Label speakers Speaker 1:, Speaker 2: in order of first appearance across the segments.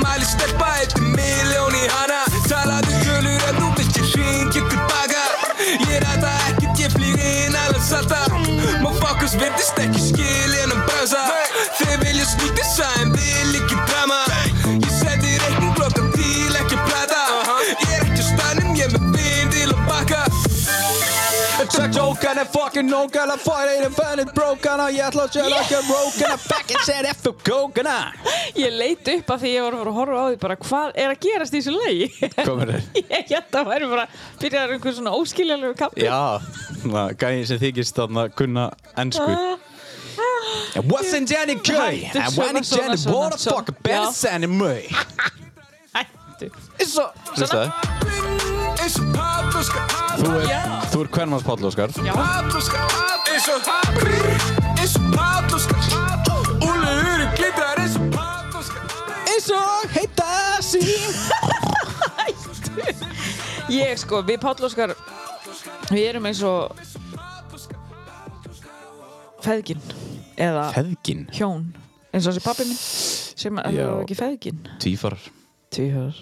Speaker 1: mæli steppa eftir miljón í hana Talaðu tölur en þú veist ég ringi tilbaka Ég ræða ekkert, ég flýr inn alveg salta Má fokus virðist ekki skilin um bransa Þeir vilja snýti sæm, vil ekki drama Ég seti reikning blokka til ekki plata Ég er ekki á stannum, ég er með vinn til að bakka
Speaker 2: Takk jókan er fucking nógan að færa í þeim fennið brókan og ég ætla að sjálf ekki að rókan að fucking setja fyrir kókana
Speaker 3: Ég leit upp að því ég var að fara að horfa á því bara hvað er að gerast í þessu lagi
Speaker 2: Komur þeir?
Speaker 3: Ég held að væri bara byrjaður einhver svona óskiljanlegu kappi
Speaker 2: Já, gæðin sem þykist þarna kunna ennsku Wasn't any gay
Speaker 3: Hættu,
Speaker 2: and
Speaker 3: svona,
Speaker 2: when it's
Speaker 3: svona,
Speaker 2: any
Speaker 3: svona,
Speaker 2: what a
Speaker 3: svona.
Speaker 2: fuck better than me
Speaker 3: Ættu
Speaker 2: Svo Hlustaðu
Speaker 1: Eins og pappa skal hafa
Speaker 2: Þú er, þú er hvernmanns Páll Óskar
Speaker 3: Já,
Speaker 1: Pablo skal af eins og hapri Eins og Pablo skal af Úlegur glitrar eins og Pablo skal af
Speaker 2: Eins og heita sín
Speaker 3: ég sko, við Páll Óskar við erum eins og feðgin eða
Speaker 2: Feðgin
Speaker 3: hjón eins og þessi pappi minn sem er
Speaker 2: Já.
Speaker 3: alveg ekki feðgin
Speaker 2: Tvífarar
Speaker 3: Tvíhör.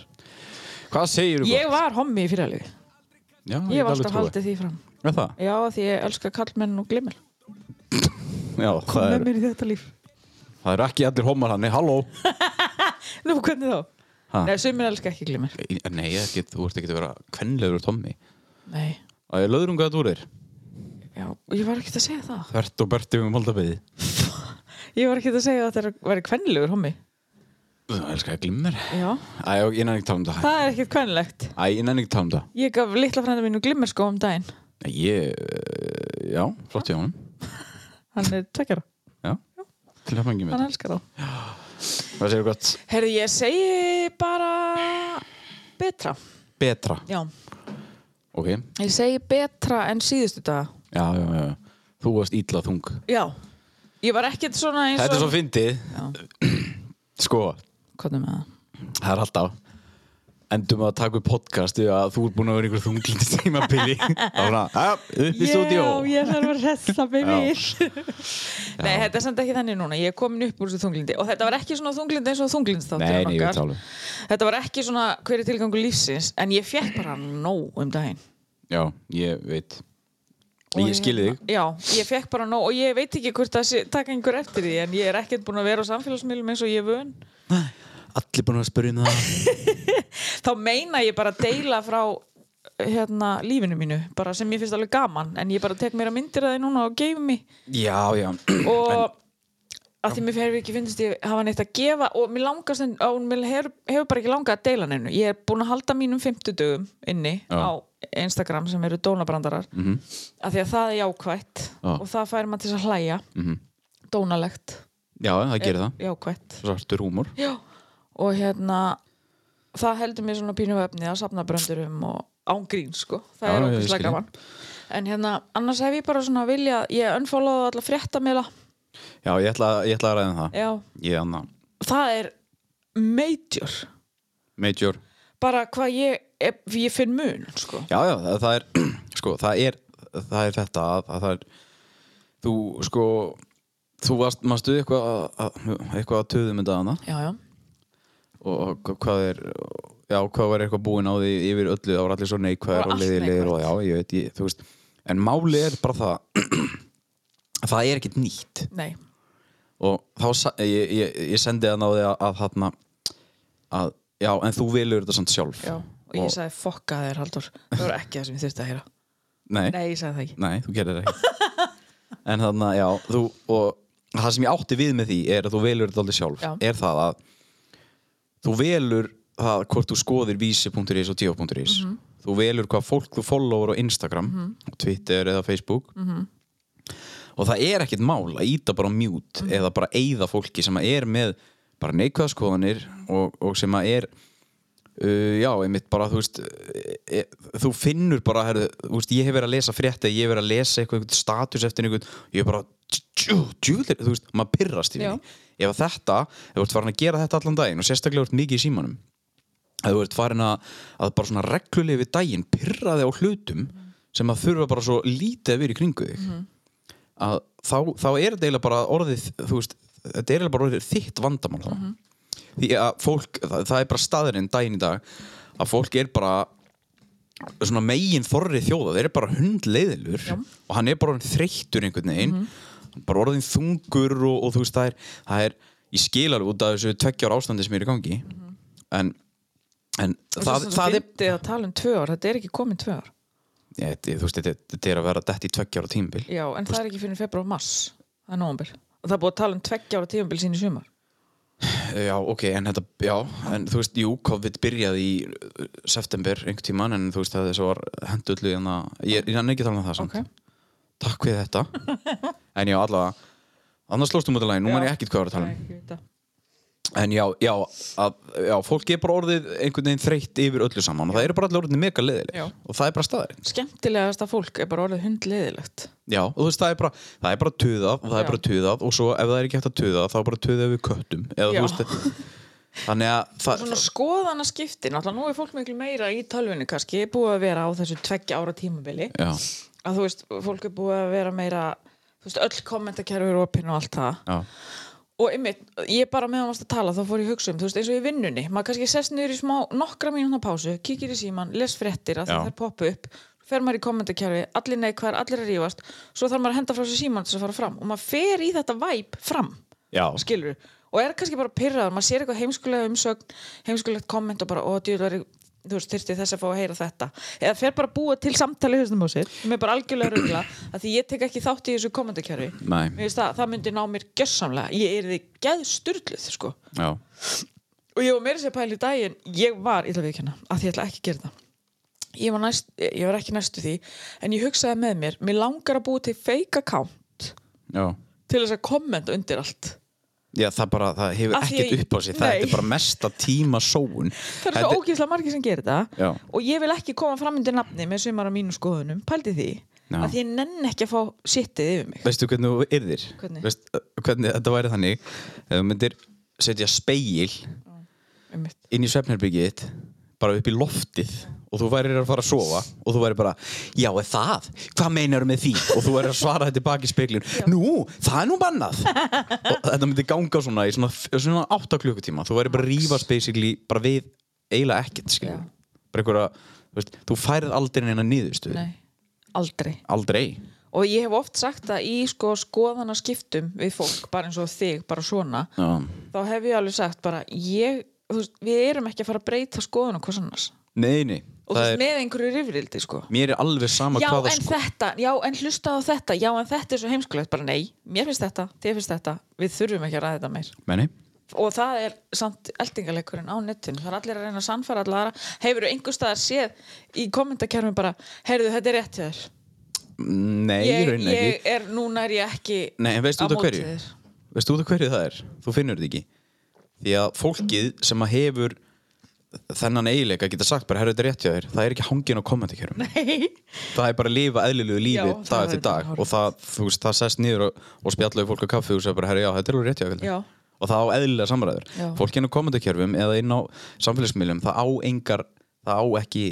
Speaker 2: Hvað segir þú?
Speaker 3: Ég var hommi í fyrirlegu
Speaker 2: Já,
Speaker 3: Ég hef
Speaker 2: get alveg
Speaker 3: alltaf
Speaker 2: trúað.
Speaker 3: haldið því fram
Speaker 2: Er það?
Speaker 3: Já, því ég elska kallmenn og glimmel
Speaker 2: Já, það
Speaker 3: Með
Speaker 2: eru
Speaker 3: mér í þetta líf
Speaker 2: það er ekki allir homar hann Nei, halló
Speaker 3: Nú, hvernig þá?
Speaker 2: Ha?
Speaker 3: Nei, sumir elska ekki glimmel
Speaker 2: Nei, ég get, þú ert ekki að vera kvenlegur Tommy
Speaker 3: Nei,
Speaker 2: Það er löðrungaða dúrir
Speaker 3: já, ég var ekki að segja það
Speaker 2: Þvert og berti um moldabiði
Speaker 3: Ég var ekki að segja að þetta væri kvennilegur hommi
Speaker 2: Þú elskar að glimmer
Speaker 3: Já,
Speaker 2: Æ, og ég nenni ekki tala um það
Speaker 3: það er ekkert kvennilegt
Speaker 2: Æ, ég nenni ekki tala um það
Speaker 3: Ég gaf litla frænda mínu glimmerskó um daginn
Speaker 2: Nei, Ég, eh, já, flott ég á honum
Speaker 3: Hann er tveggjara,
Speaker 2: Já, til að fengi mér
Speaker 3: hann elskar þá
Speaker 2: Það séu gott
Speaker 3: Herði, ég segi bara betra
Speaker 2: Betra
Speaker 3: Já,
Speaker 2: Ok, já,
Speaker 3: ég segi betra en síðustu daga
Speaker 2: já, já Þú varst ítla þung
Speaker 3: Já, ég var ekkert svona eins og
Speaker 2: Þetta er svo fyndið Sko,
Speaker 3: Hvernig með það?
Speaker 2: það er alltaf Endum að taka upp podcast Því að þú ert búin að vera einhver þunglindi tímabili Það var svona, "Jæja, upp í stúdíó
Speaker 3: Já, ég þarf að ressa mig
Speaker 2: Já.
Speaker 3: mér Nei, þetta er samt ekki þannig núna Ég er komin upp úr þessu þunglindi Og þetta var ekki svona þunglindi eins og
Speaker 2: Nei,
Speaker 3: þunglindstáttur
Speaker 2: nei, ég veit alveg
Speaker 3: Þetta var ekki svona hverju tilgangu lífsins En ég fekk bara nóg um daginn
Speaker 2: Já, ég veit
Speaker 3: Og
Speaker 2: Ég skil þig
Speaker 3: Já, ég fekk bara nóg og ég veit ekki hvort það sé, taka einhver eftir því en ég er ekkert búin að vera á samfélagsmiðlum eins og ég er vön
Speaker 2: Allir búin að spyrja um það
Speaker 3: þá meina ég bara að deila frá hérna lífinu mínu bara sem ég finnst alveg gaman en ég bara tek mér að myndir að það núna og geif mig
Speaker 2: Já, já
Speaker 3: og að því mér fer ekki finnst ég hafa neitt að gefa og mér langast og mér hefur, hefur bara ekki langað að deila neinu ég er búin að halda mínum 50 dögum inni
Speaker 2: Já.
Speaker 3: á Instagram sem eru dónabrandarar mm -hmm.
Speaker 2: Mhm,
Speaker 3: af því að það er jákvætt
Speaker 2: Já.
Speaker 3: og það fær maður til þess að hlæja -hmm.
Speaker 2: mhm.
Speaker 3: dónalegt,
Speaker 2: Já, það gerir það
Speaker 3: jákvætt
Speaker 2: Svartur húmor
Speaker 3: Já. og hérna það heldur mér svona pínu á efni að safna bröndurum og ángrín sko það
Speaker 2: Já,
Speaker 3: er
Speaker 2: já, ég
Speaker 3: okkur
Speaker 2: skil.
Speaker 3: gaman en hérna annars hef ég bara svona vilja ég unfollowaði alla fréttamila
Speaker 2: Já, ég ætla, ég ætla að ræða um það
Speaker 3: já
Speaker 2: Ég er annað
Speaker 3: það er major
Speaker 2: Major
Speaker 3: bara hvað ég, ef ég finn mun sko.
Speaker 2: Já, já, það, það er Sko, það er, það er þetta að, að það er Þú, sko Þú varst, manstu eitthvað að- að- eitthvað að töðum þetta hana
Speaker 3: já, já,
Speaker 2: og hva- hvað er já, hvað var eitthvað búin á því yfir öllu það var allir svo neikvæðir
Speaker 3: Bara
Speaker 2: og
Speaker 3: allt
Speaker 2: leiðilegir og já, ég veit, ég, þú veist en máli er bara það að það er ekkert nýtt
Speaker 3: nei
Speaker 2: og þá, sa- eh, ég, ég, ég sendi það á því að, að þarna að, já, en þú velur þetta samt sjálf
Speaker 3: já. og ég sagði fokka þér Haldur það var ekki það sem ég þurfti að heyra
Speaker 2: nei, nei.
Speaker 3: nei, ég sagði það ekki
Speaker 2: þú gerir það ekki en þarna, já, þú og það sem ég átti við með því er að þú velur þetta aldrei sjálf
Speaker 3: Já.
Speaker 2: er það að þú velur það hvort þú skoðir vísi.is og tíu.is
Speaker 3: Mhm.
Speaker 2: þú velur hvað fólk þú followar á Instagram og Twitter eða Facebook og það er ekkert mál að íta bara á mute eða bara eyða fólki sem er með bara neikvæðaskoðanir og, og sem að er uh, já, einmitt bara þú veist e, þú finnur bara, herðu, þú veist, ég hef verið að lesa frétta, ég hef verið að lesa eitthvað, eitthvað status eftir einhvern, ég er bara djúðlir, þú veist, maður pyrrast í
Speaker 3: Já.
Speaker 2: því ef að þetta, ef þú ert farin að gera þetta allan daginn og sérstaklega ert mikið í símanum að þú ert farin að, að bara svona reglulegi við daginn pyrra þig á hlutum sem að þurfa bara svo lítið að vera í kringu þig að þá, þá er þetta eiginlega bara orðið þú veist, þetta er eiginlega bara orðið þitt vandamál þá því að fólk, það, það er bara staðurinn daginn í dag að fólk er bara svona megin þorri þjóða þeir eru bara hundleiðilur og hann er bara orðinn þreyttur einhvern veginn bara orðin þungur og, og þú veist það er, það er ég skil alveg út af þessu tveggjar ástandi sem er í gangi en, en það,
Speaker 3: það,
Speaker 2: það er
Speaker 3: er að tala um tvö ár, þetta er ekki komin tvö ár
Speaker 2: Ég, þetta, þú veist, þetta, þetta er að vera dætt í tveggjar á tímabil
Speaker 3: já, en það er ekki fyrir februar og mars það er nómbil og það er búið að tala um tveggja ára tíumbil sín í sumar
Speaker 2: Já, ok, en þetta, já, en þú veist, jú, COVID byrjaði í uh, september einhvern tíman, en þú veist, það þessu var hendullu en að, ég, ég hann ekki að tala um það samt.
Speaker 3: Ok.
Speaker 2: Takk fyrir þetta. en já, allavega, annars slóstum út að lagi, nú man ég ekkert hvað ég var að tala um. En já, já, að, já, fólk er bara orðið einhvern veginn þreytt yfir öllu saman og það eru bara allir orðinni mega
Speaker 3: Já.
Speaker 2: leðilegir og það er bara staðarinn.
Speaker 3: skemmtilegasta fólk er bara orðið hundleðilegt
Speaker 2: Já, og þú veist, það er bara, það er bara tuðað og það
Speaker 3: Já.
Speaker 2: er bara tuðað og svo ef það er ekki hægt að tuða þá bara tuðað við köttum eða
Speaker 3: Já.
Speaker 2: þú veist, þannig að það,
Speaker 3: svona skoðana skipti, náttúrulega nú er fólk miklu meira í tölvunni kannski, búið að vera á þessu tveggja ára tímabili
Speaker 2: já,
Speaker 3: að þú veist, fólk er búið að vera meira þú veist, öll kommentarkerfi eru opinn og allt það
Speaker 2: já,
Speaker 3: og einmitt, ég bara meðan varst að tala þá fór ég að hugsa um, þú veist, eins og í vinnunni maður kannski sest niður í smá nokkra mínúna pásu kíkir í síman, les fréttir að
Speaker 2: Já.
Speaker 3: það er poppa upp fer maður í kommentarkerfi, allir neikvar, allir að rífast svo þarf maður að henda frá sér síman til þess að fara fram og maður fer í þetta væp fram
Speaker 2: já.
Speaker 3: skilur og er kannski bara pyrraður, maður sér eitthvað heimskulega umsögn heimskulegt komment og bara, ó, djúl veri þú veist, þyrfti þess að fá að heyra þetta eða fer bara að búa til samtali í þessum á sér sem er bara algjörlega rugla, að því ég tek ekki þátt í þessu kommentarkerfi
Speaker 2: Nei.
Speaker 3: Mér finnst það, það myndi ná mér gjössamlega ég er því geðsturluð, sko
Speaker 2: Já,
Speaker 3: og ég var meira sér pæli í daginn ég var, ég ætla að viðkjanna, að ég ætla ekki að gera það ég var, næst, ég var ekki næstu því en ég hugsaði með mér, mér langar að búa til fake account
Speaker 2: já.
Speaker 3: til þess að kommenta undir allt
Speaker 2: Já, það bara, það hefur
Speaker 3: Af því
Speaker 2: ekkert
Speaker 3: ég-
Speaker 2: upp á sig, það
Speaker 3: Nei.
Speaker 2: er bara mesta tíma sóun.
Speaker 3: það er svo ógeðslega margir sem gerir þetta
Speaker 2: Já.
Speaker 3: og ég vil ekki koma fram undir nafni með sumar á mínu skoðunum, pældi því
Speaker 2: Já.
Speaker 3: að ég nenn ekki að fá sittið yfir mig
Speaker 2: Veistu hvernig þú yrðir?
Speaker 3: Hvernig?
Speaker 2: Veist, uh, hvernig þetta væri þannig, ef þú myndir setja speil
Speaker 3: Einmitt.
Speaker 2: inn í svefnherbyggið þitt, bara upp í loftið og þú værir að fara að sofa og þú værir bara, já, er það? Hvað meinar með því? Og þú værir að svara þetta baki í speilin, nú, það er nú bannað. og þetta myndi ganga svona í svona, svona 8 klukkutíma, þú værir bara að rífast basically bara við eiginlega ekkert, skiljum.
Speaker 3: Já.
Speaker 2: Bara einhverja, þú veist, þú færið aldrei neina niðurstöðu.
Speaker 3: Nei, aldrei
Speaker 2: Aldrei
Speaker 3: og ég hef oft sagt það í sko skoðana skiptum við fólk, bara eins og þig, bara svona
Speaker 2: Já.
Speaker 3: þá hef ég alveg sagt bara ég, þú veist, við erum ekki að fara að breyta skoðuna hvers annars
Speaker 2: Nei, nei
Speaker 3: og þú
Speaker 2: það
Speaker 3: veist,
Speaker 2: er,
Speaker 3: með einhverju rifrildi sko
Speaker 2: Mér er alveg sama
Speaker 3: já
Speaker 2: hvaða
Speaker 3: en
Speaker 2: sko
Speaker 3: þetta, já en hlusta á þetta já en þetta er svo heimskulegt, bara nei mér finnst þetta, þér finnst þetta, við þurfum ekki að ræða þetta meir
Speaker 2: Meni,
Speaker 3: og það er samt eldingaleikurinn á netinu það er allir að reyna að sannfæra allara hefur einhver staðar séð í kommentarkerfum bara, heyrðu þetta er rétt hjá þér
Speaker 2: Nei, ég,
Speaker 3: ég,
Speaker 2: raun ekki
Speaker 3: ég er, núna er ég ekki
Speaker 2: Nei, en veistu
Speaker 3: á
Speaker 2: út af
Speaker 3: móti
Speaker 2: hverju?
Speaker 3: þér.
Speaker 2: Veistu út af hverju það er? Þú finnur þetta ekki Því að fólkið sem að hefur þennan eiginleika geta sagt bara herru þetta er rétt hjá þér það er ekki hangin á kommentarkjörum
Speaker 3: Nei,
Speaker 2: það er bara að lifa eðlilegu lífi
Speaker 3: Já, það
Speaker 2: dag
Speaker 3: er
Speaker 2: eftir dag
Speaker 3: hárrétt.
Speaker 2: og það, þú veist, það sest niður og, og spjallaði fólk á kaffi og segja bara herru já þetta er alveg rétt hjá
Speaker 3: Já.
Speaker 2: þér og það á eðlilega samræður
Speaker 3: Já.
Speaker 2: fólk inn á kommentarkjörfum eða inn á samfélagsmiðlum það á engar, það á ekki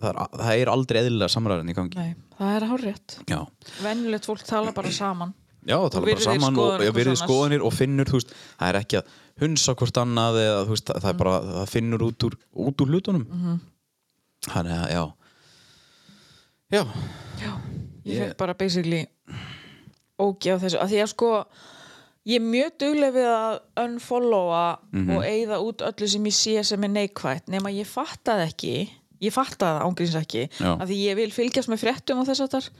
Speaker 2: það er, það er aldrei eðlilega samræðan í gangi
Speaker 3: nei, það er hár
Speaker 2: Já,
Speaker 3: venjulegt fólk tala bara saman
Speaker 2: já og tala
Speaker 3: Og
Speaker 2: bara
Speaker 3: virðir
Speaker 2: saman og
Speaker 3: skoðanir
Speaker 2: og
Speaker 3: hvors
Speaker 2: virðir
Speaker 3: annars.
Speaker 2: skoðanir og finnur, þú veist, það er ekki að hunsa hvort annað eða þú veist, það
Speaker 3: Mm.
Speaker 2: það er bara, það finnur út úr, út úr hlutunum.
Speaker 3: Mhm.
Speaker 2: Þannig að, já. Já,
Speaker 3: Já, ég
Speaker 2: Ég-
Speaker 3: fekk bara basically ógi á þessu, af því að sko ég er mjög dugleg við að unfollowa
Speaker 2: Mhm.
Speaker 3: og eigða út öllu sem ég sé sem er neikvætt, nema ég fattaði ekki ég fattaði það ángríns ekki
Speaker 2: Já.
Speaker 3: af því ég vil fylgjast með fréttum og þess að þar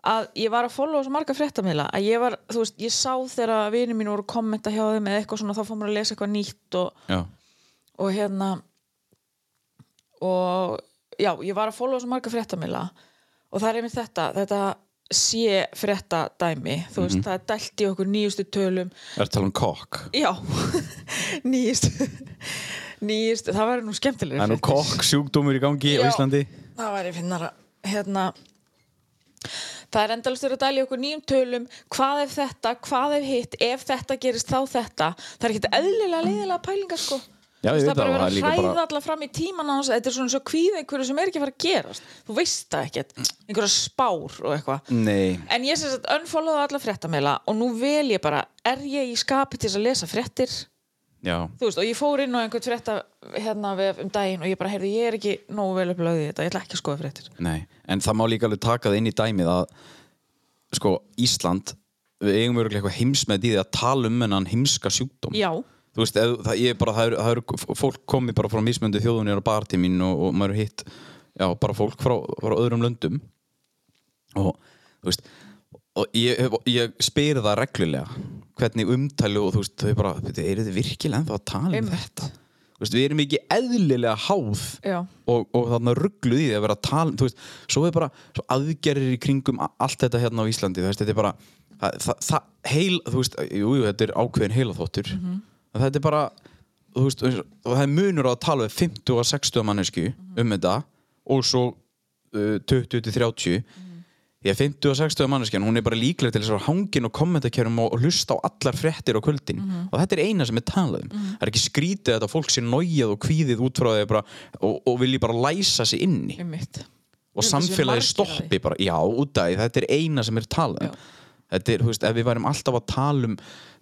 Speaker 3: að ég var að followa svo marga fréttamiðla að ég var, þú veist, ég sá þegar vinir mín voru að kommenta hjá þeim eða eitthvað svona þá fór maður að lesa eitthvað nýtt og
Speaker 2: já,
Speaker 3: og hérna og já, ég var að followa svo marga fréttamila og það er einmitt þetta þetta sé fréttadæmi þú
Speaker 2: Mhm.
Speaker 3: veist, það er dælt í okkur nýjustu tölum
Speaker 2: er að tala um kokk.
Speaker 3: já, nýjustu nýjustu, það væri nú skemmtilega
Speaker 2: Það er nú kokk sjúkdómur í gangi á
Speaker 3: Já.
Speaker 2: Íslandi.
Speaker 3: það væri finnara hérna Það er endalist verið að dæla í okkur nýjum tölum hvað ef þetta, hvað ef hitt ef þetta gerist þá þetta það er ekkert eðlilega leiðilega pælingar sko
Speaker 2: Já, ég
Speaker 3: Þú veist,
Speaker 2: veit
Speaker 3: það er
Speaker 2: það, það
Speaker 3: bara
Speaker 2: er
Speaker 3: verið
Speaker 2: líka
Speaker 3: að hræða
Speaker 2: bara-
Speaker 3: alla fram í tíman hans þetta er svona svo kvíð einhverju sem er ekki að fara að gerast þú veist það ekkert, einhverja spár og eitthvað
Speaker 2: Nei,
Speaker 3: en ég sem sagt unfollowði alla fréttameila og nú vel ég bara er ég í skapi til þess að lesa fréttir
Speaker 2: já,
Speaker 3: þú veist, og ég fór inn á einhvern frétta hérna við um daginn og ég bara, heyrðu, ég er ekki nógu vel upplöðið þetta, ég ætla ekki að skoða fréttir
Speaker 2: nei en það má líka alveg taka það inn í dæmið að sko, Ísland við eigum örgulega eitthvað heimsmeð í því að tala um hennan heimska sjúkdóm
Speaker 3: Já,
Speaker 2: þú veist, eð, það, ég er bara, það eru, það eru fólk komið bara frá mismöndu þjóðunir á barti mín og, og maður er hitt já, bara fólk frá, frá öðrum löndum og þú veist og ég, hef- ég spyr það reglulega hvernig umtælu og þú veist þau bara, "Bíddu, eru þið virkilega ennþá að tala um
Speaker 3: Einmitt.
Speaker 2: þetta þú veist, við erum ekki eðlilega háð
Speaker 3: Já.
Speaker 2: og, og þarna ruggluð í því að vera að tala þú veist, svo er bara svo aðgerðir í kringum a- allt þetta hérna á Íslandi þú veist, þetta er bara það, það, það, heil, þú veist, jú, jú, þetta er ákveðin heilaþóttur mm þetta er bara þú veist, eins og og það er munur á að tala við 50 og 60 mannesku um þetta og svo uh, 20 til 30 Því að 50 og 60 manneskjan, hún er bara líklega til þess að vera hangin og kommentarkerfum og og hlusta á allar fréttir á kvöldin
Speaker 3: Mhm.
Speaker 2: og þetta er eina sem er talað um það er ekki skrítið að þetta fólk sé nójað og kvíðið út frá því bara, og, og vilji bara læsa sig inni
Speaker 3: einmitt
Speaker 2: og
Speaker 3: Jú, þetta séu
Speaker 2: samfélagi
Speaker 3: margir af því.
Speaker 2: stoppi bara, já, út af því, þetta er eina sem er talað um.
Speaker 3: Já.
Speaker 2: þetta er, þú veist, ef við værim alltaf að tala um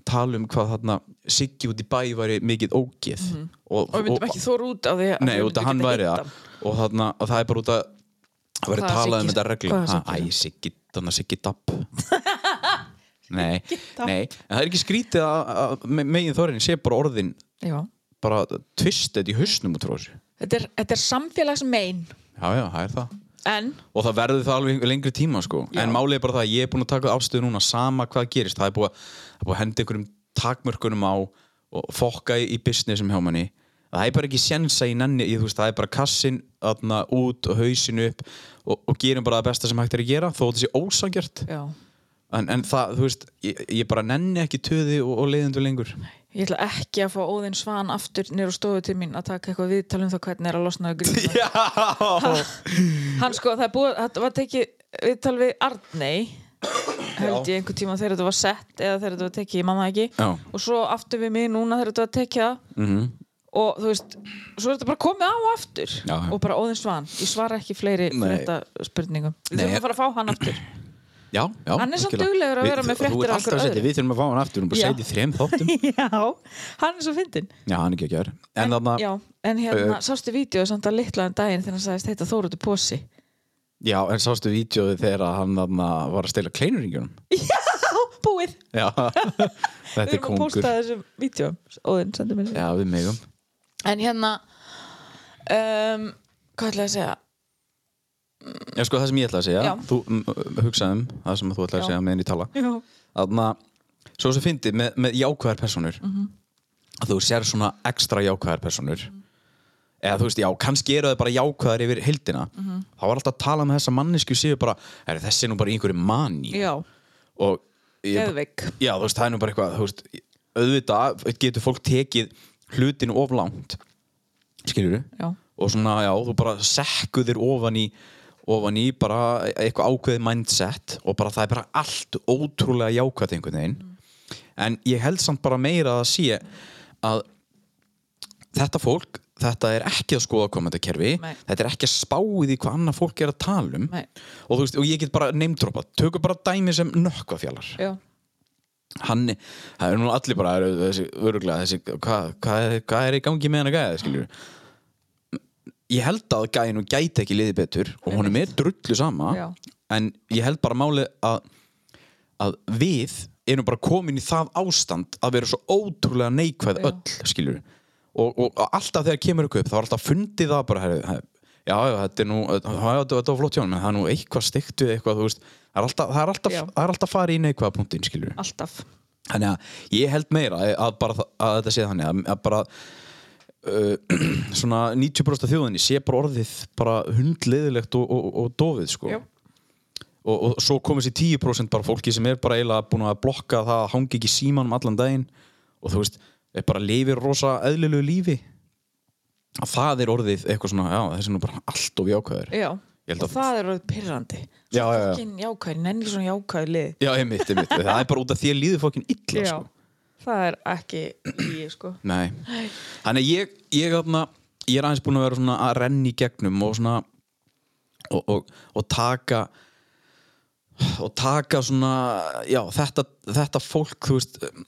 Speaker 2: tala um hvað þarna Siggi út í bæ væri mikið ógið
Speaker 3: Mhm. Og við myndum ekki þóra út á því að
Speaker 2: Nei,
Speaker 3: við
Speaker 2: út
Speaker 3: myndum
Speaker 2: að hann
Speaker 3: geta
Speaker 2: væri
Speaker 3: hitt
Speaker 2: það
Speaker 3: hann.
Speaker 2: og, þarna, og það er bara út að það verið
Speaker 3: Hvaða
Speaker 2: talað um
Speaker 3: Siggi-
Speaker 2: þetta reglu
Speaker 3: hvaða
Speaker 2: Ha, Æ,
Speaker 3: Siggi?
Speaker 2: Siggi, þannig að Siggi Dapp Nei, nei En það er ekki skrítið að, að me- megin þorinn sé bara orðin
Speaker 3: Já,
Speaker 2: bara tvistet í hausnum út frá þessu
Speaker 3: þetta er, þetta er samfélagsmein
Speaker 2: Já, já, það er það
Speaker 3: En,
Speaker 2: Og það verður það alveg lengri tíma sko
Speaker 3: Já.
Speaker 2: En málið er bara það að ég er búin að taka afstöðu núna sama hvað gerist Það er búið, að- það er búið að henda einhverjum takmörkunum á og fokka í í businessum hjá manni Það er bara ekki sjensa í nenni ég, þú veist, Það er bara kassin atna, út og hausin upp og, og gerum bara það besta sem hægt er að gera þó þetta sé ósangjart
Speaker 3: já,
Speaker 2: en, en það, þú veist, ég, ég bara nenni ekki töði og, og leiðindu lengur
Speaker 3: ég ætla ekki að fá Óðinn Svan aftur nýr á stofu til mín að taka eitthvað viðtal um það hvernig er að losna að gríma
Speaker 2: Já
Speaker 3: Hann sko, það er búið, það var tekið viðtal við Arnei held ég einhver tíma þegar þetta var sett eða þegar þetta var tekið, ég manna ekki
Speaker 2: Já. Mhm.
Speaker 3: og svo aftur við mig núna þegar þetta var tekið mm -hmm. og þú veist, svo er þetta bara komið á aftur
Speaker 2: Já, já.
Speaker 3: og bara Óðinn Svan, ég svara ekki fleiri
Speaker 2: Nei.
Speaker 3: þetta spurningum við
Speaker 2: Nei.
Speaker 3: þurfum að fara að fá hann aftur
Speaker 2: Já, já
Speaker 3: Hann er samt
Speaker 2: algjörlega.
Speaker 3: duglegur að
Speaker 2: Við-
Speaker 3: vera með
Speaker 2: þú- þú
Speaker 3: fréttir
Speaker 2: ert
Speaker 3: af
Speaker 2: alltaf að
Speaker 3: einhverju
Speaker 2: setja-
Speaker 3: öðru.
Speaker 2: Við þurfum að fá hann aftur, hún er bara
Speaker 3: Já.
Speaker 2: að setja í þrem þáttum
Speaker 3: Já, hann er svo fyndin
Speaker 2: Já, hann er ekki að gera En þarna, já.
Speaker 3: Já, en hérna, sástu vídeo samt að litla um daginn þegar hann sagðist heita Þóruðu Pósi
Speaker 2: en sástu vídjóðu þegar að hann þarna var að stela kleinuringjunum
Speaker 3: Já, búið
Speaker 2: Já,
Speaker 3: Við
Speaker 2: þetta er
Speaker 3: erum að
Speaker 2: kongur
Speaker 3: posta þessum vídeo Óðinn, sendu mér þessu
Speaker 2: Já, við megum
Speaker 3: En hérna um, Hvað ætlaði að segja?
Speaker 2: Já, sko, það sem ég ætlaði að segja
Speaker 3: Já.
Speaker 2: Þú mm, hugsaði um það sem þú ætlaði
Speaker 3: Já.
Speaker 2: að segja meðan ég tala
Speaker 3: Já,
Speaker 2: Þarna, svo sem fyndi með, með jákvæðar personur
Speaker 3: Mhm.
Speaker 2: að þú sér svona ekstra jákvæðar personur eða þú veist, já, kannski eru þau bara jákvæðar yfir heildina
Speaker 3: Mhm.
Speaker 2: þá var alltaf að tala með þessa mannesku séu bara, er þessi er nú bara í einhverju mani
Speaker 3: já
Speaker 2: og ég,
Speaker 3: geðveik
Speaker 2: Já, þú veist, það er nú bara eitthvað, þú veist, auðvitað getur fólk tekið hlutinu of langt, skilur
Speaker 3: Já.
Speaker 2: Og svona, já, þú bara sekkuðir ofan í, ofan í bara eitthvað ákveðið mindset og bara það er bara allt ótrúlega jákvæð einhvern veginn. En ég held samt bara meira að það sé að þetta fólk, þetta er ekki að skoða komendakerfi,
Speaker 3: Nei.
Speaker 2: þetta er ekki að spáið í hvað annað fólk er að tala um
Speaker 3: Nei.
Speaker 2: og, þú veist, og ég get bara neymdropa, tökum bara dæmi sem nökkvafjallar
Speaker 3: Já,
Speaker 2: hann, það eru nú allir bara eru þessi, öruglega, þessi, hvað hva, hva er í gangi með hann að gæða, skiljur ég held að gæðin og gæti ekki liðið betur og honum er drullu sama
Speaker 3: Já.
Speaker 2: en ég held bara málið að, að við erum bara komin í það ástand að vera svo ótrúlega neikvæð
Speaker 3: Já.
Speaker 2: öll skiljur og, og, og alltaf þegar kemur ykkur upp þá er alltaf fundið það bara herri, he- já, já, þetta er nú, já, já, þetta var flott hjá hann en það er nú eitthvað steikt við eitthvað, þú veist það er alltaf, það er alltaf,
Speaker 3: Já.
Speaker 2: það er alltaf farið í neikvæða punktin skiljur
Speaker 3: alltaf
Speaker 2: Þannig að ég held meira að, bara, þa- að þetta sé þannig að, að bara uh, svona 90% af þjóðinni sé bara orðið bara hundleðilegt og, og, og dofið sko.
Speaker 3: Já.
Speaker 2: og, og svo komið sér 10% bara fólki sem er bara eiginlega búin að blokka það að hangi ekki í símanum allan daginn og þú veist, er bara lifir rosa eðlilegu lífi að það er orðið eitthvað svona, já, þessi er nú bara allt of jákvæður
Speaker 3: Já,
Speaker 2: Ég held
Speaker 3: og
Speaker 2: að-
Speaker 3: það er orðið pyrrandi
Speaker 2: Já, já, já.
Speaker 3: Fokkin jákvæð, nenni ekki svona jákvæð lið
Speaker 2: Já, einmitt, einmitt, það er bara út af því að líður fólkin illa sko.
Speaker 3: það er ekki í, sko
Speaker 2: Nei. Þannig að ég, ég, þarna, ég er aðeins búin að vera svona að renni í gegnum og svona og, og, og taka og taka svona já, þetta, þetta fólk þú veist um,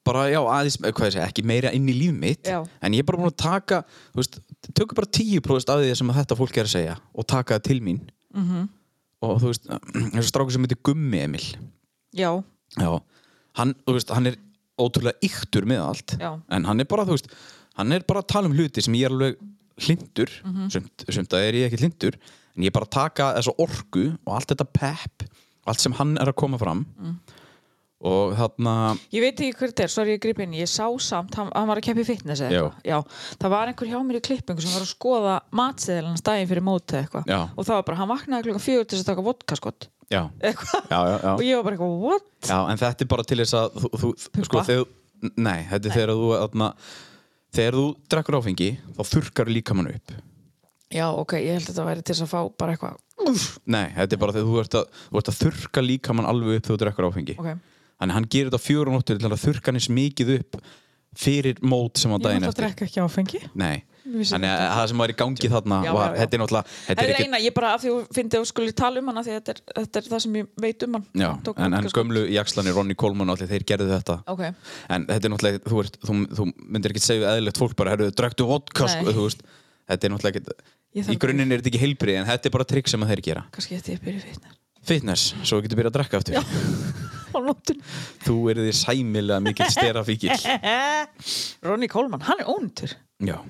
Speaker 2: bara, já, aðeins, eh, hvað ég segi, ekki meira inn í líf mitt
Speaker 3: Já.
Speaker 2: en ég er bara búin að taka, þú veist tökum bara 10% af því sem að þetta fólk er að segja og taka það til mín -hmm. og þú veist, þessu strákur sem heitir Gummi Emil
Speaker 3: já,
Speaker 2: já, hann, þú veist, hann er ótrúlega yktur með allt
Speaker 3: Já.
Speaker 2: en hann er bara, þú veist, hann er bara að tala um hluti sem ég er alveg hlindur mm
Speaker 3: Mhm.
Speaker 2: -hmm. sumt, sumt að er ég ekki hlindur en ég er bara að taka þessa orku og allt þetta pep, allt sem hann er að koma fram
Speaker 3: Mm.
Speaker 2: og þarna
Speaker 3: Ég veit ekki hver þetta er, sorry ég grip inn í. Ég sá samt, hann, hann var að keppa í fitness eða
Speaker 2: Já.
Speaker 3: eitthvað Já, það var einhver hjá mér í klippingu sem var að skoða matseðilans daginn fyrir mótið eða eitthvað
Speaker 2: Já.
Speaker 3: Og það var bara, hann vaknaði klukkan fjögur til þess að taka vodka skott
Speaker 2: já,
Speaker 3: Eitthvað
Speaker 2: já, já, já.
Speaker 3: Og ég var bara eitthvað, what?
Speaker 2: Já, en þetta er bara til þess að þú, þú,
Speaker 3: Pumpa.
Speaker 2: sko, þegar, Nei, þetta er þegar þú atna, Þegar þú drekkur áfengi þá þurrkar líkamann upp
Speaker 3: Já, ok, ég held að þetta væri til þess að fá bara eitthvað Úf,
Speaker 2: Nei, þetta er bara þegar þú ert að, þú ert að þurrka líkamann alveg upp þegar þú drekkur áfengi
Speaker 3: Ok.
Speaker 2: Þannig hann gerir þetta á fjórum nóttur til að þurrka hann eins mikið upp fyrir mót sem á
Speaker 3: Ég
Speaker 2: daginn
Speaker 3: náttúrulega
Speaker 2: eftir
Speaker 3: drekka ekki áfengi
Speaker 2: Nei,
Speaker 3: vissi
Speaker 2: þannig að það sem var í gangi þarna
Speaker 3: Já,
Speaker 2: var,
Speaker 3: já, já.
Speaker 2: þetta er náttúrulega þetta
Speaker 3: Þetta
Speaker 2: er
Speaker 3: er
Speaker 2: ekkert-
Speaker 3: eina, ég bara af því að fyndi að skuli tala um hana því að þetta er, þetta er það sem ég veit um hann
Speaker 2: Já,
Speaker 3: Tók
Speaker 2: en, en
Speaker 3: vodkaskot.
Speaker 2: gömlu jakslanir Ronny Coleman og allir þeir gerðu þetta
Speaker 3: Ok.
Speaker 2: En þetta er náttúrulega, þú, ert, þú, þú myndir ekki segja eðlilegt fólk bara, herru, drektu vodka
Speaker 3: Nei.
Speaker 2: sko, þú veist, þetta er náttúrulega ekki,
Speaker 3: Ég þarf
Speaker 2: í grunninn er þetta ekki heilbrið en þetta er bara trikk sem að þeir gera
Speaker 3: Kannski eftir ég byrja í fitness
Speaker 2: Fitness, svo þú getur byrjað að drekka aftur
Speaker 3: Á nóttunni.
Speaker 2: Þú eru því sæmilega mikill sterafíkil
Speaker 3: Ronny Coleman, hann er ónýttur
Speaker 2: Já,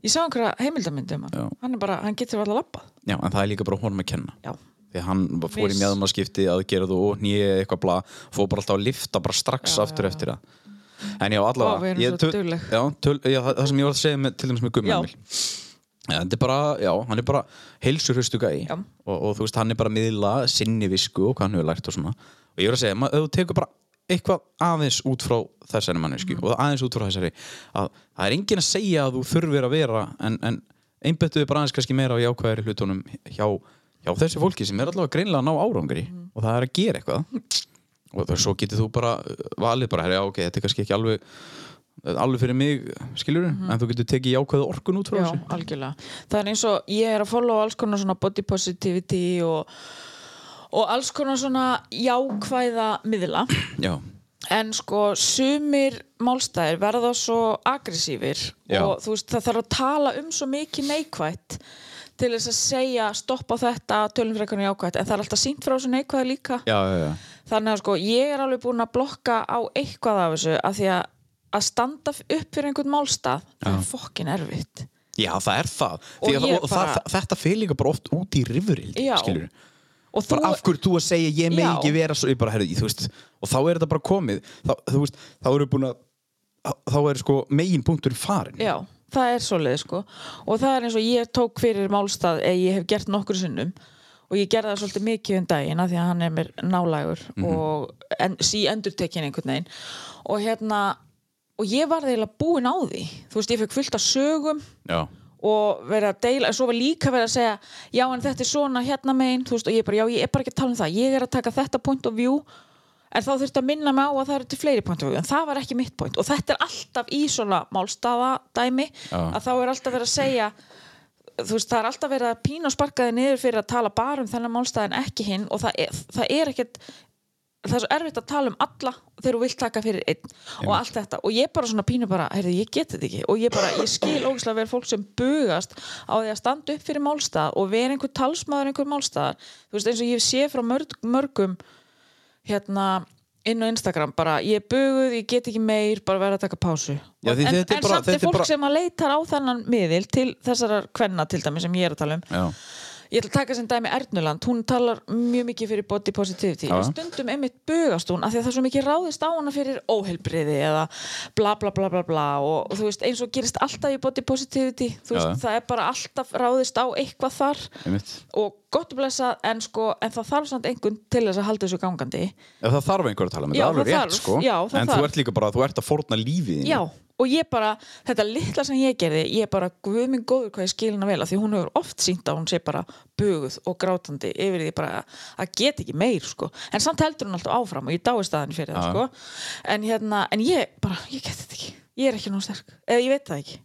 Speaker 3: Ég sá einhverja heimildamyndi um hann
Speaker 2: Já.
Speaker 3: Hann er bara, hann getur alltaf labbað
Speaker 2: já, en það er líka bara honum að kenna
Speaker 3: Já,
Speaker 2: Því að hann bara fór í
Speaker 3: Viss.
Speaker 2: mjöðmaskipti aðgerðu og nýja eitthvað bla fór bara alltaf að lifta bara strax
Speaker 3: Já,
Speaker 2: aftur
Speaker 3: já, já.
Speaker 2: eftir það En já,
Speaker 3: Vá, við
Speaker 2: allavega
Speaker 3: erum
Speaker 2: ég
Speaker 3: svo
Speaker 2: töl-
Speaker 3: dugleg.
Speaker 2: já, töl- já, það það sem ég var að segja með, til dæmis með Gummi
Speaker 3: Já.
Speaker 2: Emil. Já, Þetta er bara, já, hann er bara heilsurhustu gæi
Speaker 3: Já.
Speaker 2: og, og þú veist, hann er bara að miðla sinni visku og hvað hann hefur lært og svona og ég var að segja, maður, ef þú tekur bara eitthvað aðeins út frá þessari mannesku
Speaker 3: Mhm.
Speaker 2: og aðeins út frá þessari að það er enginn að segja að þú þurfir að vera en, en einbættuðu bara aðeins kannski meira á jákvæðari hlutunum hjá, hjá þessu fólki sem er allavega greinlega að ná árangri
Speaker 3: Mhm.
Speaker 2: og það er að gera eitthvað og það, svo getur þú bara uh, valið bara, já, ok, þetta er kannski ekki alveg uh, alveg fyrir mig, skilur en þú getur tekið jákvæða orkun út frá
Speaker 3: Mhm. já,
Speaker 2: þessu
Speaker 3: algjörlega Það er eins og ég er að followa alls konar svona body positivity og, og alls konar svona jákvæða miðla
Speaker 2: Já,
Speaker 3: en sko sumir málstæðir verða svo aggressífir
Speaker 2: Já.
Speaker 3: og þú veist það þarf að tala um svo mikið neikvætt til þess að segja stoppa þetta tölum frekarinn jákvætt en það er alltaf sínt frá þessu neikvæða líka
Speaker 2: já, já, já.
Speaker 3: þannig að sko ég er alveg búin að blokka á eitthvað af þessu að því að að standa f- upp fyrir einhvern málstað það er fokkin erfitt
Speaker 2: Já, það er það.
Speaker 3: Og
Speaker 2: Því að
Speaker 3: ég
Speaker 2: það,
Speaker 3: bara-
Speaker 2: það, þetta fyrir líka bara oft út í rifurild,
Speaker 3: Já.
Speaker 2: skilur.
Speaker 3: og þú,
Speaker 2: Bara af hverju þú að segja ég megi
Speaker 3: Já.
Speaker 2: ekki vera svo, ég bara, herrðu, þú veist, og þá er þetta bara komið, þá, þú veist, þá eru búin að, þá er sko megin punktur farin.
Speaker 3: já, það er svoleið sko og það er eins og ég tók fyrir málstað eða ég hef gert nokkur sinnum og ég gerði það svolítið mikið um daginn af því að hann er mér nálægur og en, sí endurtekin einhvern veginn og hérna og ég var þeirlega búin á því þú veist, ég fekk fullt af sögum
Speaker 2: Já,
Speaker 3: og verið að deila, en svo var líka verið að segja já en þetta er svona hérna megin þú veist, og ég bara, já ég er bara ekki að tala um það ég er að taka þetta point of view en þá þurfti að minna mig á að það eru til fleiri point of view en það var ekki mitt point og þetta er alltaf í svona málstaðadæmi
Speaker 2: Já.
Speaker 3: að þá er alltaf verið að segja þú veist, það er alltaf verið að pína og sparka þig niður fyrir að tala bara um þennan málstaðin ekki hinn og það er, það er ekkert það er svo erfitt að tala um alla þegar þú vilt taka fyrir einn og allt þetta og ég bara svona pínu bara, heyrðu, ég get þetta ekki og ég bara, ég skil ógislega vel fólk sem bugast á því að standa upp fyrir málstað og vera einhver talsmaður einhver málstaðar þú veist, eins og ég sé frá mörg, mörgum hérna inn á Instagram bara, ég er buguð, ég get ekki meir bara verða að taka pásu
Speaker 2: Já, því
Speaker 3: en,
Speaker 2: þetta er
Speaker 3: en
Speaker 2: bara-
Speaker 3: samt er
Speaker 2: þetta er
Speaker 3: fólk
Speaker 2: bara-
Speaker 3: sem að leitar á þennan miðil til þessara kvenna til dæmi sem ég er að tala um
Speaker 2: já,
Speaker 3: ég ætla að taka sem dæmi Ernuland hún talar mjög mikið fyrir body positivity
Speaker 2: Já.
Speaker 3: en stundum einmitt bugast hún af því að það er svo mikið ráðist á hana fyrir óheilbriði eða bla bla bla bla bla og, og þú veist eins og gerist alltaf í body positivity þú
Speaker 2: Já.
Speaker 3: veist það er bara alltaf ráðist á eitthvað þar
Speaker 2: einmitt.
Speaker 3: og gott og blessað en sko en það þarf samt einhvern til þess að halda þessu gangandi
Speaker 2: Já, það þarf einhver að tala með
Speaker 3: Já,
Speaker 2: það, alveg
Speaker 3: það
Speaker 2: rétt,
Speaker 3: þarf.
Speaker 2: sko.
Speaker 3: Já, það
Speaker 2: en
Speaker 3: þarf.
Speaker 2: þú ert líka bara, þú ert að forna lífið þínu.
Speaker 3: Já, og ég bara, þetta litla sem ég gerði, ég bara, guð minn góður hvað ég skil hana vel, af því hún hefur oft sínt að hún sé bara buguð og grátandi yfir því bara að geta ekki meir, sko. En samt heldur hún alltaf áfram og ég dáist að henni fyrir það, sko. En hérna, en ég bara, ég get þetta ekki. Ég er ekki nóg sterk. Eða ég veit það ekki.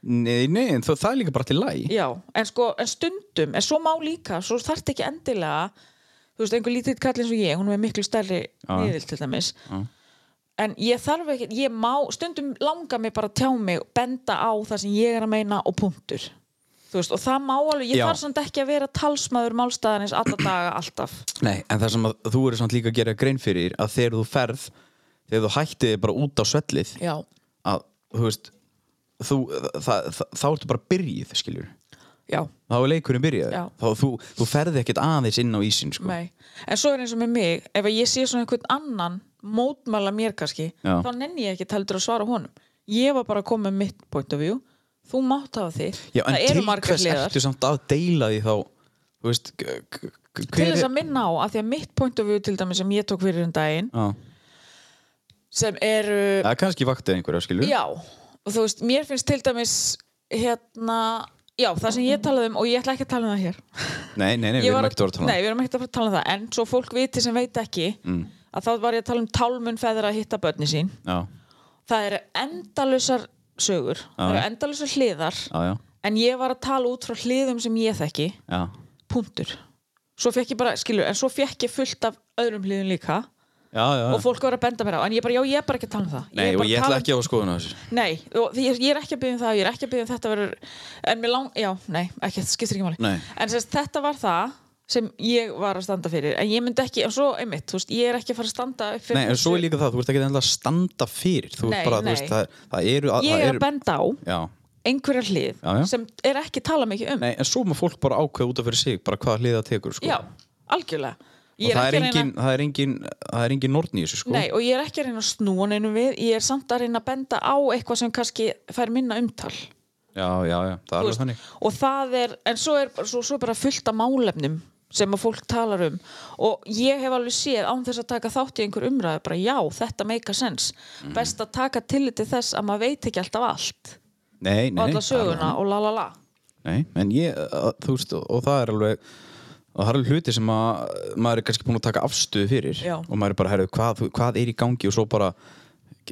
Speaker 2: Nei, nei, en það, það er líka bara til læg.
Speaker 3: Já, en sko, en stundum, en svo má líka, svo þarft ekki endilega, þú veist, einhver lítið kall eins og ég, hún er með miklu stærri
Speaker 2: Já.
Speaker 3: niðil til dæmis. en ég þarf ekki, ég má stundum langa mig bara að tjá mig benda á það sem ég er að meina og punktur þú veist, og það má alveg, ég
Speaker 2: Já.
Speaker 3: þarf samt ekki að vera talsmaður málstæðanins alla daga alltaf
Speaker 2: Nei, en það sem að þú eru samt líka að gera grein fyrir að þegar þú ferð þegar þú hættið bara út á svellið
Speaker 3: já,
Speaker 2: að, þú veist þú, það, það, þá ertu bara byrjið, skiljur
Speaker 3: já,
Speaker 2: þá er leikurinn byrjað
Speaker 3: Já.
Speaker 2: þá, þú, þú ferði ekkert aðeins inn á ísin sko.
Speaker 3: nei en svo er eins og með mig, ef að ég sé svona einhvern annan mótmæla mér kannski
Speaker 2: Já.
Speaker 3: þá nenni ég ekki heldur að svara honum ég var bara að koma með mitt point of view þú mátt hafa þig,
Speaker 2: Já, en
Speaker 3: það eru
Speaker 2: til
Speaker 3: margar
Speaker 2: hvers
Speaker 3: hliðar
Speaker 2: ertu samt að deila því þá þú veist k- k- k-
Speaker 3: til
Speaker 2: hver
Speaker 3: þess
Speaker 2: er-
Speaker 3: að minna á, af því að mitt point of view til dæmis sem ég tók fyrir um daginn
Speaker 2: Já.
Speaker 3: sem eru
Speaker 2: Það er kannski vaktið einhverja, skilur
Speaker 3: Já, og þú veist, mér finnst til dæmis hérna, já, það sem ég talaði um og ég ætla ekki að tala um það hér
Speaker 2: Nei, nei, nei,
Speaker 3: Ég
Speaker 2: við erum
Speaker 3: var
Speaker 2: ekkert að orða
Speaker 3: Nei, við erum ekkert að fara að tala um það, en svo fólk viti sem veit ekki
Speaker 2: Mm.
Speaker 3: að þá var ég að tala um tálmun feðra að hitta börni sín
Speaker 2: Já,
Speaker 3: Það eru endalusar sögur, það eru endalusar hliðar
Speaker 2: já, já,
Speaker 3: en ég var að tala út frá hliðum sem ég þekki
Speaker 2: já
Speaker 3: punktur Svo fekk ég bara, skilur, en svo fekk ég fullt af öðrum hliðum líka
Speaker 2: Já, já,
Speaker 3: og fólk var að benda mér á, en ég bara, já, ég er bara ekki að tala um það
Speaker 2: Nei,
Speaker 3: er
Speaker 2: og
Speaker 3: bara
Speaker 2: ég
Speaker 3: að
Speaker 2: ætla
Speaker 3: tala um-
Speaker 2: ekki á að skoða þessu
Speaker 3: Nei, og því ég, ég er ekki að byggja um það ég er ekki að byggja um þetta verður en mér lang, já, nei, ekki, það skiptir ekki máli
Speaker 2: Nei.
Speaker 3: en sérst, þetta var það sem ég var að standa fyrir en ég myndi ekki, en svo einmitt, þú veist, ég er ekki að fara að standa upp fyrir
Speaker 2: Nei, en svo er líka það, þú ert ekki endilega að standa fyrir Þú
Speaker 3: Nei,
Speaker 2: ert bara,
Speaker 3: nei.
Speaker 2: þú veist, það, er- það eru að-
Speaker 3: ég
Speaker 2: það
Speaker 3: er
Speaker 2: eru-
Speaker 3: að benda á
Speaker 2: Já,
Speaker 3: einhverja hlið
Speaker 2: Já, já.
Speaker 3: sem er ekki að tala mikið um
Speaker 2: nei, en svo má fólk bara ákveða út af fyrir sig bara hvaða hliða tekur, sko
Speaker 3: já, algjörlega
Speaker 2: Og
Speaker 3: Ég
Speaker 2: það er,
Speaker 3: ekki að reyna-
Speaker 2: engin, það, er engin, það er engin nortn í þessu, sko
Speaker 3: Nei, og ég er ekki að reyna að snúa neinu við ég er samt að reyna að benda á eitthvað sem kannski fær minna umtal
Speaker 2: Já, já, já, það er
Speaker 3: Þú
Speaker 2: alveg
Speaker 3: veist,
Speaker 2: þannig
Speaker 3: og það er, en svo er svo, svo er bara fullt af málefnum sem að fólk talar um og ég hef alveg séð án þess að taka þátt í einhver umræðu bara já, þetta make a sense
Speaker 2: Mhm.
Speaker 3: best að taka tillit til þess að maður veit ekki alltaf allt
Speaker 2: Nei,
Speaker 3: og
Speaker 2: nei, það er
Speaker 3: alla
Speaker 2: alveg
Speaker 3: söguna og la la la
Speaker 2: Nei, en ég, að- þú veist, og, og það er alveg og það er alveg hluti sem að maður er kannski búin að taka afstöðu fyrir
Speaker 3: Já.
Speaker 2: og maður er bara, herru, hvað, þú- hvað er í gangi og svo bara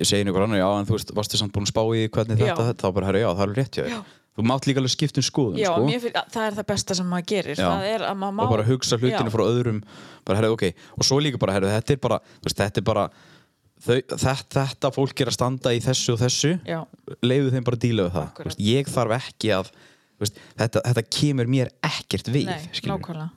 Speaker 2: segja einhver annar, já, en þú veist, varstu samt búin að spá í hvernig
Speaker 3: Já.
Speaker 2: þetta, þetta, þá bara, herru, já, það er alveg rétt hjá
Speaker 3: Já.
Speaker 2: þér þú mátt líka alveg skipta um skoðun,
Speaker 3: já,
Speaker 2: sko
Speaker 3: mér fyrir, að- það er það besta sem maður gerir
Speaker 2: Já.
Speaker 3: það er að maður má
Speaker 2: og bara hugsa hlutinu
Speaker 3: Já.
Speaker 2: frá öðrum bara, herru, ok, og svo líka bara, herru, þetta er bara þú veist, þetta er bara þau, þetta, þetta fólk er að standa í þessu og þessu
Speaker 3: Já.
Speaker 2: leiðu þeim bara að díla við það
Speaker 3: Akkurat.
Speaker 2: Þú veist, ég þarf ekki að þú veist, þetta, þetta kemur mér ekkert við
Speaker 3: Nei,
Speaker 2: skilurðu.
Speaker 3: nákvæmlega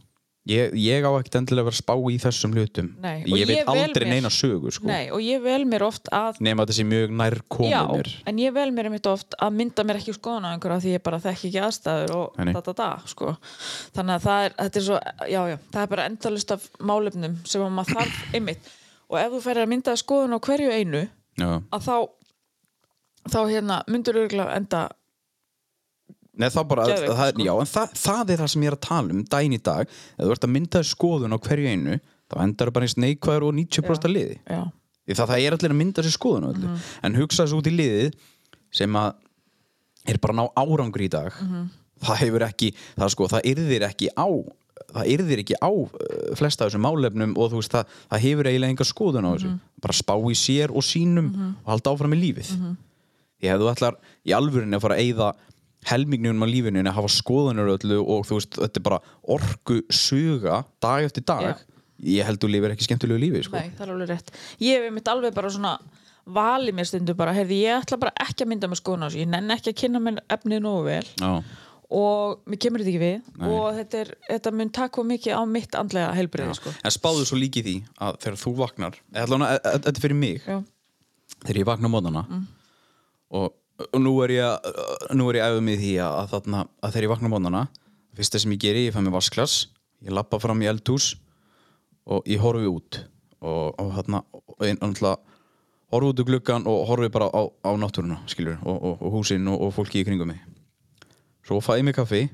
Speaker 2: ég, ég á ekkert endilega að vera að spá í þessum hlutum
Speaker 3: Nei, og
Speaker 2: ég veit
Speaker 3: ég vel
Speaker 2: aldrei
Speaker 3: mér-
Speaker 2: neina sögu sko.
Speaker 3: Nei, og ég vel mér oft að
Speaker 2: nema að þetta sé mjög nær
Speaker 3: Já,
Speaker 2: komið mér
Speaker 3: en ég vel mér einmitt oft að mynda mér ekki skoðun á einhverja því ég bara þekki ekki aðstæður og
Speaker 2: Nei, nei.
Speaker 3: da, da, da, sko. þannig að það er, þetta er svo já, já, það er bara endalust af málefnum sem að maður þarf einmitt og ef þú færir að mynda skoðun á hverju einu
Speaker 2: Já.
Speaker 3: að þá þá hérna myndur örgulega enda
Speaker 2: Nei, það bara,
Speaker 3: Geðveikt,
Speaker 2: það,
Speaker 3: sko.
Speaker 2: já, en það, það er það sem ég er að tala um daginn í dag, ef þú ert að mynda þér skoðun á hverju einu, þá endar það bara eins neikvæður og 90% liði
Speaker 3: já,
Speaker 2: Því það, það er allir að mynda sér skoðun á öllu en hugsa þessu út í liðið sem að er bara að ná árangur í dag það hefur ekki það, sko, það yrðir ekki á það yrðir ekki á uh, flesta af þessum málefnum og þú veist það, það hefur eiginlega enga skoðun á þessu bara spá í sér og sínum og halda áfram í lífið mm -hmm. ég hefðu allar í alvörinu að fara að eyða helmingnum á lífinu en að hafa skoðunur á öllu og þú veist þetta er bara orku suga dag eftir dag ég held þú lifir ekki skemmtilegu lífi sko.
Speaker 3: nei, það er alveg rétt ég hef einmitt alveg bara svona valið mér stundu bara, heyrði, ég ætla bara ekki að mynda mér skoðun á þessu, ég nenn ekki að kynna mér efnið nógu vel
Speaker 2: Já.
Speaker 3: og mér kemur þetta ekki við
Speaker 2: Nei.
Speaker 3: og þetta, er, þetta mun taka of mikið á mitt andlega helbriði sko.
Speaker 2: En spáðu svo líki því að þegar þú vaknar eða allan að að- að- þetta er fyrir mig
Speaker 3: Já.
Speaker 2: þegar ég vakna á mótana og, og nú er ég að- nú er ég æfðum í því að, að, þarna, að þegar ég vakna á mótana fyrsta sem ég geri, ég fæ mér vasklas ég lappa fram í eldhús og ég horfi út og, og hérna og ein- náttúrulega horfi út úr gluggan og horfi bara á, á náttúruna skilur, og, og, og húsin og, og fólki í kringum mig svo fæ ég mig kaffi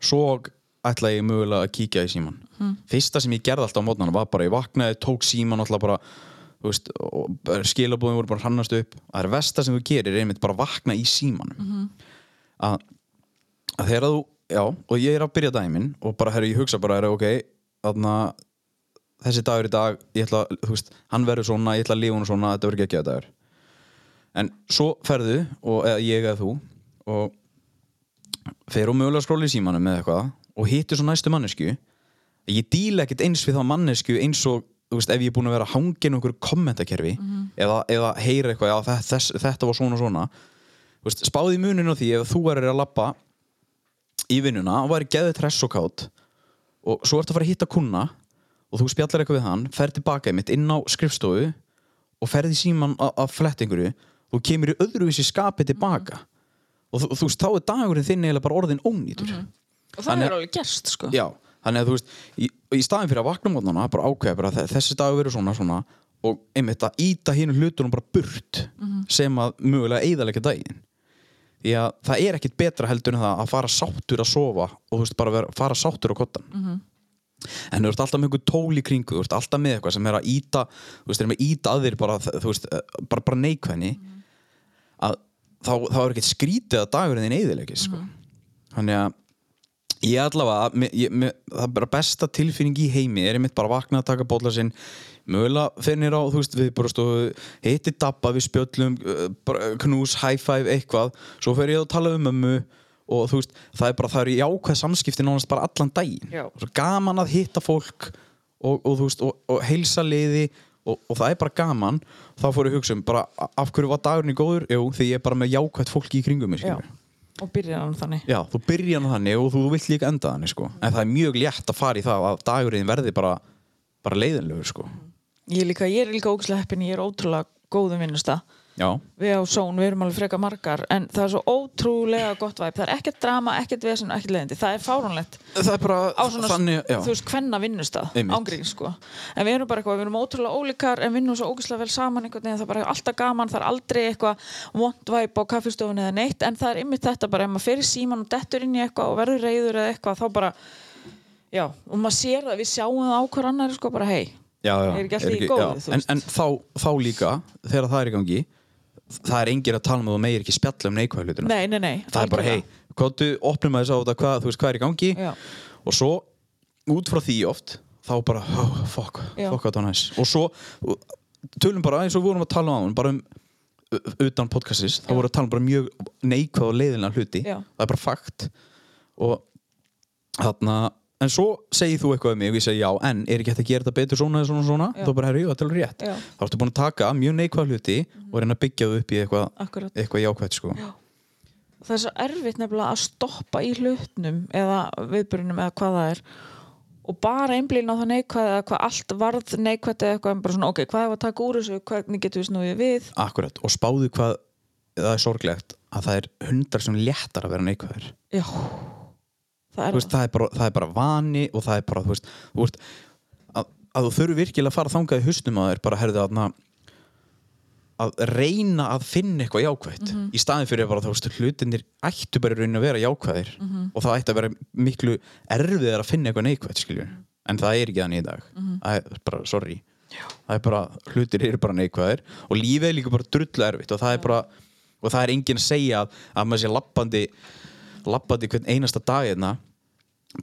Speaker 2: svo ætla ég mögulega að kíkja í síman fyrsta sem ég gerði alltaf á mótnana var bara ég vaknaði, tók síman alltaf bara þú veist, og bara skilabóðin voru bara að hrannast upp það er versta sem þú gerir er einmitt bara að vakna í símanum að, að þegar þú já, og ég er að byrja dæmin og bara herri, ég hugsa bara, herri, ok þarna, þessi dagur í dag ég ætla, að- þú veist, hann verður svona, ég ætla að lifa hún svona, þetta verður ekki að dagur en svo ferðu, og, eða ég eða þú og fer og mögulega skróla í símanum með eitthvað og hittir svo næstu mannesku ég díla ekkert eins við þá mannesku eins og þú þú veist, ef ég er búin að vera hangin okkur kommentakerfi eða, eða heyra eitthvað, já, þe- þess, þetta var svona og svona þú veist, spáði munin á því ef þú erir að lappa í vinnuna og væri geðið tressokát og svo ertu að fara að hitta kuna og þú spjallar eitthvað við hann, fer tilbaka einmitt inn á skrifstofu og ferði síman að fletta einhverju þú kemur í öðruvísi skapi tilbaka og þú, þú veist, þá er dagurinn þinn eiginlega bara orðin ónýtur
Speaker 3: og það
Speaker 2: Þannig-
Speaker 3: er alveg gerst sko
Speaker 2: Já, þannig að þú veist í, í staðin fyrir að vakna mótnana bara ákveða bara að þessi dag verður svona svona og einmitt að íta hínu hlutunum bara burt sem að mögulega eigðalega daginn því að það er ekkit betra heldur en það að fara sáttur að sofa og þú veist bara vera, fara sáttur á kottan en þú ert alltaf með einhver tól í kringu þú ert alltaf með eitthvað sem er að íta þú veist, er með að íta að þér bara, þú veist, eh, bara, bara neikvæðni að þá, þá er ekkit skrítið að dagurinn þinn eigðilegis sko. þannig að Ég allavega, mér- ég, mér, það er bara besta tilfinning í heimi er einmitt bara að vakna að taka bóla sinn mögulega finnir á, þú veist, við bara stóðu hitti dabba, við spjöllum uh, bara knús, high five, eitthvað svo fer ég að tala um mömmu og þú veist, það er bara, það eru jákvæð samskipti nánast bara allan daginn
Speaker 3: Já.
Speaker 2: svo gaman að hitta fólk og, og þú veist, og, og heilsa liði og, og það er bara gaman þá fór ég að hugsa um, bara a- af hverju var dagurinn í góður Jú, því ég er bara með jákvæð fólki í kringum mig,
Speaker 3: Já.
Speaker 2: skilurðu.
Speaker 3: og byrjar hann þannig
Speaker 2: Já, þú byrjar hann þannig og þú vilt líka enda þannig sko. en það er mjög létt að fara í það að dagurinn verði bara, bara leiðinlegur sko.
Speaker 3: ég er líka, ég er líka ógæslega heppin, ég er ótrúlega góðum vinnustag
Speaker 2: Já,
Speaker 3: við á Són, við erum alveg freka margar en það er svo ótrúlega gott væp það er ekkert drama, ekkert vesen, og ekkert leiðindi það er fáránlegt
Speaker 2: það er bara
Speaker 3: á svona,
Speaker 2: þannig já.
Speaker 3: þú veist, hvenna vinnustaf
Speaker 2: Einmitt.
Speaker 3: ángrín, sko, en við erum bara eitthvað við erum ótrúlega ólíkar, en vinnum svo ógæslega vel saman einhvern veginn, það er bara alltaf gaman, það er aldrei eitthvað vondvæp á kaffistofun eða neitt en það er ymmið þetta bara, ef maður fer í síman og dettur inn í eitthvað og verður reyður eða eitthvað þá bara, já, og maður sér það við sjáum það á hver annar, sko, bara hei
Speaker 2: já, já.
Speaker 3: er ekki allt í góðu, þú
Speaker 2: en,
Speaker 3: veist.
Speaker 2: en þá, þá líka, þegar það er í gangi það er engir að tala með og meir ekki spjalla um neikvæðu hlutuna
Speaker 3: nei, nei, nei,
Speaker 2: það er bara,
Speaker 3: algjörlega.
Speaker 2: hei, kóttu, opnum að þess á þetta hvað, þú veist hvað er í gangi
Speaker 3: Já.
Speaker 2: og svo, út frá því oft þá bara, oh, fuck,
Speaker 3: Já.
Speaker 2: fuck what a nice og svo, uh, tölum bara eins og við vorum að tala á hann, bara um u- utan podcastins, þá vorum við að tala um bara mjög neikvæð og leiðinlega hluti,
Speaker 3: Já.
Speaker 2: það er bara fakt og þarna en svo segir þú eitthvað um mig og ég segi já, en er ekki hægt að gera þetta betur svona eða svona svona,
Speaker 3: Já.
Speaker 2: þá bara herri, jú, þetta er alveg rétt
Speaker 3: Já.
Speaker 2: þá ertu búin að taka mjög neikvæð hluti og reyna að byggja þau upp í eitthvað,
Speaker 3: Akkúrat.
Speaker 2: eitthvað jákvætt sko. já.
Speaker 3: það er svo erfitt nefnilega að stoppa í hlutnum eða viðbyrjunum eða hvað það er og bara einblýna á það neikvæð eða hvað allt varð neikvæð eða eitthvað en bara svona ok, hvað er að taka úr þessu, hvernig getum við snúið við
Speaker 2: Akkurat, og spáðu hvað það er sorglegt að það er hundar sem léttar að vera neikvæður
Speaker 3: já, það
Speaker 2: Þú
Speaker 3: er
Speaker 2: veist, það, er bara, það er bara vani og það er bara þú veist, þú veist, að, að þú þurfi virkilega að fara þangað í hustum að það er bara herðu aðna að reyna að finna eitthvað jákvætt
Speaker 3: Mhm.
Speaker 2: í staðin fyrir bara þú veist hlutinir ættu bara í raunin að vera jákvæðir
Speaker 3: Mhm.
Speaker 2: og það ætti að vera miklu erfiðar að finna eitthvað neikvætt skilju en það er ekki þannig í dag
Speaker 3: Mhm.
Speaker 2: það er bara, sorry það er bara, hlutir eru bara neikvæðir og lífið er líka bara drullu erfitt og það er bara, og það er enginn að segja að, að maður sé lappandi lappandi hvern einasta dag hérna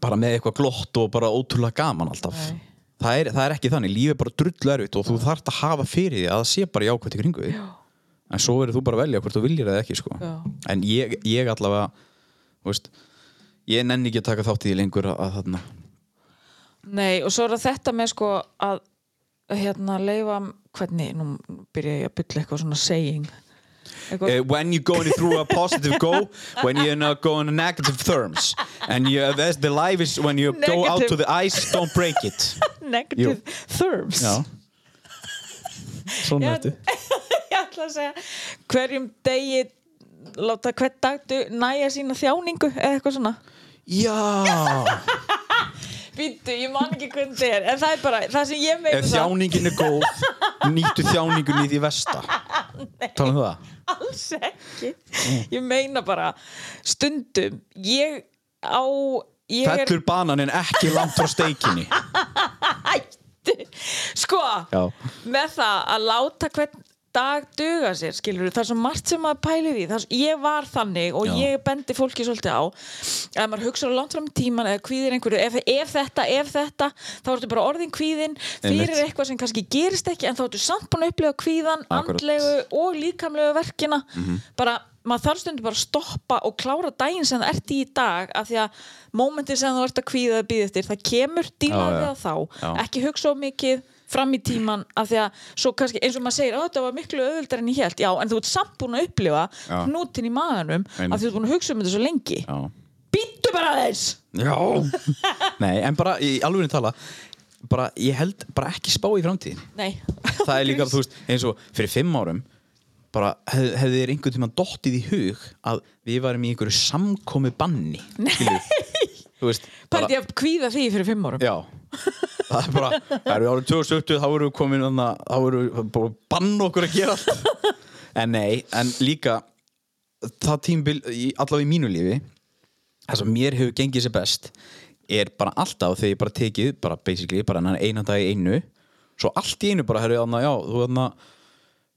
Speaker 2: bara með eitthvað glott og bara ótrúlega gaman alltaf
Speaker 3: Nei.
Speaker 2: það er, það er ekki þannig, lífið er bara drullu erfitt og þú þarft að hafa fyrir því að það sé bara jákvæmt í kringu því en svo verður þú bara að velja hvort þú viljir eða ekki sko.
Speaker 3: Já.
Speaker 2: en ég, ég allavega þú veist, ég nenni ekki að taka þátt í því lengur að, að þarna
Speaker 3: Nei, og svo er það þetta með sko að hérna leifa hvernig, nú byrja ég að bylla eitthvað svona saying eitthvað,
Speaker 2: Uh, when you're going through a positive go when you're not going in negative terms and you, that's the life is when you go out to
Speaker 3: Negative.
Speaker 2: the ice don't break it
Speaker 3: negative therms
Speaker 2: já svona
Speaker 3: Já,
Speaker 2: ertu
Speaker 3: ég ætla að segja hverjum degi láta hvern dag du- næja sína þjáningu eða eitthvað svona
Speaker 2: já
Speaker 3: Býttu, ég man ekki hvernig það er en það er bara, það sem ég meina
Speaker 2: Ef
Speaker 3: það
Speaker 2: þjáningin er góð, nýttu þjáningun í því versta. Talum við það?
Speaker 3: alls ekki ég meina bara, stundum ég á ég er-
Speaker 2: Fellur bananin ekki langt frá steikinni.
Speaker 3: hættu sko,
Speaker 2: Já.
Speaker 3: með það að láta hvern dag duga sér, skilur það er svo margt sem maður pælir í, það er svo, ég var þannig og
Speaker 2: Já.
Speaker 3: ég bendi fólki svolítið á að maður hugsa langt fram í tíman eða kvíðir einhverju, ef, ef þetta, ef þetta þá ertu bara orðin kvíðin fyrir
Speaker 2: Einmitt.
Speaker 3: eitthvað sem kannski gerist ekki en þá ertu samt búin að upplifa kvíðan
Speaker 2: Akkúrat.
Speaker 3: andlegu og líkamlegu verkina
Speaker 2: Mhm.
Speaker 3: bara, maður þarf stundu bara að stoppa og klára daginn sem það ert í í dag af því að mómentin sem þú ert að kvíða að býða eftir, það kemur
Speaker 2: Já,
Speaker 3: dýr dílaði
Speaker 2: já.
Speaker 3: það þá,
Speaker 2: Já.
Speaker 3: ekki hugsa of mikið fram í tíman af því að svo kannski eins og maður segir, "Ó, þetta var miklu öðvöldar en ég held, já, en þú ert samt búin að upplifa
Speaker 2: Já.
Speaker 3: hnútin í maganum
Speaker 2: Einmitt.
Speaker 3: af því þú ert búin að hugsa um þetta svo lengi
Speaker 2: Já.
Speaker 3: býttu bara aðeins
Speaker 2: Já. Nei, en bara í alveg tala, bara, ég held bara ekki spá í framtíðin.
Speaker 3: Nei.
Speaker 2: það er líka, þú veist, eins og fyrir fimm árum bara hef, hefði þér einhvern tímann dottið í hug að við varum í einhverju samkomi banni þú veist bara,
Speaker 3: Pældi ég að kvíða því fyrir fimm árum
Speaker 2: já, það er bara það eru árið 2070, þá erum við komin þarna- þá erum við búin að banna okkur að gera allt en nei, en líka það tímbil, allavega í mínu lífi það sem mér hefur gengið sér best er bara alltaf þegar ég bara tekið bara basically, bara hennan eina dag í einu svo allt í einu bara herrið þarna, já, þú þarna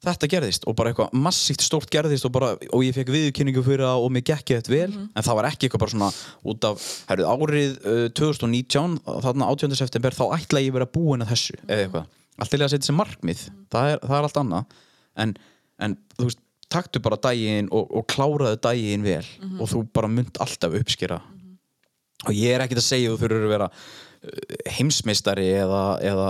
Speaker 2: þetta gerðist og bara eitthvað massíft stórt gerðist og bara, og ég fekk viðurkynningu fyrir það og mér gekk ég þetta vel, en það var ekki eitthvað bara svona út af, herrið árið uh, 2019, þarna 18. september þá ætla ég að vera búin að þessu eða eitthvað, allt til að setja sér markmið það er, það er allt annað, en, en þú veist, taktu bara daginn og, og kláraðu daginn vel og þú bara munt alltaf uppskera og ég er ekkert að segja að þú þurfur að vera uh, heimsmeistari eða, eða,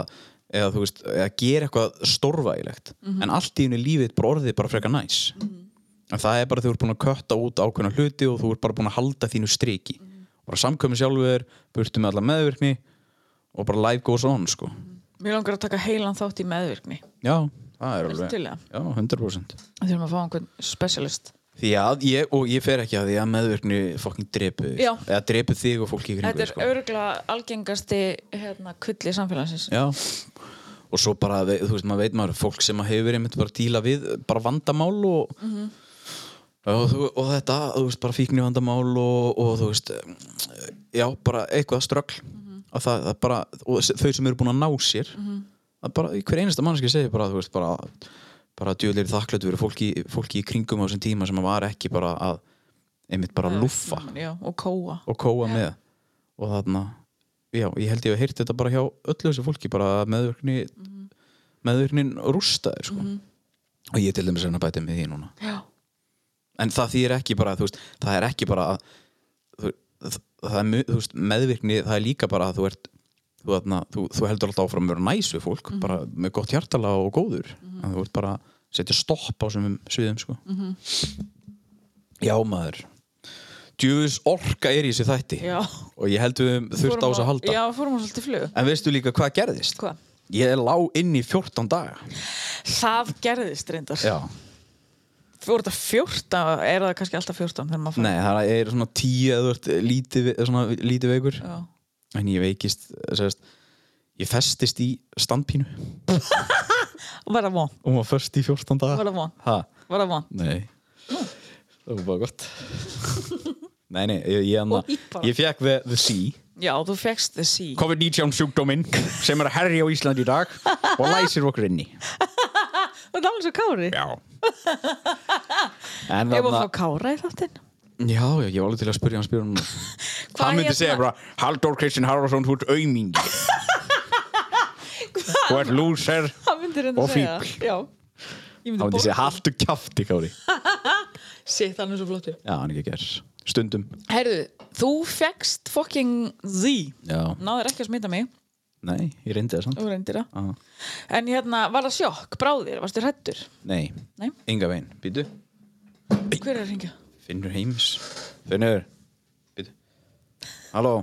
Speaker 2: eða þú veist, eða gera eitthvað stórvægilegt
Speaker 3: Mhm.
Speaker 2: en allt í henni lífið bara orðið bara frekar næs en það er bara þú ert búin að kötta út ákveðna hluti og þú ert bara búin að halda þínu striki
Speaker 3: Mhm.
Speaker 2: og bara samkvæmi sjálfur burtu með alla meðvirkni og bara life goes on sko
Speaker 3: Mér langar að taka heilan þátt í meðvirkni
Speaker 2: já, það er
Speaker 3: Ertu
Speaker 2: alveg
Speaker 3: til í það?
Speaker 2: já, 100%
Speaker 3: Við þurfum að fá einhvern specialist
Speaker 2: Því að ég, og ég fer ekki að því að meðvirkni fokkin drepu, þig,
Speaker 3: Já.
Speaker 2: sko. eða drepu þig og fólki í kringu,
Speaker 3: Þetta er
Speaker 2: sko.
Speaker 3: örgla algengasti hérna, kvilli samfélagsins
Speaker 2: Já, og svo bara, ve- þú veist, maður veit maður, fólk sem að hefur einmitt bara að díla við, bara vandamál og, og, þú- og þetta, þú veist, bara fíkni vandamál og, og þú veist, eh, já, bara eitthvað ströggl, að það, það bara, og þau sem eru búin að ná sér, að bara, hver einasta mannski segir bara, þú veist, bara, bara djúðlega þakklættu verið fólki, fólki í kringum á þessum tíma sem var ekki bara að, einmitt bara lúffa.
Speaker 3: Ehm, Já, og kóa
Speaker 2: og kóa með og þarna, já, ég held ég hef heyrt þetta bara hjá öllu þessu fólki bara að meðvirkni meðvirknin rústaði, sko og ég til dæmis er að bæta með því núna
Speaker 3: Já,
Speaker 2: en það þýr ekki bara, þú veist, það er ekki bara að þú, það, það er, mu- þú veist, meðvirkni, það er líka bara að þú ert þú, þarna, þú, þú heldur alltaf áfram að vera næs við fólk,
Speaker 3: Mhm.
Speaker 2: bara með gott hjartala og góður, en þú ert bara að setja stopp á sem sviðum, sko
Speaker 3: Mhm.
Speaker 2: já, maður djöfus orka er í þessu þætti
Speaker 3: Já.
Speaker 2: og ég held við þurft á
Speaker 3: Fórum
Speaker 2: þessu að halda
Speaker 3: Já, fórum á svolítið flug
Speaker 2: en veistu líka hvað gerðist?
Speaker 3: Hvað?
Speaker 2: ég lá inn í 14 daga
Speaker 3: Það gerðist reyndar
Speaker 2: já
Speaker 3: Voru þetta 14, er það kannski alltaf 14 þegar maður fann
Speaker 2: Nei, það er svona tíu eða þú ert lítið, ve- svona, lítið veikur
Speaker 3: Já.
Speaker 2: En ég veikist, sérst, ég festist í standpínu
Speaker 3: Var það von,
Speaker 2: og maður först í 14 daga
Speaker 3: var það von,
Speaker 2: Ha?
Speaker 3: var það von
Speaker 2: Nei Það var bara gott Nei, nei, ég, ég, anna,
Speaker 3: Og ít bara.
Speaker 2: ég fekk the, the sea
Speaker 3: Já, þú fegst the sea
Speaker 2: COVID-19 sjúkdóminn sem er að herja á Íslandi í dag og læsir okkur inni
Speaker 3: Það er alveg svo kári
Speaker 2: Já En
Speaker 3: Ég var
Speaker 2: þarna-
Speaker 3: að fá kára í þáttinn
Speaker 2: Já, já, ég var alveg til að spyrja hann spyrja hann Hann myndi
Speaker 3: hérna-
Speaker 2: segja bara Halldór Kristinn Harfarsson, þú ert aumingi Þú ert lúser
Speaker 3: Hann myndi reynda
Speaker 2: Og
Speaker 3: að segja
Speaker 2: fíbl.
Speaker 3: það. Já Ég
Speaker 2: Hann myndi segja haltu kjafti, Kári
Speaker 3: Sitt, hann er svo flottur
Speaker 2: Já, hann er ekki gerð Stundum
Speaker 3: Herðu, þú fegst fucking the
Speaker 2: Já,
Speaker 3: Náður ekki að smita mig,
Speaker 2: nei, ég reyndi það samt
Speaker 3: þú reyndir það
Speaker 2: Aha.
Speaker 3: En hérna, var það sjokk, bráðir, varstu hrættur?
Speaker 2: Nei,
Speaker 3: Nei.
Speaker 2: enga veginn Býtu,
Speaker 3: Hver er að ringja?
Speaker 2: Finnur heims Finnur, býtu Halló,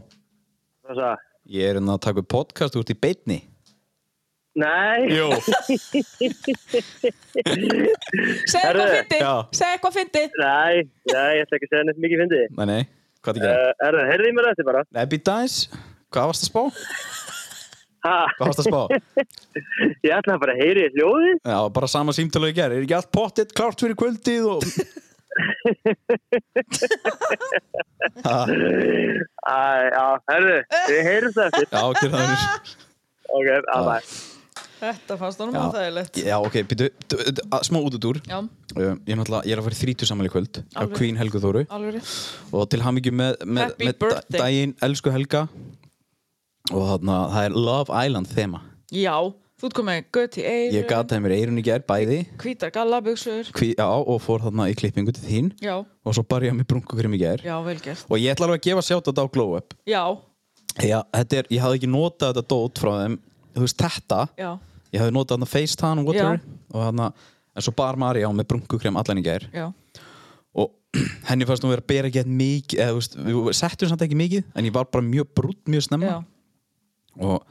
Speaker 4: Þess að,
Speaker 2: ég er hérna að taka upp podcast úr í beinni
Speaker 4: nei,
Speaker 2: Jú
Speaker 3: Segð
Speaker 4: Herðu,
Speaker 3: eitthvað fyndi,
Speaker 2: já.
Speaker 3: segð eitthvað fyndi
Speaker 4: nei, nei, ég ætla ekki að segja neitt mikið fyndið.
Speaker 2: Nei, nei, hvað er ekki það?
Speaker 4: Uh, er það, heyrðu í mér eftir bara.
Speaker 2: Nei, býta aðeins Hvað varst að spá?
Speaker 4: Ha,
Speaker 2: Hvað varst að spá?
Speaker 4: ég ætla bara að heyri í hljóði.
Speaker 2: Já, bara sama símtölu ég ger Er ekki allt pottitt klárt fyrir kvöldið og...
Speaker 4: Æ, já, herðu, við heyrum það eftir.
Speaker 2: Já, gerðu það mér
Speaker 4: Ok, að bæ.
Speaker 3: Þetta fannst honum áþægilegt
Speaker 2: Já, ok, býtu, d- d- að- smá út út úr
Speaker 3: Já,
Speaker 2: Um, Ég er náttúrulega, ég er að fara í þrítu saman í kvöld á
Speaker 3: Alveg.
Speaker 2: Queen Helgu Þóru
Speaker 3: alveg rétt
Speaker 2: og til hamingju með, með,
Speaker 3: Happy
Speaker 2: með
Speaker 3: birthday.
Speaker 2: da- daginn Elsku Helga og þarna, það er Love Island þema
Speaker 3: Já, þú ert komið göti eir
Speaker 2: Ég gataði mér eirun í gær bæði
Speaker 3: Hvítar gallabuxur
Speaker 2: hví, Já, og fór þarna í klippingu til þín
Speaker 3: Já,
Speaker 2: og svo bar ég að mér brunkukrim í gær
Speaker 3: já, vel gert
Speaker 2: og ég ætla alveg að gefa sjátt á Glow Up
Speaker 3: Já,
Speaker 2: Já, þetta er, ég hafði ekki notað þetta dót frá þeim Þú veist, þetta
Speaker 3: já,
Speaker 2: ég hafði notað hann að FaceTime og whatever og hann en svo bar Mari á með brunkukrem allan í gær
Speaker 3: já,
Speaker 2: og henni fannst hún vera að bera ekki eitt mikið eða þú veist, við settum samt ekki mikið en ég var bara mjög brútt mjög snemma
Speaker 3: já.
Speaker 2: og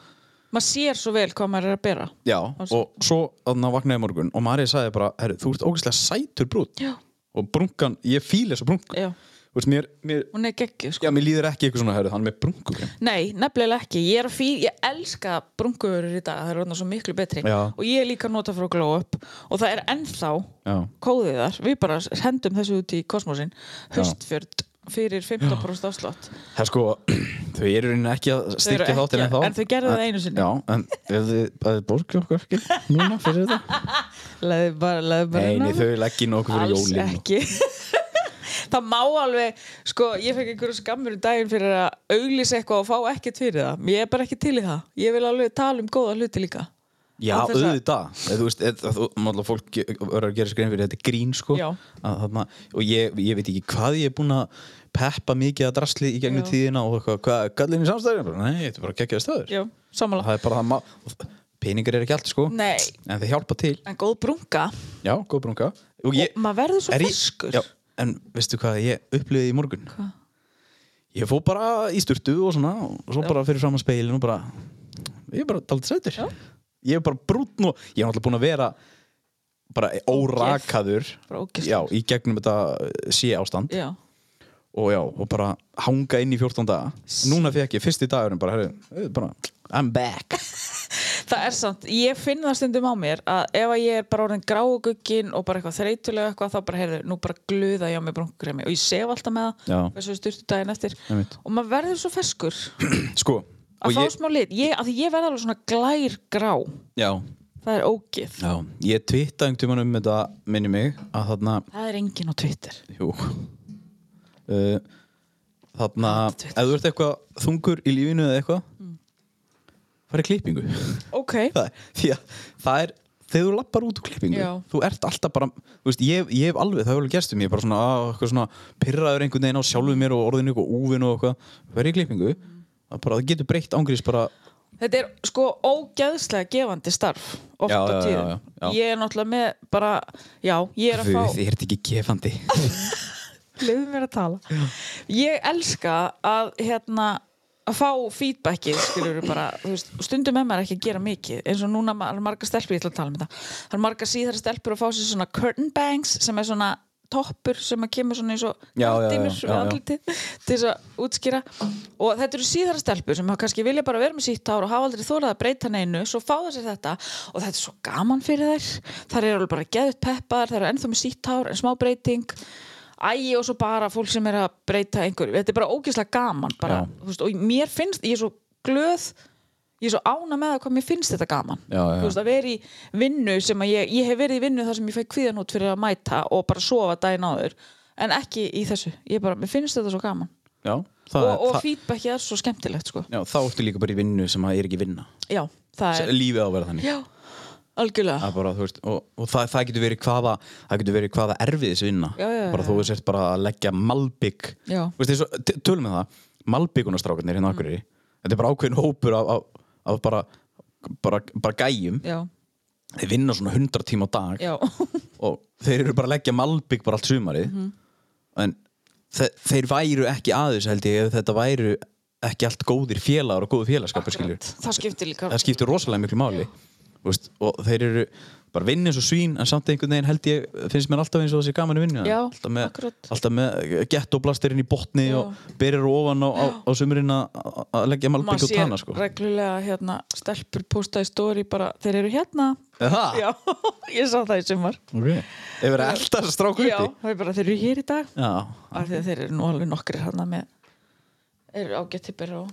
Speaker 3: maður sér svo vel hvað maður er að bera
Speaker 2: já,
Speaker 3: Alls.
Speaker 2: og svo þannig vaknaði í morgun og Mari sagði bara, herru, þú ert ógeðslega sætur brútt
Speaker 3: já,
Speaker 2: og brunkan, ég fíla þessa brunkan
Speaker 3: já,
Speaker 2: þú veist, mér, mér,
Speaker 3: hún er geggju sko.
Speaker 2: já, mér líður ekki eitthvað svona, herru, hann er með brunkukrem
Speaker 3: nei, nefnilega ekki, ég er að fíl ég elska brunguverur í dag, það er orðna svo miklu betri
Speaker 2: Já.
Speaker 3: og ég er líka að nota frá Glow Up og það er ennþá
Speaker 2: já,
Speaker 3: kóðið þar, við bara hendum þessu út í kosmosin, höstfjörd fyrir 15% afslátt
Speaker 2: það er sko, þau eru í rauninni ekki að styrkja
Speaker 3: eru
Speaker 2: þáttir
Speaker 3: ekki-
Speaker 2: en þá
Speaker 3: en þau gerðu það einu sinni.
Speaker 2: já, en ef þið, ef þið borgið okkur ekki núna fyrir þetta
Speaker 3: leðu bara, leðu bara
Speaker 2: nei,
Speaker 3: inn á
Speaker 2: nei,
Speaker 3: það.
Speaker 2: þau leggja nokkuð fyrir
Speaker 3: alls
Speaker 2: jólin og-
Speaker 3: ekki það má alveg sko, ég fekk einhverju skammur í daginn fyrir að auglýsa eitthvað og fá ekkert fyrir það ég er bara ekki til í það, ég vil alveg tala um góða hluti líka
Speaker 2: Já,
Speaker 3: Án þess að-
Speaker 2: auðvitað Eða, Þú veist, eða, þú, mála, fólk verður að gera skrein fyrir þetta er grín sko.
Speaker 3: Já.
Speaker 2: að, þarna, og ég, ég veit ekki hvað ég er búin að peppa mikið að drasli í gegnum
Speaker 3: Já.
Speaker 2: tíðina og eitthvað, hvað gallin í samstæðin Nei, þetta er bara geggjaði stöður
Speaker 3: já, samanlega
Speaker 2: Það er bara það má- og Peningar er ekki allt sko
Speaker 3: Nei.
Speaker 2: en þeir hjálpa til
Speaker 3: en góð brunga,
Speaker 2: Já, góð brunga Og ég,
Speaker 3: og maður verður svo
Speaker 2: er ég-
Speaker 3: ferskur
Speaker 2: Já, en veistu hvað ég upplifði í morgun? Hvað? Ég fó bara í sturtu og svona og svo bara fyrir fram að speilin og bara ég er bara daldið sætur ég er bara brúnn og ég er náttúrulega búin að vera bara órakaður
Speaker 3: Bara ógeðslegur.
Speaker 2: já, í gegnum þetta eh, sé ástand
Speaker 3: já,
Speaker 2: og já, og bara hanga inn í 14 daga núna fekk ég fyrsti dagurinn bara, herri, bara I'm back
Speaker 3: það er samt, ég finn það stundum á mér að ef að ég er bara orðin gráugugin og bara eitthvað þreytulega eitthvað þá bara heyrðu, nú bara gluða ég á mig brungugremi og ég sef alltaf með
Speaker 2: Já.
Speaker 3: það þessu styrtu daginn eftir
Speaker 2: Einmitt.
Speaker 3: og maður verður svo ferskur
Speaker 2: sko,
Speaker 3: að
Speaker 2: og
Speaker 3: fá
Speaker 2: ég,
Speaker 3: smá lit, ég, að því ég verð alveg svona glær grá
Speaker 2: já,
Speaker 3: það er ógið,
Speaker 2: já ég tvitta einhvern tímann um þetta minni mig að þarna
Speaker 3: það er engin á Twitter
Speaker 2: Jú uh, Þarna
Speaker 3: Twitter.
Speaker 2: Ef þú ert eitthvað þungur í lífinu eða eitthvað mm. Farið klippingu
Speaker 3: ok,
Speaker 2: Það er- Því að það er Þegar þú lappar út úr klippingu
Speaker 3: Já.
Speaker 2: Þú ert alltaf bara þú veist, ég, ég hef alveg, það hefur alveg gestum Ég er bara svona, að, eitthvað svona Pirraður einhvern veginn á sjálfu mér og orðinu eitthvað úvinu og eitthvað Verið í klippingu Það, bara, það getur breytt ángriðs bara
Speaker 3: þetta er sko ógeðslega gefandi starf oft
Speaker 2: Já,
Speaker 3: á
Speaker 2: já,
Speaker 3: tíðum
Speaker 2: já, já.
Speaker 3: ég er náttúrulega með bara já, ég er að
Speaker 2: Guð,
Speaker 3: fá,
Speaker 2: Þið ert ekki gefandi
Speaker 3: leiðu mér að tala ég elska að hérna að fá feedbackið skilur við bara, þú veist, og stundum er maður ekki að gera mikið eins og núna ma- það eru margar stelpur, ég ætla að tala um þetta það eru margar síðara stelpur að fá sér svona curtain bangs sem er svona toppur sem að kemur svona eins og
Speaker 2: Já, já, já,
Speaker 3: gardínur
Speaker 2: já,
Speaker 3: við
Speaker 2: já.
Speaker 3: andlitið til þess að útskýra og þetta eru síðara stelpur sem hafa kannski vilja bara vera með sítt hár og hafa aldrei þórað að breyta neinu svo fá það sér þetta og þetta er svo gaman fyrir þær þær eru alveg bara geðut peppar þær eru ennþá með sítt hár en smá breyting ægi og svo bara fólk sem er að breyta einhverju, þetta er bara ógeðslega gaman bara,
Speaker 2: Já.
Speaker 3: þú veist, og mér finnst, ég er svo glöð ég er svo ána með það hvað mér finnst þetta gaman
Speaker 2: Já, já.
Speaker 3: Þú veist, að vera í vinnu sem að ég, ég hef verið í vinnu þar sem ég fæk kvíðan út fyrir að mæta og bara sofa daginn áður en ekki í þessu, ég bara, mér finnst þetta svo gaman
Speaker 2: Já, það,
Speaker 3: og, og
Speaker 2: það,
Speaker 3: feedbackið er svo skemmtilegt sko.
Speaker 2: já, þá ertu líka bara í vinnu sem að er ekki vinna
Speaker 3: já, það er,
Speaker 2: Lífið á að vera þannig
Speaker 3: já, algjörlega
Speaker 2: að bara, þú veist, og, og það, það getur verið hvaða það getur verið hvaða erfiðis vinna
Speaker 3: Já, já, já,
Speaker 2: bara þú sért bara að leggja malbygg
Speaker 3: Já.
Speaker 2: þú veist, eins og- t- tölum við það malbyggunastrákarnir hérna okkur mm. þetta er bara ákveðin hópur af, af, af bara, bara, bara gæjum
Speaker 3: já,
Speaker 2: þeir vinna svona 100 tíma á dag
Speaker 3: já,
Speaker 2: og þeir eru bara að leggja malbygg bara allt sumarið
Speaker 3: Mhm.
Speaker 2: en þe þeir væru ekki aðeins held ég ef þetta væru ekki allt góðir félagar og góðu félagskapur skilur
Speaker 3: það skiptir líka
Speaker 2: það skiptir rosalega miklu máli Þú veist, og þeir eru bara vinn eins og svín en samt einhvern veginn held ég finnst mér alltaf eins og þessi gaman að vinna
Speaker 3: Já,
Speaker 2: alltaf með,
Speaker 3: akkurat.
Speaker 2: alltaf með gettoblastirinn í botni
Speaker 3: Já.
Speaker 2: og byrjar ofan á, á, á sumurinn að- að að leggja malbygg og tanna sko.
Speaker 3: reglulega hérna, stelpur postaði stóri bara, þeir eru hérna
Speaker 2: Aha,
Speaker 3: já, ég sá það í sumar
Speaker 2: okay. ef er alltaf strákur
Speaker 3: já,
Speaker 2: uppi
Speaker 3: það er bara, þeir eru hér í dag
Speaker 2: já,
Speaker 3: af því að þeir eru nú alveg nokkri hana með eru ágætt tippir og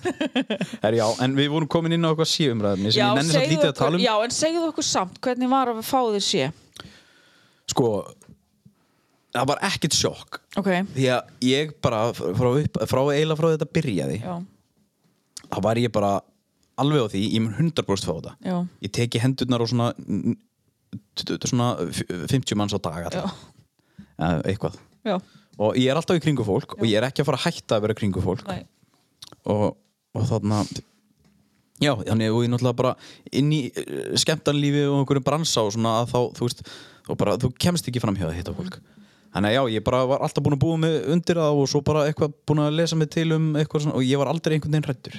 Speaker 2: er, já, en við vorum komin inn á eitthvað síumræðinni sem
Speaker 3: já,
Speaker 2: ég nenni samt lítið að
Speaker 3: okkur,
Speaker 2: tala um
Speaker 3: já, en segðu okkur samt hvernig var að fá þér sé
Speaker 2: sko, það var ekkert sjokk
Speaker 3: ok,
Speaker 2: því að ég bara frá, upp, frá eila frá þetta byrjaði
Speaker 3: já,
Speaker 2: þá var ég bara alveg á því, ég mun 100% fá þetta
Speaker 3: Já.
Speaker 2: ég teki hendurnar á svona n- t- t- svona f- 50 manns á dag
Speaker 3: já,
Speaker 2: alltaf, eða eitthvað
Speaker 3: já
Speaker 2: og ég er alltaf í kringu fólk og ég er ekki að fara að hætta að vera kringu fólk
Speaker 3: Nei.
Speaker 2: og, og þarna Já, þannig og ég náttúrulega bara inn í uh, skemmtanlífi og einhverjum bransa og svona að þá, þú veist, þú, bara, þú kemst ekki fram hjá að hitta fólk. Þannig að já, ég bara var alltaf búin að búa mig undir það og svo bara eitthvað búin að lesa mig til um eitthvað svona og ég var aldrei einhvern veginn hrættur.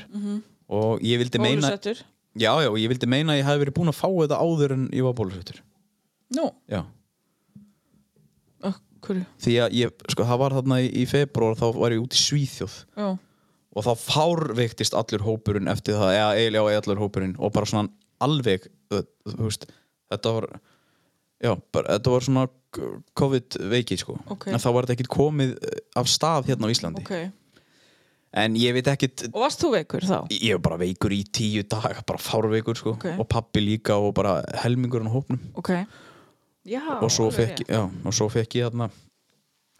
Speaker 2: Og ég vildi meina...
Speaker 3: Bólusettur.
Speaker 2: Já, já, og ég vildi meina að ég hef verið búin að fá þetta áður en ég var bólusettur.
Speaker 3: Nú,
Speaker 2: Já.
Speaker 3: af hverju?
Speaker 2: Því að ég, sko, það var þarna í, í februar þá var ég út í Svíþjóð.
Speaker 3: Já.
Speaker 2: og þá fárveiktist allur hópurinn eftir það, eða eiginlega og allur hópurinn og bara svona alveg þú þú veist, þetta var já, bara, þetta var svona COVID veiki sko,
Speaker 3: Ok.
Speaker 2: en þá var þetta ekkit komið eh, af stað hérna á Íslandi
Speaker 3: Ok.
Speaker 2: en ég veit ekkit
Speaker 3: Og varst þú veikur þá?
Speaker 2: ég var bara veikur í tíu daga, bara fárveikur sko
Speaker 3: Ok.
Speaker 2: og pappi líka og bara helmingurinn á hópnum
Speaker 3: Ok. Já.
Speaker 2: og svo fekk,
Speaker 3: alveg rétt.
Speaker 2: já, og svo fekk ég þarna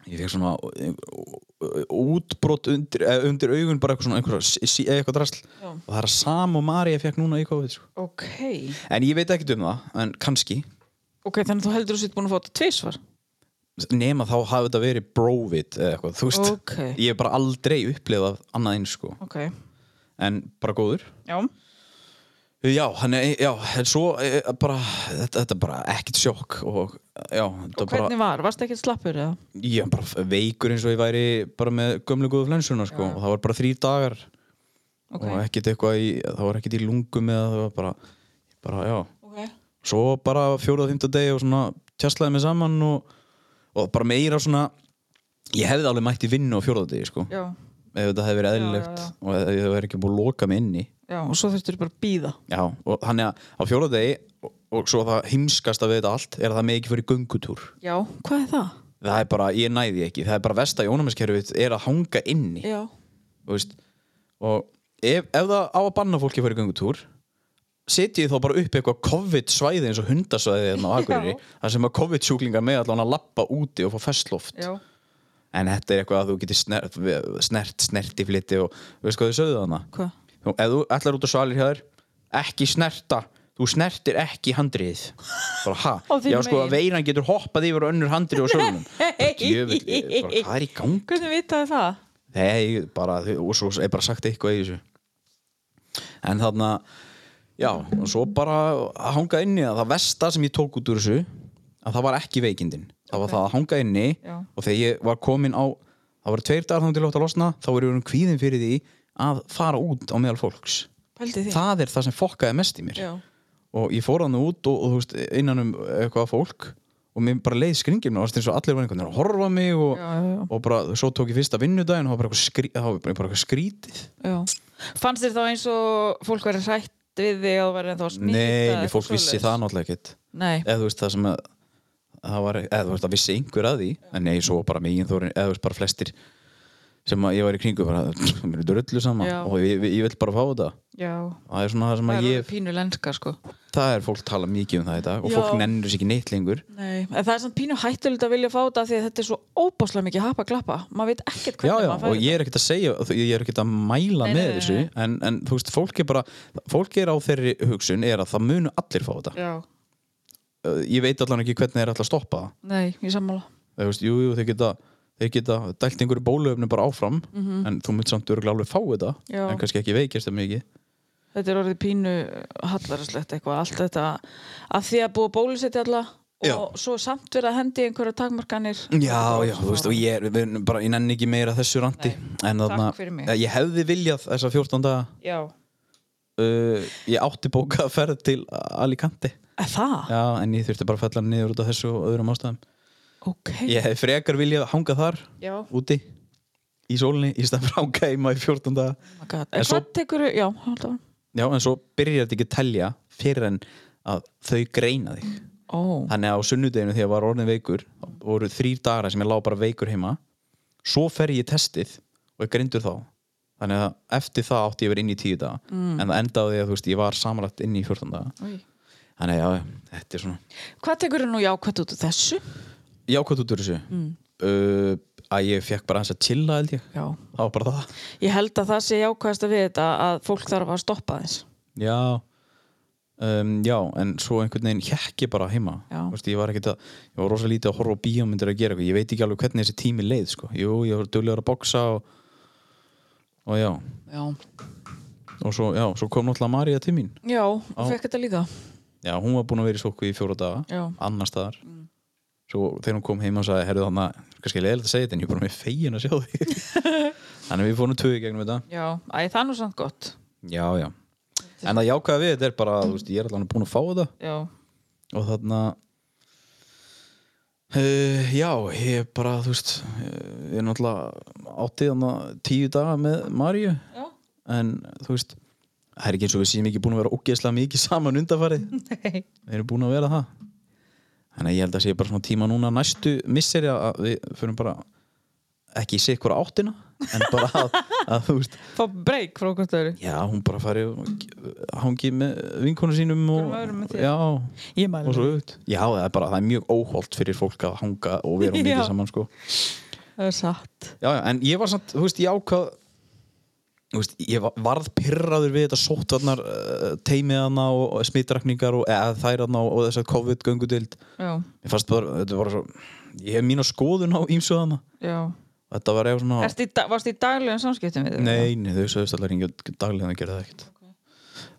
Speaker 2: ég fekk svona eh, útbrot undir, eh, undir augun bara eitthvað svona einhver, eitthvað drasl
Speaker 3: Já.
Speaker 2: og það er að Sam og María fekk núna í COVID sko.
Speaker 3: Ok.
Speaker 2: en ég veit ekkert um það, en kannski
Speaker 3: Ok, þannig að þú heldur þú sétt búin að fá þetta tvisvar?
Speaker 2: nema þá hafi þetta verið brovit eða eitthvað, þú veist
Speaker 3: Ok.
Speaker 2: ég hef bara aldrei upplifað annað eins sko.
Speaker 3: Ok.
Speaker 2: en bara góður
Speaker 3: Já.
Speaker 2: já, hann, er- já, en svo eh, bara, þetta, þetta er bara ekkert sjokk og já, þetta er
Speaker 3: Og
Speaker 2: bara
Speaker 3: hvernig var? Varst ekki slappur eða?
Speaker 2: Ég var bara veikur eins og ég væri bara með gömlu góðu flensuna sko og það var bara þrý dagar
Speaker 3: Ok.
Speaker 2: og ekkert eitthvað í, það var ekkert í lungum eða það var bara, bara já
Speaker 3: Ok.
Speaker 2: svo bara fjóruða og fymta degi og svona tjastlaði mig saman og, og bara meira svona ég hefði alveg mætt í vinnu á fjóruða degi sko
Speaker 3: Já.
Speaker 2: ef þetta hefði verið eðlilegt
Speaker 3: já.
Speaker 2: og ef ég hefði ekki búið að loka mig inni
Speaker 3: Já, og svo þurftur bara að býða.
Speaker 2: já, og þannig að á fjóruða degi og, og svo það heimskasta við þetta allt er að það með ekki fyrir göngutúr
Speaker 3: Já. Hvað er það?
Speaker 2: það er bara, ég næði ekki, það er bara vest að jónamæskerfið er að hanga inni
Speaker 3: Já.
Speaker 2: Þú veist, og ef, ef það á að banna fólki að fara í göngutúr setjið þá bara upp eitthvað COVID-svæði eins og hundasvæði hérna á Akureyri
Speaker 3: Já.
Speaker 2: þar sem að COVID-sjúklingar með allan að lappa úti og fá festloft
Speaker 3: Já.
Speaker 2: en þetta er eitthvað að þú getur snert, snert snertifliti og veist hvað þau sögðu þarna
Speaker 3: Hvað?
Speaker 2: Þú- ef þú ætlar út á svalir hjá þér ekki snerta þú snertir ekki handriðið bara ha,
Speaker 3: Á þínu
Speaker 2: já sko
Speaker 3: megin.
Speaker 2: að veiran getur hoppað yfir á önnur handrið og sölunum hvað er í gang
Speaker 3: Hvernig vitaði það?
Speaker 2: Nei, bara, og svo er bara sagt eitthvað í þessu En þarna Já, og svo bara að hanga inni að það versta sem ég tók út úr þessu að það var ekki veikindin það var það að hanga inni
Speaker 3: Já.
Speaker 2: og þegar ég var komin á það var tveir dagar þá til átt að losna þá er ég um kvíðin fyrir því að fara út á meðal fólks
Speaker 3: Pældi því?
Speaker 2: það er það sem fokkaði mest í mér
Speaker 3: Já.
Speaker 2: og ég fór hann út og, og þú veist, innan um eitthvað fólk og mér bara leið skringjum og það var eins og allir var einhvern veginn að horfa á mig og,
Speaker 3: Já, já, já.
Speaker 2: og bara, svo tók ég fyrsta vinnudaginn og það var bara eitthvað, skrí, það var bara eitthvað skrítið
Speaker 3: Já. Fannst þér þá eins og fólk verið hrætt við þig og verið þá smítið?
Speaker 2: Nei, nei, fólk vissi það náttúrulega ekkert
Speaker 3: Nei,
Speaker 2: eða þú veist það sem að það var, eða þú veist það vissi einhver að því en nei, svo bara megin þórin, eða þú veist bara flestir sem að ég var í kringu bara, mér er drullu sama
Speaker 3: Já.
Speaker 2: og ég, ég, ég vil bara fá þetta
Speaker 3: já.
Speaker 2: það er svona það sem
Speaker 3: Það
Speaker 2: að
Speaker 3: er ég...
Speaker 2: ég,
Speaker 3: pínu lenska, sko.
Speaker 2: það er fólk tala mikið um það í dag og
Speaker 3: Já.
Speaker 2: fólk nennur sér ekki neitt lengur
Speaker 3: Nei, en það er samt pínu hættulegt að vilja fá þetta af því að þetta er svo óbáslega mikið hapa klappa. Maður veit ekkert
Speaker 2: Já,
Speaker 3: hvernig
Speaker 2: já,
Speaker 3: maður fær
Speaker 2: og ég er ekkert að segja, þú- ég er ekkert að mæla
Speaker 3: Nei,
Speaker 2: með
Speaker 3: nei, nei,
Speaker 2: þessu, en, en þú veist, fólk er bara, fólk er á þeirri hugsun er að það munu allir fá þetta.
Speaker 3: þetta. Já,
Speaker 2: Uh, Ég veit allan ekki hvernig er alltaf að stoppa það.
Speaker 3: nei, ég sammála.
Speaker 2: Þú veist, jú, jú, þeir geta þeir geta dælt einhverju bólöfni bara áfram en þú mynd samt örgulega alveg fá þetta
Speaker 3: Mhm. Já.
Speaker 2: en kannski ekki veikjast það mikið
Speaker 3: Þetta er orðið pínu hallarslegt eitthvað, allt þetta að því að búa bólusetti alla
Speaker 2: Já.
Speaker 3: og svo samt verið að hendi einhverja takmarkanir.
Speaker 2: Já, já, þú veist, og ég, er- við erum bara, ég nenni ekki meira þessu randi
Speaker 3: Nei,
Speaker 2: en
Speaker 3: takk
Speaker 2: þarna,
Speaker 3: fyrir mig.
Speaker 2: eh, ég hefði viljað þessa 14 daga,
Speaker 3: Já.
Speaker 2: uh, ég átti bókað að ferð til Alicante,
Speaker 3: Er það?
Speaker 2: já, en ég þurfti bara að fella hann niður út af þessu og öðrum ástæðum
Speaker 3: Ok. Oh
Speaker 2: Ég hefði frekar viljað hanga þar
Speaker 3: Já.
Speaker 2: úti, í sólinni, í stað frá heima í 14 daga
Speaker 3: Oh my God. En
Speaker 2: En svo-
Speaker 3: hvað tekur já, hald á.
Speaker 2: Já, en svo byrjar þetta ekki að telja fyrir en að þau greina þig
Speaker 3: Ó,
Speaker 2: Þannig að á sunnudeginu þegar ég var orðin veikur þá voru þrýr dagar sem ég lá bara veikur heima svo fer ég í testið og ég grindur þá þannig að eftir það átti ég verið inn í tíu daga en það endaði því að þú veist ég var samanlagt inn í 14 daga
Speaker 3: Í.
Speaker 2: þannig að já, þetta er svona
Speaker 3: Hvað tekur nú jákvæmt út úr þessu?
Speaker 2: jákvæmt út úr þessu uh, að ég fekk bara aðeins að chilla held ég
Speaker 3: Já.
Speaker 2: það var bara það
Speaker 3: Ég held að það sé jákvæmst að við þetta að fólk þarf að stoppa þess.
Speaker 2: já um, já, en svo einhvern veginn hjekk ég bara heima
Speaker 3: Já.
Speaker 2: Þú veist, ég var ekkert að, ég var rosa lítið að horfa á bíómyndir að gera eitthvað, ég veit ekki alveg hvernig þessi tími leið sko. jú, ég var duglegur að boksa og, og já
Speaker 3: Já.
Speaker 2: og svo, já, svo kom náttúrulega María til mín
Speaker 3: Já, og fekk þetta líka
Speaker 2: já, hún var búin að vera í sóku í fjóra daga
Speaker 3: Já. Mm.
Speaker 2: annar staðar svo þegar hún kom heim og sagði, herðu þannig kannski leðilegt að segja þetta en ég er bara með fegin að sjá því þannig að við fórum tvö í gegnum þetta
Speaker 3: Já, æ, það er nú samt gott
Speaker 2: já, já en það jákaði við, þetta er bara, þú veist, ég er allan búin að fá þetta
Speaker 3: Já,
Speaker 2: og þarna uh, já, ég bara þú veist, eh, ég náttúrulega átti þarna tíu daga með Maríu
Speaker 3: já,
Speaker 2: en þú veist það er ekki eins og við séum ekki búin að vera ógeðslega mikið saman undanfarið,
Speaker 3: nei
Speaker 2: við erum búin að vera það þannig að ég held að sé bara svona tíma núna næstu misseri að við förum bara ekki í sikkur áttina en bara að, að þú veist
Speaker 3: Fá breyk frá hvort öðru
Speaker 2: já, hún bara fari og hangi með vinkonu sínum og,
Speaker 3: Hverjum öðrum með þér?
Speaker 2: já,
Speaker 3: Ég mæli
Speaker 2: og svo auðvitað já, það er bara, það er mjög óholt fyrir fólk að hanga og vera of mikið
Speaker 3: Já.
Speaker 2: saman sko.
Speaker 3: Það er satt
Speaker 2: já, já, en ég var samt, þú veist, ég ákvað þú veist, ég var- varð pyrraður við þetta sótvarnar uh, teimiðana og, og smittrakningar og eða þærana og, og þess að COVID-göngudild
Speaker 3: Já,
Speaker 2: ég fannst bara, þetta var svo ég hef mína skoðun á ýmsuðana
Speaker 3: já
Speaker 2: þetta var eitthvað svona
Speaker 3: Ertu í, da- Varstu í daglegum samskiptum við þau?
Speaker 2: nei, nei, þau sögðust allar hringja daglega en þau gerði það ekkert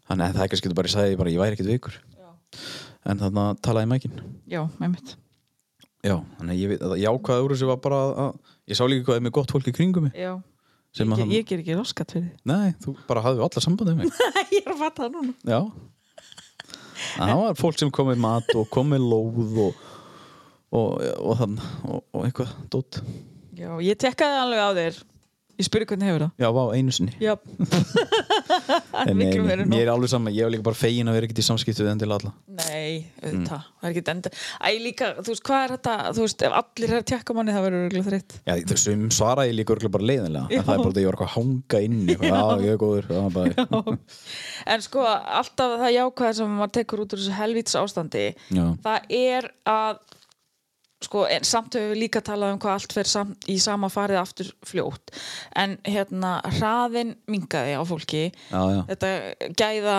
Speaker 2: þannig að það er kannski bara, ég sagði bara, ég væri ekkert veikur en þannig að talaði mækinn
Speaker 3: Já, einmitt
Speaker 2: Já, þannig að ég veit að jákvæða úr þessu var bara að- að ég sá líka hvað er með gott fólk í kringum mig
Speaker 3: Já
Speaker 2: sem að
Speaker 3: Ég,
Speaker 2: hann,
Speaker 3: ég ger ekki raskat fyrir
Speaker 2: nei, þú bara hafði allar sambandið mig
Speaker 3: þið Ég er að fatta það núna
Speaker 2: Já En Það var fólk sem kom með mat og kom með lóð og, og, og þann og, og eitthvað, dót
Speaker 3: Já, ég tekkaði alveg á þér Ég spurði hvernig hefur það
Speaker 2: Já, vá, einu sinni
Speaker 3: Já,
Speaker 2: En nei,
Speaker 3: miklu meira
Speaker 2: nei,
Speaker 3: en nóg.
Speaker 2: Mér er alveg saman, ég er líka bara fegin að vera ekkert í samskiptu en til alla
Speaker 3: nei,
Speaker 2: Mm.
Speaker 3: auðvitað Það er ekki enda Æ, líka, þú veist, hvað er þetta Þú veist, ef allir er að tekka manni það verður örugglega þreytt
Speaker 2: Já, þessum svaraði ég líka örgulega bara leiðinlega
Speaker 3: Já.
Speaker 2: En það er bara þetta ég var eitthvað að hanga inn eitthvað, Já, ég er góður Já, bara,
Speaker 3: En sko, alltaf það jákvæða sem maður tekur út úr þessu helvítis ástandi
Speaker 2: já.
Speaker 3: það er að sko, en samt höfum við líka talað um hvað allt fer sam, í sama farið aftur fljótt en hérna, hraðin mingaði á fólki
Speaker 2: já, já,
Speaker 3: þetta gæða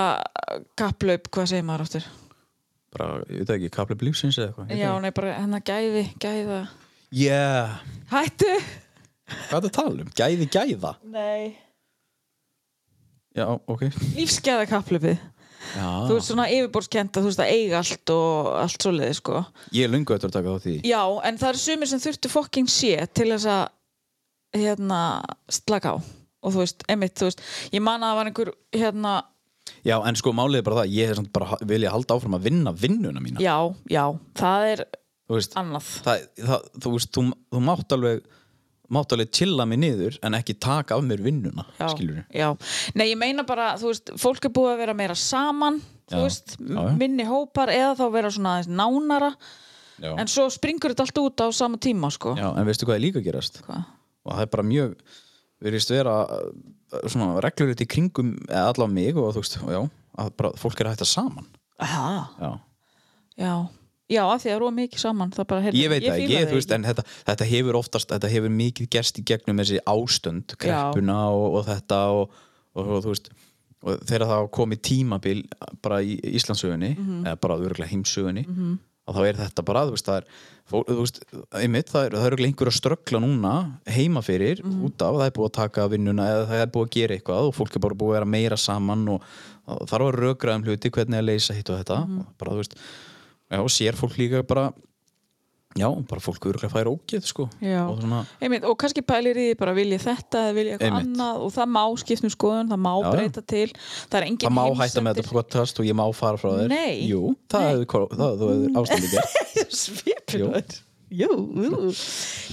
Speaker 3: kapplaup, hvað segir maður áttur?
Speaker 2: bara, ég veit það ekki, kapli blífsins eða eitthvað
Speaker 3: Já, nei, bara hérna gæði, gæða
Speaker 2: Yeah,
Speaker 3: Hættu!
Speaker 2: hvað er það að tala um? Gæði gæða
Speaker 3: Nei
Speaker 2: Já, ok
Speaker 3: Lífsgæða kapplaupið
Speaker 2: Já.
Speaker 3: Þú ert svona yfirborðskend að þú veist að eiga allt og allt svoleiði sko
Speaker 2: Ég er lungu eftir að taka þátt í því.
Speaker 3: Já, en það eru sumir sem þurftu fokking sé til þess að hérna, slaka á og þú veist, einmitt, þú veist, ég man að það var einhver hérna,
Speaker 2: Já, en sko málið er bara það Ég hef samt bara vilja halda áfram að vinna vinnuna mína
Speaker 3: já, já það er
Speaker 2: Þú veist,
Speaker 3: annað
Speaker 2: það, það, þú, veist þú, þú mátt alveg mátt alveg chilla mig niður en ekki taka af mér vinnuna
Speaker 3: já,
Speaker 2: skilur við
Speaker 3: já, nei, ég meina bara, þú veist fólk er búið að vera meira saman
Speaker 2: Já,
Speaker 3: þú veist,
Speaker 2: já, já.
Speaker 3: minni hópar eða þá vera svona aðeins nánara en sko- svo springur þetta allt út á sama tíma sko,
Speaker 2: Já, en veistu hvað er líka að gerast
Speaker 3: Hvað?
Speaker 2: og það er bara mjög verðist vera uh, svona reglur í kringum eða allavega mig og þú veist, og já, að bara fólk er að hætta saman
Speaker 3: Aha,
Speaker 2: Já
Speaker 3: já já, af því að róa mikið saman, það bara heyrðu,
Speaker 2: ég veit það ekki,
Speaker 3: hérna, fíla
Speaker 2: ég,
Speaker 3: þig
Speaker 2: þú veist, en þetta, þetta hefur oftast, þetta hefur mikið gerst í gegnum þessi ástönd, kreppuna og, og þetta og, og, og þú veist og þegar það komið tímabil bara í Íslandsögunni, eða bara örgulega heimsögunni, að þá er þetta bara þú veist, það er, fó, þú veist einmitt, það er, það er örgulega einhver að ströggla núna heima fyrir, út af, það er búið að taka vinnuna eða það er búið að gera eitthvað og fólk er bara búið að vera meira saman og, og þarf að rökra um hluti, hvernig að leysa hitt og þetta, bara þú veist já, og sér fólk líka bara Já, bara fólk eru að færa ógeð sko
Speaker 3: Já.
Speaker 2: og svona,
Speaker 3: Einmitt, og kannski pælir í því bara vil ég þetta eða vil ég eitthvað
Speaker 2: Einmitt.
Speaker 3: annað og það má skiptum skoðun, það má
Speaker 2: Já, já.
Speaker 3: breyta til það er engin
Speaker 2: það má hætta með þetta podcast og ég má fara frá þér
Speaker 3: Nei.
Speaker 2: Jú, það hefur það hefur ástændi gert Jú.
Speaker 3: svipinur Jú, jú.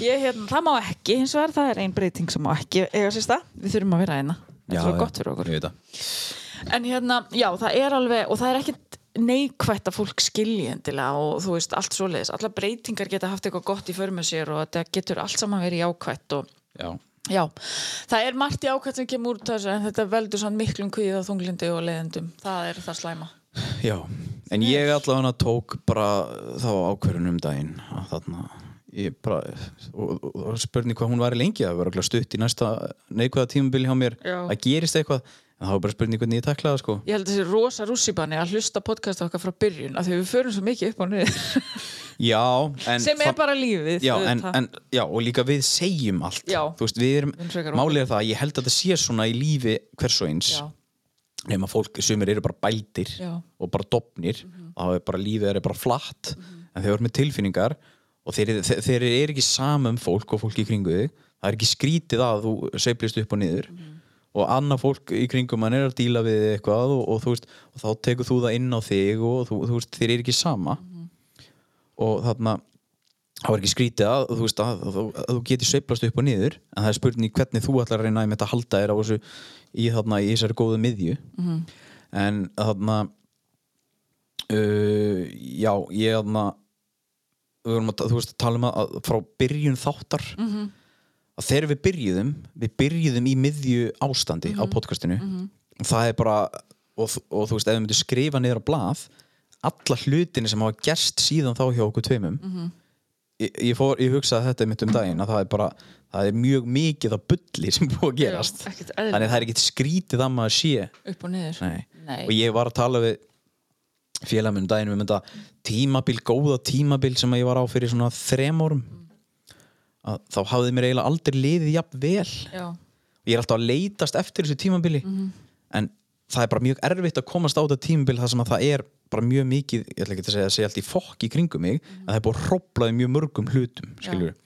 Speaker 3: Ég, hérna, það má ekki, hins vegar það er ein breyting sem má ekki eiga sér stað, við þurfum að vera hérna þetta er svo gott fyrir okkur
Speaker 2: Ég veit það
Speaker 3: en hérna, já, það er alveg og það er ekkit neikvætt að fólk skilji endilega og þú veist, allt svoleiðis allar breytingar geta haft eitthvað gott í förmið sér og þetta getur allt saman verið jákvætt og
Speaker 2: Já,
Speaker 3: Já, það er margt í ákvæmt sem kemur úr þessu en þetta veldur svona miklum kvíða þunglindi og leiðendum. Það er það slæma.
Speaker 2: já En ég allavega tók bara þá ákverðun um daginn að þarna ég bara, og, og, og spurning hvað hún var lengi það var örugglega stutt í næsta neikvæða tímabili hjá mér
Speaker 3: Já.
Speaker 2: að gerist eitthvað en það var bara spurning hvernig ég taklaði það, sko
Speaker 3: Ég held að þessi rosa rússibanni að hlusta podcast okkar frá byrjun af því við förum svo mikið upp á niður
Speaker 2: Já, en
Speaker 3: sem er
Speaker 2: það-
Speaker 3: bara lífið.
Speaker 2: já, en,
Speaker 3: auðvitað.
Speaker 2: en, já, og líka við segjum allt
Speaker 3: Já.
Speaker 2: Þú veist, við erum,
Speaker 3: Við erum frekar opin.
Speaker 2: málið er það að ég held að þetta sé svona í lífi hvers og eins
Speaker 3: já,
Speaker 2: nema fólk, sumir eru bara bældir
Speaker 3: Já.
Speaker 2: og bara dopnir mm -hmm. þá er bara lífið þeirra er bara flatt en þeir eru með tilfinningar og þeir, þeir, þeir eru ekki sama um fólk og fólk í kringu þig það er ekki skrítið að þú sveiflist upp og niður og annað fólk í kringum hann er að díla við eitthvað og, og þú veist og þá tekur þú það inn á þig og þú, þú veist, þeir eru ekki sama og þarna þá er ekki skrítið að þú, veist, að, að, að, þú getur sveiflast upp og niður en það er spurning hvernig þú ætlar að reyna að halda þér á þessu í, þarna, í þessari góðu miðju en þarna uh, já, ég þarna við vorum að, ta- þú veist, að tala um að- að frá byrjun þáttar -hmm. að þegar við byrjuðum við byrjuðum í miðju ástandi á podcastinu og það er bara og, þ- og þú veist, ef við myndum skrifa niður á blað alla hlutinu sem hafa gerst síðan þá hjá okkur tveimum -hmm. ég, ég, fór, ég hugsaði þetta mitt um daginn að það er bara, það er mjög mikið af bulli sem er búið að
Speaker 3: Já,
Speaker 2: gerast
Speaker 3: ekkert eðlilegt.
Speaker 2: þannig að það er ekkert skrítið að maður sé
Speaker 3: upp og niður
Speaker 2: Nei.
Speaker 3: Nei.
Speaker 2: og ég var að tala við félagum um daginn um þetta tímabil, góða tímabil sem ég var á fyrir svona þrem árum að þá hafði mér eiginlega aldrei liðið jafn vel
Speaker 3: já,
Speaker 2: ég er alltaf að leitast eftir þessu tímabili en það er bara mjög erfitt að komast á þetta tímabil þar sem að það er bara mjög mikið, ég ætla ekki að segja að segja allt í fokk í kringum mig, en það er búið að hróplaði mjög mörgum hlutum, skilur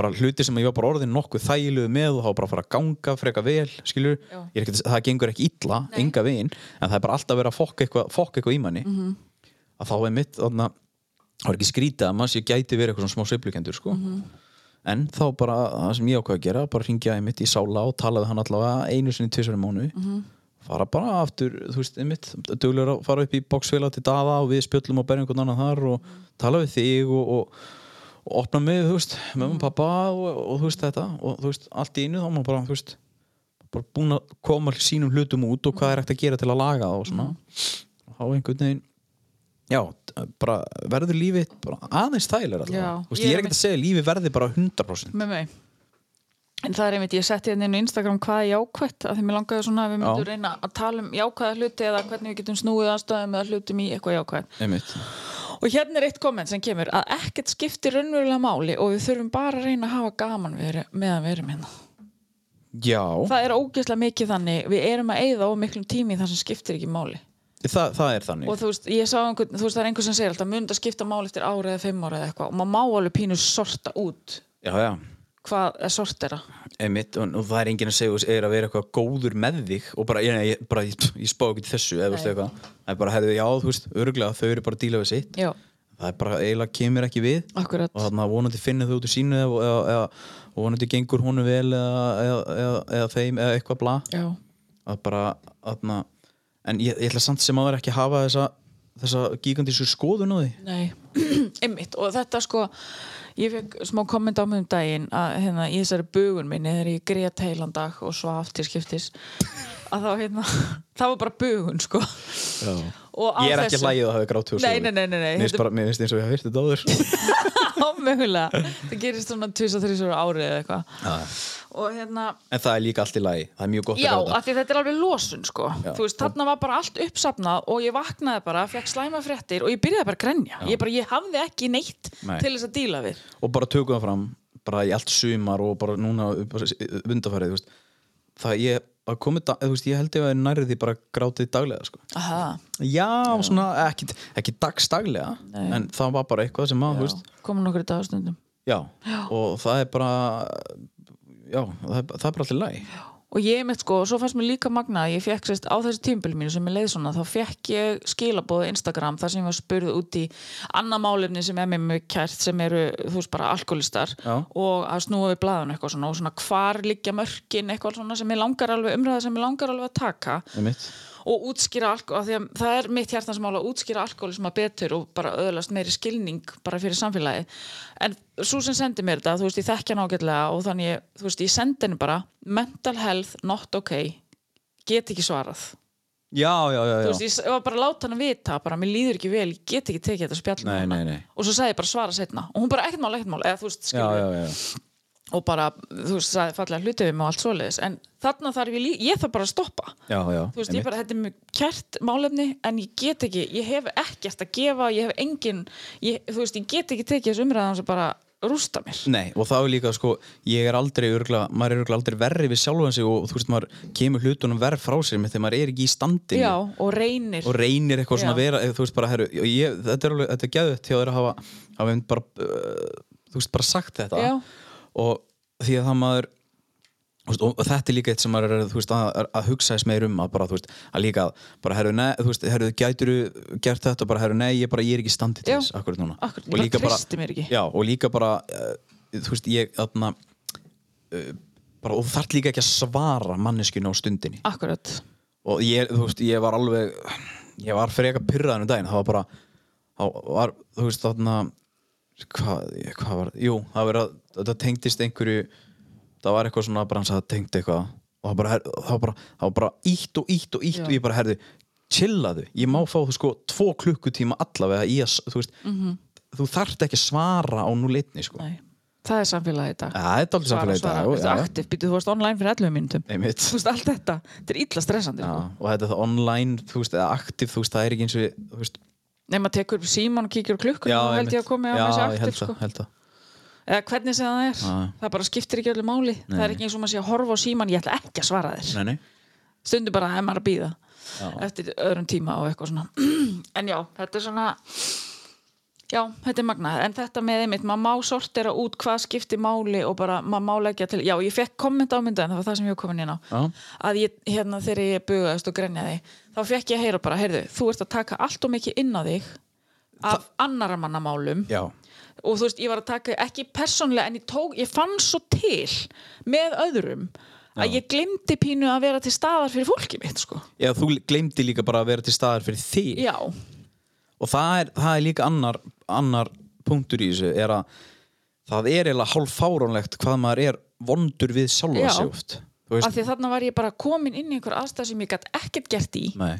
Speaker 2: bara hluti sem ég var bara orðin nokkuð þægilegu með og þá bara að fara að ganga freka vel skilur,
Speaker 3: Já.
Speaker 2: Ég er ekki, að- það gengur ekki illa enga veginn, en það er bara alltaf að vera að fokk eitthvað, fokk eitthvað í manni að þá er mitt, þannig að það er ekki skrítið að maður sér gæti verið eitthvað svona smá sveiflukendur sko en þá bara það sem ég ákvað að gera bara ringja einmitt í sála og tala við hann allavega einu sinni tvisvar í mánu
Speaker 3: Mhm.
Speaker 2: fara bara aftur, þú veist, einmitt duglur að fara upp í bóksfélag til daða og við spjöllum og berjum einhvern annan þar og tala við þig og, og, og opna mig, þú veist, mömmu og pappa og, og þú veist þetta og þú veist, allt í einu þá er maður bara, þú veist bara búin að koma sínum hlutum út og hvað er hægt að gera til að laga það og svona
Speaker 3: Mhm.
Speaker 2: og þá einhvern veginn já, t- bara verður lífið bara aðeins þægilega
Speaker 3: Já,
Speaker 2: allavega Þú veist,
Speaker 3: ég
Speaker 2: ég
Speaker 3: er
Speaker 2: er ekkert að segja að lífið verði bara 100%
Speaker 3: með mig En það er einmitt, ég setti hérna inn á Instagram hvað er jákvætt að því mér langaði svona að við myndum
Speaker 2: Já.
Speaker 3: reyna að tala um jákvæða hluti eða hvernig við getum snúið aðstæðum eða hlutum í eitthvað jákvætt.
Speaker 2: einmitt,
Speaker 3: Og hérna er eitt komment sem kemur að ekkert skiptir raunverulega máli og við þurfum bara að reyna að hafa gaman við, meðan við erum hérna.
Speaker 2: já
Speaker 3: Það er ógeðslega mikið þannig, við erum að eyða of miklum tími í það sem skiptir ekki máli.
Speaker 2: það, það er þannig
Speaker 3: og þú veist, ég sá einhvern, þú veist, það er einhver sem segir alltaf mun þetta skipta mál eftir ára eða fimm ára eða eitthvað og maður má alveg pínu sorta út
Speaker 2: já, já,
Speaker 3: hvað er sortera
Speaker 2: einmitt og, og það er enginn að segja þú er að vera eitthvað góður með þig og bara, ég, ég, bara, ég, ég spá ekki til þessu eða þú veist
Speaker 3: Nei.
Speaker 2: eitthvað það er bara, herðu, já, þú veist, örgulega þau eru bara að díla við sitt
Speaker 3: já,
Speaker 2: það er bara, eiginlega kemur ekki við
Speaker 3: akkurat
Speaker 2: og þannig að vonandi finna þau út í sínu eða, eða, eða og vonandi gengur honum vel eða, eða, eða, eða þeim eða eitthvað bla
Speaker 3: já,
Speaker 2: að bara, þarna en ég, ég ætla samt sem að vera ekki að hafa þessa þessa gigandísu skoðun á því
Speaker 3: nei, einmitt og þetta sko, ég fekk smá komment á mig um daginn að hérna, í þessari bugun minni þegar ég grét heilan dag og svaf til skiptis að þá hérna, það var bara bugun sko
Speaker 2: já.
Speaker 3: Og á
Speaker 2: ég er ekki
Speaker 3: þessu-
Speaker 2: að hlægið að hafa grátt og
Speaker 3: Nei,
Speaker 2: sofið.
Speaker 3: nei, nei, nei, nei,
Speaker 2: Mér finnst
Speaker 3: þetta-
Speaker 2: bara- mér finnst eins og ég hafa hýrt þetta áður
Speaker 3: ámögulega, það gerist svona 23 árið eða eitthvað og hérna
Speaker 2: en það er líka allt í lagi, það er mjög gott
Speaker 3: Já,
Speaker 2: að gráta
Speaker 3: af því þetta er alveg losun sko
Speaker 2: Já.
Speaker 3: Þú veist, þarna var bara allt uppsafnað og ég vaknaði bara, fekk slæma fréttir og ég byrjaði bara að grenja ég, bara, ég hafði ekki neitt
Speaker 2: Nei.
Speaker 3: til þess að díla við
Speaker 2: og bara tökum það fram bara í allt sumar og bara núna undarfærið, þú veist það ég, að komið, da- þú veist, ég held ég að nærði því bara grátið daglega, sko
Speaker 3: Aha,
Speaker 2: já, svona, ekki, ekki dagstaglega
Speaker 3: Nei.
Speaker 2: en það var bara eitthvað sem að, þú veist
Speaker 3: komin okkur í dagastundum
Speaker 2: já, og það er bara já, það er, það er bara allir læg
Speaker 3: Og ég mitt sko, og svo fannst mér líka magna að ég fekk sérst á þessu tímpil mínu sem ég leið svona þá fekk ég skilabóðu Instagram þar sem ég var spurð út í annað málefni sem er mér mjög kært sem eru, þú veist, bara alkoholistar
Speaker 2: Já.
Speaker 3: og að snúa við blaðan eitthvað svona og svona hvar liggja mörkin eitthvað svona sem ég langar alveg umræða sem ég langar alveg að taka
Speaker 2: Einmitt.
Speaker 3: og útskýra alkohol, því að það er mitt hjartansmál að útskýra alkoholisma betur og bara öðlast meiri skilning bara fyrir samfélagi en svo sem sendi mér þetta, þú veist, ég þekkja hann ágætlega og þannig, ég- þú veist, ég sendi henni bara mental health not okay get ekki svarað
Speaker 2: já, já, já,
Speaker 3: þú
Speaker 2: já.
Speaker 3: veist, ég s- var bara að láta hann vita bara, mér líður ekki vel, ég get ekki tekið þetta spjall með
Speaker 2: Nei,
Speaker 3: hana."
Speaker 2: nei, nei.
Speaker 3: og svo sagði ég bara svara setna og hún bara ekkert mál, ekkert mál, eða þú veist,
Speaker 2: já,
Speaker 3: skilur
Speaker 2: já, já, já.
Speaker 3: og bara, þú veist, sagði fallega hluti við mig og allt svoleiðis, en þarna þarf ég líka, ég þarf bara að stoppa
Speaker 2: já, já.
Speaker 3: þú veist,
Speaker 2: einmitt.
Speaker 3: ég bara, þetta er mjög kært málefni en ég get ekki, ég hef ekkert að gefa ég hef engin, ég, þú veist, ég get ekki tekið þessu umræðan sem bara rústa mér
Speaker 2: Nei, og það er líka sko, ég er aldrei örgla, maður er örgla aldrei verri við sjálfan sig og þú veist, maður kemur hlutunum verð frá sér með þegar maður er ekki í standinu
Speaker 3: Já, og reynir
Speaker 2: og reynir eitthvað svona
Speaker 3: Já.
Speaker 2: að vera eða þú veist bara, herru, ég, þetta er alveg, þetta er gæðut til að þeirra hafa, hafa einmitt bara uh, þú veist, bara sagt þetta
Speaker 3: Já.
Speaker 2: og því að það maður þú veist, og, og þetta er líka eitt sem maður er, þú veist, að, að, að hugsa þess meir um að bara, þú veist, að líka að bara, herru, nei, þú veist, herru, gætur gert þetta, bara, herru, nei, ég bara, ég er ekki í standi til
Speaker 3: Já.
Speaker 2: þess, akkurat núna
Speaker 3: Akkúrat, ég
Speaker 2: og
Speaker 3: bara
Speaker 2: líka bara,
Speaker 3: treysti mér ekki.
Speaker 2: já, og líka bara uh, þú veist, ég, þarna uh, bara, og þú þarf líka ekki að svara manneskinu á stundinni
Speaker 3: Akkurat
Speaker 2: og ég, þú veist, ég var alveg ég var freka pyrraðan um daginn það var bara, það var, þú veist, þarna hvað, ég- hvað var jú, það var að, þetta tengdist einhverju það var eitthvað svona bara hans að það tengdi eitthvað og það var bara, her- það var bara, það var bara ítt og ítt og ítt
Speaker 3: Já.
Speaker 2: og ég bara herði chillaðu, ég má fá þú sko tvo klukkutíma allavega í að, s- þú veist þú þarft ekki að svara á núleitni sko,
Speaker 3: Mhm. Nei. Það er samfélagið í dag
Speaker 2: Ja, það er dálítið samfélagið í dag,
Speaker 3: Þú
Speaker 2: já, já.
Speaker 3: ert aktiv, býtu, þú varst online fyrir 11 mínútum
Speaker 2: einmitt
Speaker 3: Þú veist, allt þetta, þetta er illa stressandi
Speaker 2: Já,
Speaker 3: sko.
Speaker 2: og þetta er það online, þú veist, eða aktiv þú veist, það er ekki eins og, þú veist
Speaker 3: Nei, maður tekur upp síman og kíkir á klukkun og held ég að komi á
Speaker 2: já,
Speaker 3: með þessi
Speaker 2: ég
Speaker 3: aktiv
Speaker 2: held
Speaker 3: sko.
Speaker 2: það, held það
Speaker 3: eða hvernig sem það er
Speaker 2: Já.
Speaker 3: það bara skiptir ekki öllu máli það er ekki eins og maður sé að horfa á síman ég ætla ekki að svara
Speaker 2: Nei,
Speaker 3: þér
Speaker 2: nei.
Speaker 3: stundum bara að maður að býða
Speaker 2: Já.
Speaker 3: eftir öðrum tíma og eitthvað svona en já, þetta er svona já, þetta er magnað, en þetta með einmitt maður má sortera út hvað skiptir máli og bara maður má leggja til, já, ég fekk komment á myndaðin, það var það sem ég var komin inn á
Speaker 2: Já.
Speaker 3: að ég, hérna, þegar ég bugaðist og grenjaði þá fekk ég að heyra bara, heyrðu, þú ert að taka allt og mikið inn á þig af annara manna málum
Speaker 2: Já.
Speaker 3: og þú veist, ég var að taka ekki persónlega en ég tók, ég fann svo til með öðrum að ég glemdi pínu að vera til staðar fyrir fólkið mitt, sko.
Speaker 2: Já, þú gleymdi líka bara að vera til staðar fyrir þig
Speaker 3: Já,
Speaker 2: og það er, það er líka annar, annar punktur í þessu er að það er eiginlega hálf fáránlegt hvað maður er vondur við sjálfa
Speaker 3: Já.
Speaker 2: sig oft Þú
Speaker 3: af
Speaker 2: veist,
Speaker 3: því að þarna var ég bara komin inn í einhver aðstæð sem ég gætt ekkert gert í
Speaker 2: nei,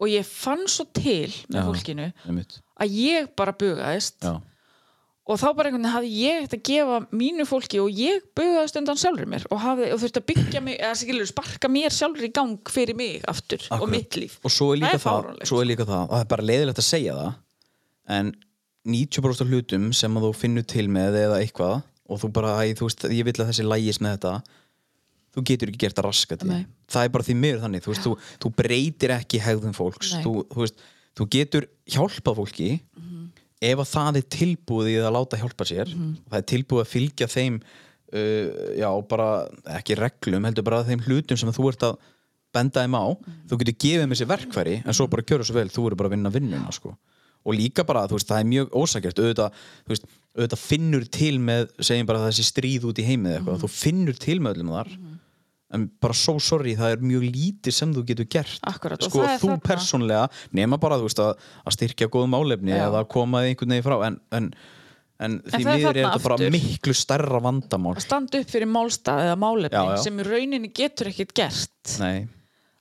Speaker 3: og ég fann svo til með
Speaker 2: Já.
Speaker 3: fólkinu
Speaker 2: einmitt
Speaker 3: að ég bara bugaðist
Speaker 2: Já,
Speaker 3: og þá bara einhvern veginn hafði ég þetta að gefa mínu fólki og ég bugaðist undan sjálfur mér og, hafði, og þurfti að byggja mig, eða skilur, sparka mér sjálfur í gang fyrir mig aftur og
Speaker 2: akkurat.
Speaker 3: mitt líf.
Speaker 2: Og svo er líka það,
Speaker 3: fáránlegt.
Speaker 2: svo er líka það og það er bara leiðilegt að segja það en 90% af hlutum sem að þú finnur til með eða eitthvað og þú bara, æ, þú veist, ég vil að þessi lægis með þetta þú getur ekki gert að raska því
Speaker 3: Nei.
Speaker 2: það er bara því miður þannig þú, veist, þú, þú breytir ekki hegðum fólks
Speaker 3: Nei.
Speaker 2: þú, þú, veist, þú getur hjálpað fólki ef að það er tilbúið í að láta hjálpa sér það er tilbúið að fylgja þeim uh, já, bara ekki reglum, heldur bara þeim hlutum sem þú ert að benda þeim á þú getur gefið með sér verkfæri en svo bara kjöra svo vel, þú eru bara að vinna vinnuna sko. og líka bara, þú veist, það er mjög ósakert auðvitað, þú veist, auðvitað finnur til með, segjum bara þessi stríð út í heimið eða eitthvað, þú finnur til með öllum þar en bara so sorry, það er mjög lítið sem þú getur gert
Speaker 3: Akkúrat, og
Speaker 2: sko,
Speaker 3: það er
Speaker 2: þú
Speaker 3: þarna.
Speaker 2: persónlega, nema bara þú veist, að, að styrkja góðum álefni
Speaker 3: Já.
Speaker 2: eða að koma því einhvern veginn frá en, en, en því
Speaker 3: það er
Speaker 2: miður er
Speaker 3: þarna
Speaker 2: þetta bara
Speaker 3: aftur.
Speaker 2: miklu stærra vandamál
Speaker 3: að standa upp fyrir málstað eða málefni
Speaker 2: Já, já.
Speaker 3: sem í rauninni getur ekkert gert
Speaker 2: Nei,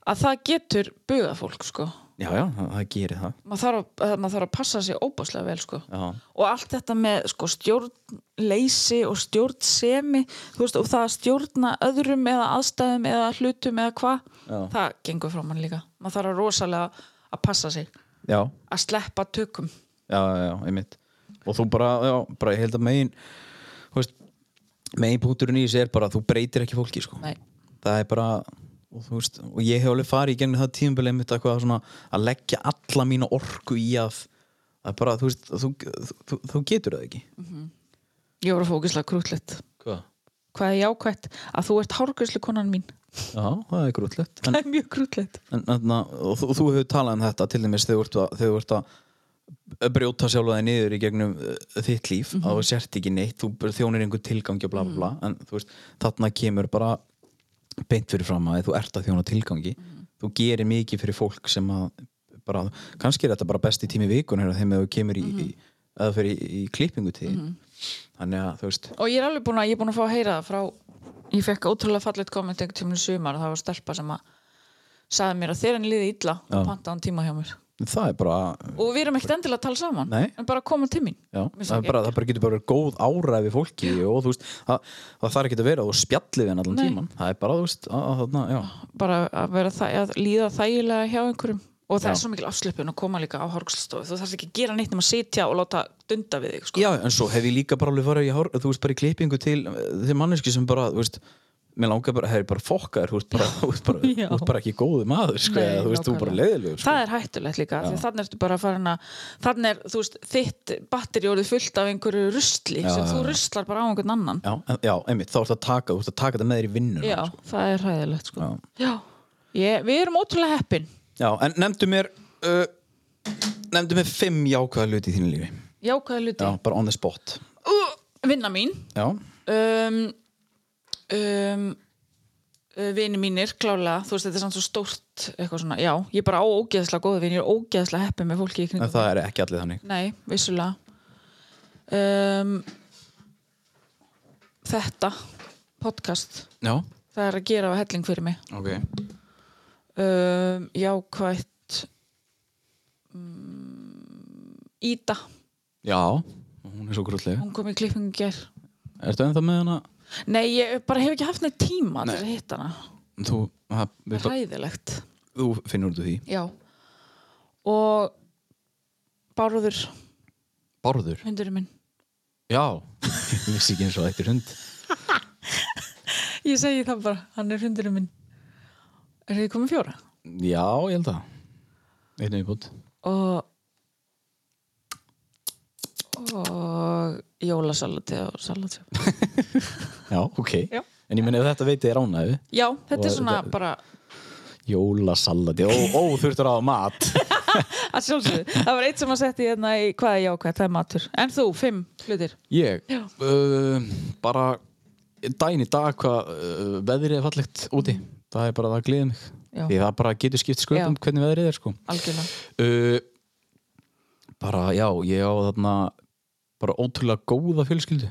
Speaker 3: að það getur buga fólk sko
Speaker 2: já, já, það, það gerir það
Speaker 3: maður þarf, að, að- maður þarf að passa sig óbáslega vel sko
Speaker 2: Já,
Speaker 3: og allt þetta með sko stjórnleysi og stjórnsemi þú veist og það að stjórna öðrum eða aðstæðum eða hlutum eða hvað
Speaker 2: Já.
Speaker 3: það gengur frá mann líka maður þarf að rosalega að passa sig
Speaker 2: já,
Speaker 3: að sleppa tökum
Speaker 2: já, já, já, einmitt og þú bara, já, bara ég held að megin þú veist, megin punkturinn í þessu er bara að þú breytir ekki fólki, sko
Speaker 3: Nei.
Speaker 2: það er bara og, þú veist, og ég hef alveg farið í gegnum það tímabili einmitt eitthvað svona að leggja alla mína orku í að að bara, þú veist, þú, þú, þú, þú getur það ekki
Speaker 3: ég voru fókislega krútlegt
Speaker 2: hvað?
Speaker 3: hvað er jákvætt að þú ert hárgjörslu konan mín
Speaker 2: Já, það er grútlegt en,
Speaker 3: það er mjög krútlegt
Speaker 2: en, en, og þú, þú hefur talað um þetta til dæmis þegar þú ert að, þegar þú ert að brjóta sjálfa þig niður í gegnum uh, þitt líf, að þú sért ekki neitt þú bara þjónir einhver tilgangi og bla bla bla en þú veist, þarna kemur bara beint fyrir fram að þú ert að þjóna tilgangi þú gerir mikið fyrir fólk sem að bara, kannski er þetta bara besti tími vikunar þegar þú kemur í, í eða fyrir í, í klippingu til þannig að þú veist
Speaker 3: og ég er alveg búin að, ég er búin að fá að heyra það frá ég fekk ótrúlega fallit komment einhvern tímun í sumar og það var stelpa sem að sagði mér að þér henni liði illa og
Speaker 2: Já.
Speaker 3: pantaði hann tíma hjá mér
Speaker 2: það er bara,
Speaker 3: og við erum ekkert endilega að tala saman
Speaker 2: Nei.
Speaker 3: en bara að koma til mín
Speaker 2: Já,
Speaker 3: Mér
Speaker 2: það, er
Speaker 3: sagði
Speaker 2: bara, það bara getur bara verið góð áræði fólki og þú veist, það, það þarf ekki að vera og spjallið henn allan
Speaker 3: Nei.
Speaker 2: tíman það er bara, þú veist, að, að, þarna, já,
Speaker 3: bara að vera það, að líða þægilega hjá einhverjum og það
Speaker 2: Já.
Speaker 3: er svo mikil afslöpun að koma líka á horgslstofu þú þarfst ekki að gera neitt um að sitja og láta dunda við þig sko.
Speaker 2: Já, en svo hef ég líka bara alveg farið í hár, þú veist, bara í klippingu til eh, þeir manneski sem bara, þú veist mér langar bara, hefur bara fokkar, þú veist bara, þú veist bara,
Speaker 3: Já.
Speaker 2: þú veist bara ekki góðu maður, sko,
Speaker 3: Nei,
Speaker 2: eða þú veist, þú er
Speaker 3: nákvæmlega.
Speaker 2: bara leiðilegur, sko.
Speaker 3: það er hættulegt líka því þannig ertu bara að fara hana þannig er þú veist þitt batteri orðið fullt af einhverju rusli
Speaker 2: Já,
Speaker 3: sem
Speaker 2: já,
Speaker 3: þú
Speaker 2: já.
Speaker 3: ruslar bara á einhvern annan
Speaker 2: Já, en- já, einmitt, þá ertu að taka, þú ert að taka þetta með þér í vinnuna,
Speaker 3: já,
Speaker 2: sko.
Speaker 3: það er hæðilegt sko.
Speaker 2: Já.
Speaker 3: já. Ég, við erum ótrúlega heppin
Speaker 2: Já, en nefndu mér uh, nefndu mér fimm jákvæða hluti í þínu lífi Já,
Speaker 3: jákvæða hluti
Speaker 2: bara on the spot
Speaker 3: uh, vinna mín
Speaker 2: Já,
Speaker 3: um, um, uh, vini mínir klálega, þú veist þetta er samt svo stórt eitthvað svona, já, ég er bara á ógeðslega góða vini, ég er ógeðslega heppin með fólki í kringum
Speaker 2: en það er ekki allir þannig
Speaker 3: Nei, vissulega um, Þetta podcast
Speaker 2: Já,
Speaker 3: það er að gera á helling fyrir mig
Speaker 2: ok
Speaker 3: um, Jákvætt um, Ída,
Speaker 2: Já, hún er svo grútlega
Speaker 3: hún kom í klippingu í gær
Speaker 2: Ertu ennþá með hana?
Speaker 3: Nei, ég bara hef ekki haft neitt tíma til
Speaker 2: Nei.
Speaker 3: að hitta hana
Speaker 2: Þú, ha, við, bara-
Speaker 3: Ræðilegt
Speaker 2: þú finnur út úr því
Speaker 3: Já Og Bárður,
Speaker 2: Bárður
Speaker 3: hundurinn minn
Speaker 2: Já, ég vissi ekki eins og þetta er hund
Speaker 3: Ég segi það bara, hann er hundurinn minn Er þið komið fjóra?
Speaker 2: Já, ég held það Einu í bútt
Speaker 3: og og jólasalati og salati
Speaker 2: Já, ok
Speaker 3: Já.
Speaker 2: En ég meni að þetta veit ég er ánæðu
Speaker 3: já, þetta er
Speaker 2: Og
Speaker 3: svona
Speaker 2: þetta-
Speaker 3: bara
Speaker 2: Jólasalati, ó, ó, þurftur á mat
Speaker 3: að sjálfsögðu, það var eitt sem að setja hérna í hvað er jákvæð, það er matur en þú, fimm hlutir
Speaker 2: Ég,
Speaker 3: Já.
Speaker 2: uh, bara daginn í dag hvað uh, veðrið er fallegt úti það er bara það að gleða mig
Speaker 3: Já.
Speaker 2: því það bara getur skipt sköpum
Speaker 3: Já.
Speaker 2: hvernig veðrið er sko.
Speaker 3: algjörlega,
Speaker 2: uh, bara já, ég á þarna bara ótrúlega góða fjölskyldu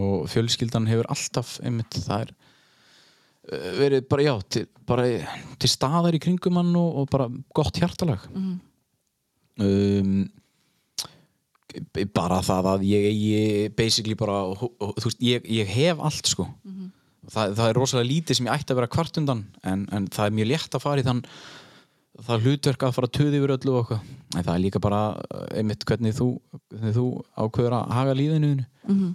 Speaker 2: og fjölskyldan hefur alltaf einmitt það er uh, verið bara já til, bara í- til staðar í kringum hann og, og bara gott hjartalag um b- bara það að ég, ég basically bara, hú- hú- þú veist, ég, ég hef allt sko það, það er rosalega lítið sem ég ætti að vera kvart undan en, en það er mjög létt að fara í þann það hlutverk að fara töði yfir öllu og eitthvað, en það er líka bara eh, einmitt hvernig þú, hvernig þú ákveður að haga lífinu mm -hmm.
Speaker 3: Mhm.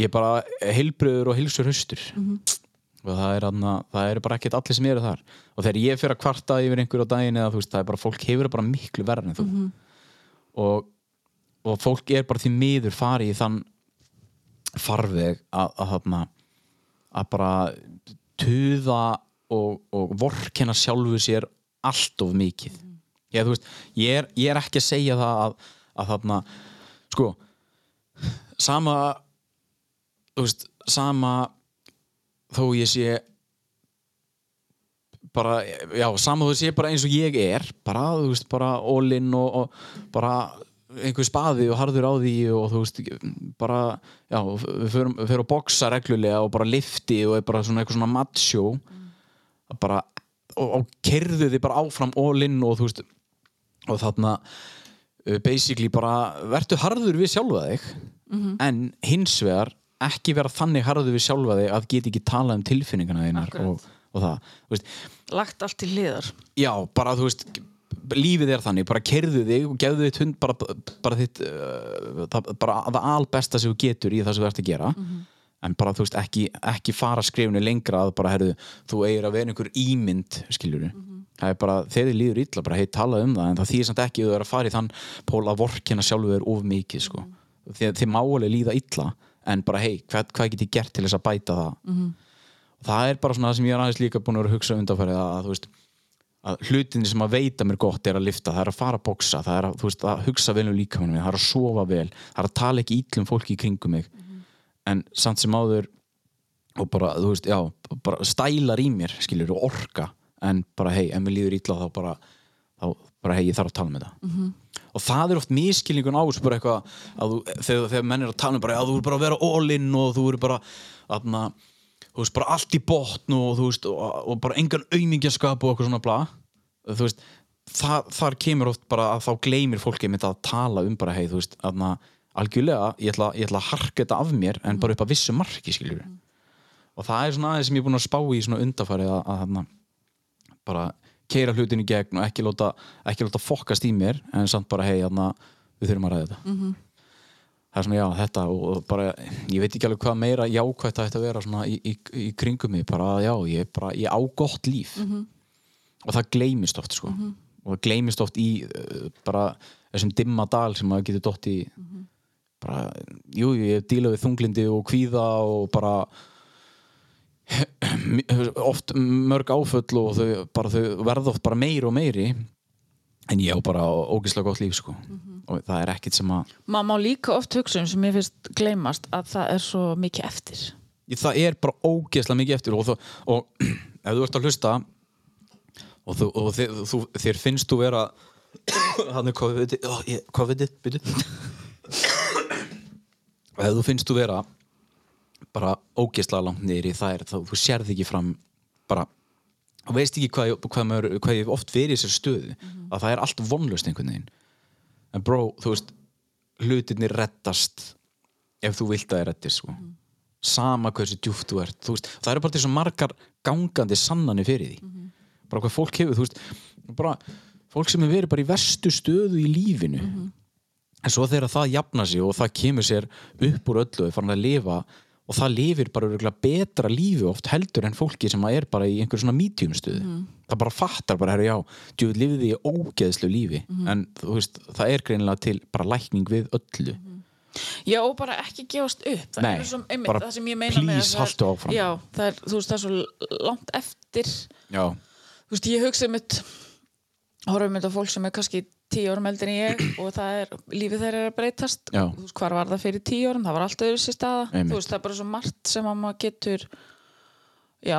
Speaker 2: ég er bara heilbröður og heilsur höstur og það er, anna, það er bara ekkert allir sem eru þar og þegar ég fyrir að kvarta yfir einhverju á daginn eða þú veist, það er bara, fólk hefur það bara miklu verra en þú og, og fólk er bara því miður farið í þann farveg að, að þarna að bara tuða og, og vorkenna sjálfu sér allt of mikið ég, þú veist, ég, er, ég er ekki að segja það að, að þarna sko sama þú veist, sama þó ég sé bara, já, sama þú sé bara eins og ég er bara, þú veist, bara ólinn og, og bara einhver spaði og harður á því og þú veist, bara já, við förum, við förum að boxa reglulega og bara lifti og er bara svona eitthvað svona macho að bara, og, og kerðu þið bara áfram ólinn og þú veist og þarna uh, basically bara, vertu harður við sjálfa þig en hins vegar ekki vera þannig harður við sjálfa þig að geta ekki talað um tilfinningana þínar
Speaker 3: Akkurat.
Speaker 2: og, og það, þú veist
Speaker 3: lagt allt til hliðar
Speaker 2: Já, bara þú veist lífið er þannig, bara kerðu þig og gefðu þitt hund bara, bara þitt uh, það, bara það albesta sem þú getur í það sem þú ert að gera en bara þú veist ekki, ekki fara skrifinu lengra að bara herðu, þú eigir að vera einhver ímynd skiljur það er bara, þegar þið líður illa bara hei talað um það en það þýðir samt ekki að þú er að fara í þann pól að vorkina sjálfu er of mikið sko. mm -hmm. þið, þið máli líða illa en bara hei, hvað, hvað get ég gert til þess að bæta það
Speaker 3: Mhm.
Speaker 2: það er bara svona það sem ég er aðeins líka búin að vera að hugsa undanfærið að, að þú veist að hlutinni sem að veita mér gott er að lifta það er að fara að boksa, það er að, þú veist, að hugsa vel um líkamann minn, það er að sofa vel það er að tala ekki ítlum fólki í kringum mig en samt sem áður og bara, þú veist, já, bara stælar í mér, skilur, og orka en bara, hei, ef mér líður ítla þá bara þá bara, hei, ég þarf að tala með það -hmm. og það er oft miskilningun á þessu bara eitthvað, að þú, þegar, þegar menn er að tala um bara, já, þú er bara að vera all-in og þú er bara, aðna þú veist, bara allt í botn og þú veist, og, og bara engan aumingjaskap og eitthvað svona bla þú veist, það, þar kemur oft bara að þá gleymir fólkið mitt að tala um bara, hei, þú veist, aðna algjörlega, ég ætla, ég ætla að harka þetta af mér en bara upp að vissu marki, skilur og það er svona aðeins sem ég er búin að spá í svona undarfærið að, að þarna bara keira hlutin í gegn og ekki láta, ekki láta fokkast í mér en samt bara hei, þarna, við þurfum að ræða þetta það er svona já, þetta og, og bara, ég veit ekki alveg hvað meira jákvætt það ætti að vera svona í, í, í kringum mig bara að já, ég, er bara, ég á gott líf og það gleymist oft sko. og það gleymist oft í uh, bara þessum dimma dal sem maður getur dótt í bara, jú, jú, ég díla við þunglindi og kvíða og bara oft mörg áföll og þau, bara, þau verða oft bara meiri og meiri en ég á bara ógislega gott líf sko. og það er ekkit sem að
Speaker 3: maður má líka oft hugsa um sem ég finnst gleymast að það er svo mikið eftir
Speaker 2: ég, það er bara ógeðslega mikið eftir og, þú, og ef þú ert að hlusta og, þú, og þér, þú, þér finnst þú vera hann er hvað við ó, ég- hvað við þitt byrju og ef þú finnst þú vera bara ógeðslega langt niður í þær þá þú sérð ekki fram bara og veist ekki hvað, ég- hvað, maður, hvað ég hef oft verið í sér stöðu að það er allt vonlust einhvern veginn en bró, þú veist hlutinni rettast ef þú vilt að það rettist sko. sama hversu djúft þú ert þú veist, það eru bara til svo margar gangandi sannanir fyrir því bara hvað fólk hefur þú veist, bara, fólk sem hefur verið bara í verstu stöðu í lífinu en svo þegar það jafna sig og það kemur sér upp úr öllu og er farin að lifa og það lifir bara örugglega betra lífi oft heldur en fólki sem er bara í einhver svona medium stöðu það bara fattar bara, herru já, djú lifið í ógeðslu lífi en þú veist, það er greinilega til bara lækning við öllu
Speaker 3: já og bara ekki gefast upp það
Speaker 2: Nei,
Speaker 3: er svo, einmitt,
Speaker 2: bara
Speaker 3: það sem ég meina með að
Speaker 2: please
Speaker 3: það er-
Speaker 2: haltu áfram.
Speaker 3: já, það er, þú veist það er svo langt eftir
Speaker 2: já,
Speaker 3: þú veist ég hugsa um eitt horfum eitt á fólk sem er kannski tíu árum eldin en ég og það er lífið þeirra er að breytast
Speaker 2: Já.
Speaker 3: Og þú veist hvar var það fyrir tíu árum, það var allt öðru sér staða
Speaker 2: Einmitt.
Speaker 3: þú veist það er bara svo margt sem að maður getur já,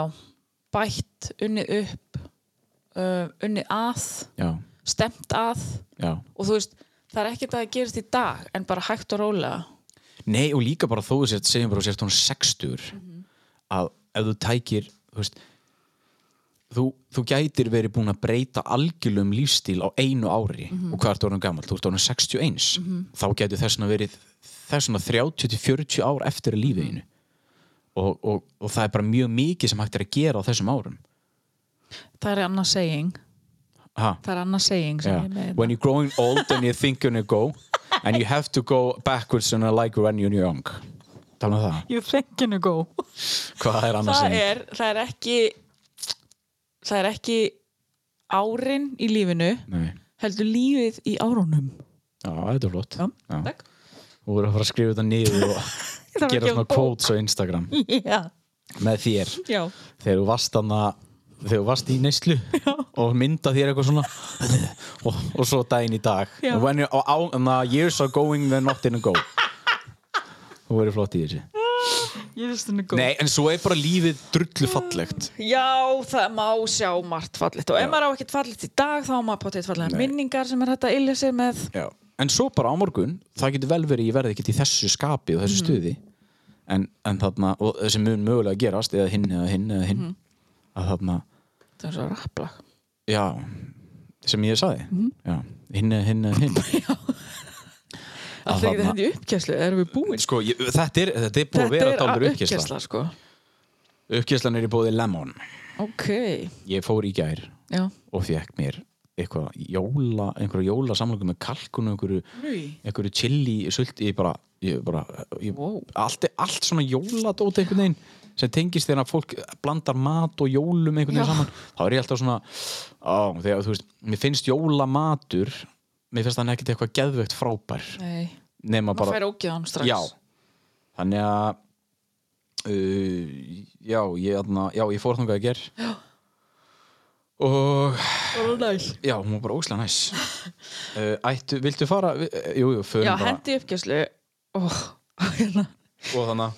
Speaker 3: bætt unnið upp uh, unnið að
Speaker 2: já,
Speaker 3: stemt að
Speaker 2: já
Speaker 3: og þú veist, það er ekkert að það gerist í dag en bara hægt og rólega
Speaker 2: Nei og líka bara þó þú sért, segjum bara þú sért hún 60
Speaker 3: Mhm.
Speaker 2: að ef þú tækir þú veist þú, þú gætir verið búin að breyta algjörlum lífstíl á einu ári
Speaker 3: Mhm.
Speaker 2: og hvað ertu orðin gammal, þú ert orðin 61 þá gæti þessna verið þessna 30-40 ár eftir að
Speaker 3: Mhm.
Speaker 2: lífi einu og, og, og það er bara mjög mikið sem hægt er að gera á þessum árum
Speaker 3: það er annað seging
Speaker 2: ha,
Speaker 3: það er annað seging sem
Speaker 2: yeah.
Speaker 3: ég með
Speaker 2: when you're growing old and you think you're gonna go and you have to go backwards and like when you're young tala um það,
Speaker 3: you think you go
Speaker 2: hvað er annars
Speaker 3: það er, það er ekki það er ekki árin í lífinu
Speaker 2: Nei.
Speaker 3: heldur lífið í árunum
Speaker 2: Já, þetta er flott.
Speaker 3: já,
Speaker 2: Já.
Speaker 3: takk
Speaker 2: Þú verður að fara að skrifa þetta niður og
Speaker 3: Ég þarf að
Speaker 2: gera
Speaker 3: gefa
Speaker 2: svona
Speaker 3: bók.
Speaker 2: quotes á Instagram
Speaker 3: já,
Speaker 2: með þér
Speaker 3: já,
Speaker 2: þegar þú varst hana þegar þú varst í neyslu og mynda þér eitthvað svona og, og svo daginn í dag
Speaker 3: Já.
Speaker 2: when you, á, na, years are going they're not gonna go þú verður flott í þessu
Speaker 3: ég veist henni góð
Speaker 2: Nei, en svo er bara lífið drullu fallegt
Speaker 3: Já, það má sjá margt fallit og ef maður á ekkert fallit í dag þá á maður potið fallega minningar sem er hægt að ylja sér með
Speaker 2: Já. En svo bara á morgun, það getur vel verið ég verði ekkert í þessu skapi og þessu stuði en, en þarna, og þessi mun mögulega gerast eða hinn eða hinn eða hinn að þarna,
Speaker 3: það er svo rapplag
Speaker 2: já sem ég sagði, já hinn eða hinn eða hinn
Speaker 3: Það er ekki þetta í uppkjæslu, erum við búin
Speaker 2: Sko, ég, þetta, er, þetta er búið að vera dálur uppkjæsla
Speaker 3: sko
Speaker 2: Uppkjæslan er í bóði Lemon
Speaker 3: Ok,
Speaker 2: Ég fór í gær
Speaker 3: já
Speaker 2: og fekk mér eitthvað jóla, einhverja jóla samlöku með kalkun og einhverju,
Speaker 3: Nei.
Speaker 2: einhverju chili sult, ég bara, ég bara ég,
Speaker 3: Wow.
Speaker 2: allt, allt svona jóladót einhvern veginn sem tengist þegar að fólk blandar mat og jólum einhvern veginn
Speaker 3: Já.
Speaker 2: saman þá er ég alltaf svona á, þegar, þú veist, mér finnst jólamatur mér finnst þannig ekkert eitthvað geðveikt frábær
Speaker 3: Nei,
Speaker 2: nema
Speaker 3: maður
Speaker 2: bara
Speaker 3: fær ógjöðan strax
Speaker 2: Já, þannig að uh, já, ég, þarna, já, ég fór þangað að ger já. og
Speaker 3: Það var næl
Speaker 2: já, hún var bara óslega næs uh, ættu, viltu fara Vi- eh, jú, jú, förum
Speaker 3: Já,
Speaker 2: bara
Speaker 3: hendi uppkjæslu oh, hérna.
Speaker 2: og þannig að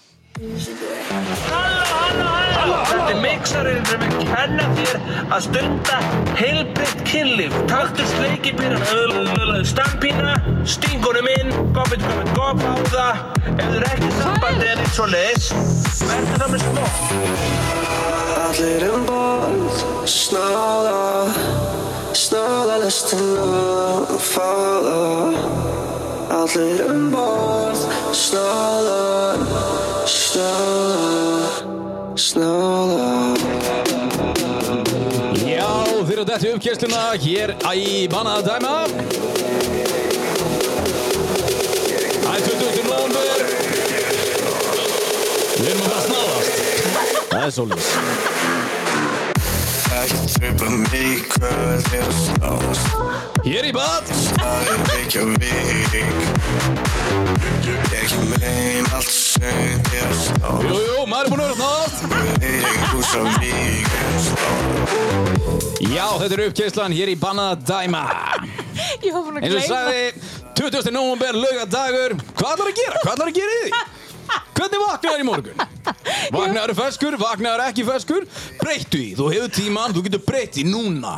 Speaker 5: Þetta er mixarinn sem er kenna þér að stunda heilbreytt kynlíf. Taktu sleikipinnan, öðlaðu stampína, stingunum inn, goppið, goppið, gopp á það. Ef þú rektir sambandi eða eitt svo leis, verður það með smokk.
Speaker 6: Allir um borð, snáða, snáða lestina og fáða. Allir um borð, snáða, snáða, snáða.
Speaker 2: Já, fyrir að detti uppkjærsluna hér í manna að dæma. Það er 20. november. Við erum að fara að snáðast. Það er svolítið.
Speaker 7: Ekki trippa mig hvað er að slást
Speaker 2: Hér í bad.
Speaker 7: Það er Reykjavík Ekki mein allt sem er að slást
Speaker 2: Jú, jú, maður er búinn að vera að snáðast.
Speaker 7: Ég húsa vík
Speaker 2: Já, þetta er uppkjærslan hér í Banna að dæma.
Speaker 3: Ég var búin að
Speaker 2: Eins og ég
Speaker 3: gleyma
Speaker 2: sagði, 20. november, laugadagur. Hvað ætlar að gera? Hvað ætlar að gera í því? Hvernig vaknaður í morgun? Vaknaður feskur, vaknaður ekki feskur? Breyttu í, þú hefur tíman, þú getur breytt í núna.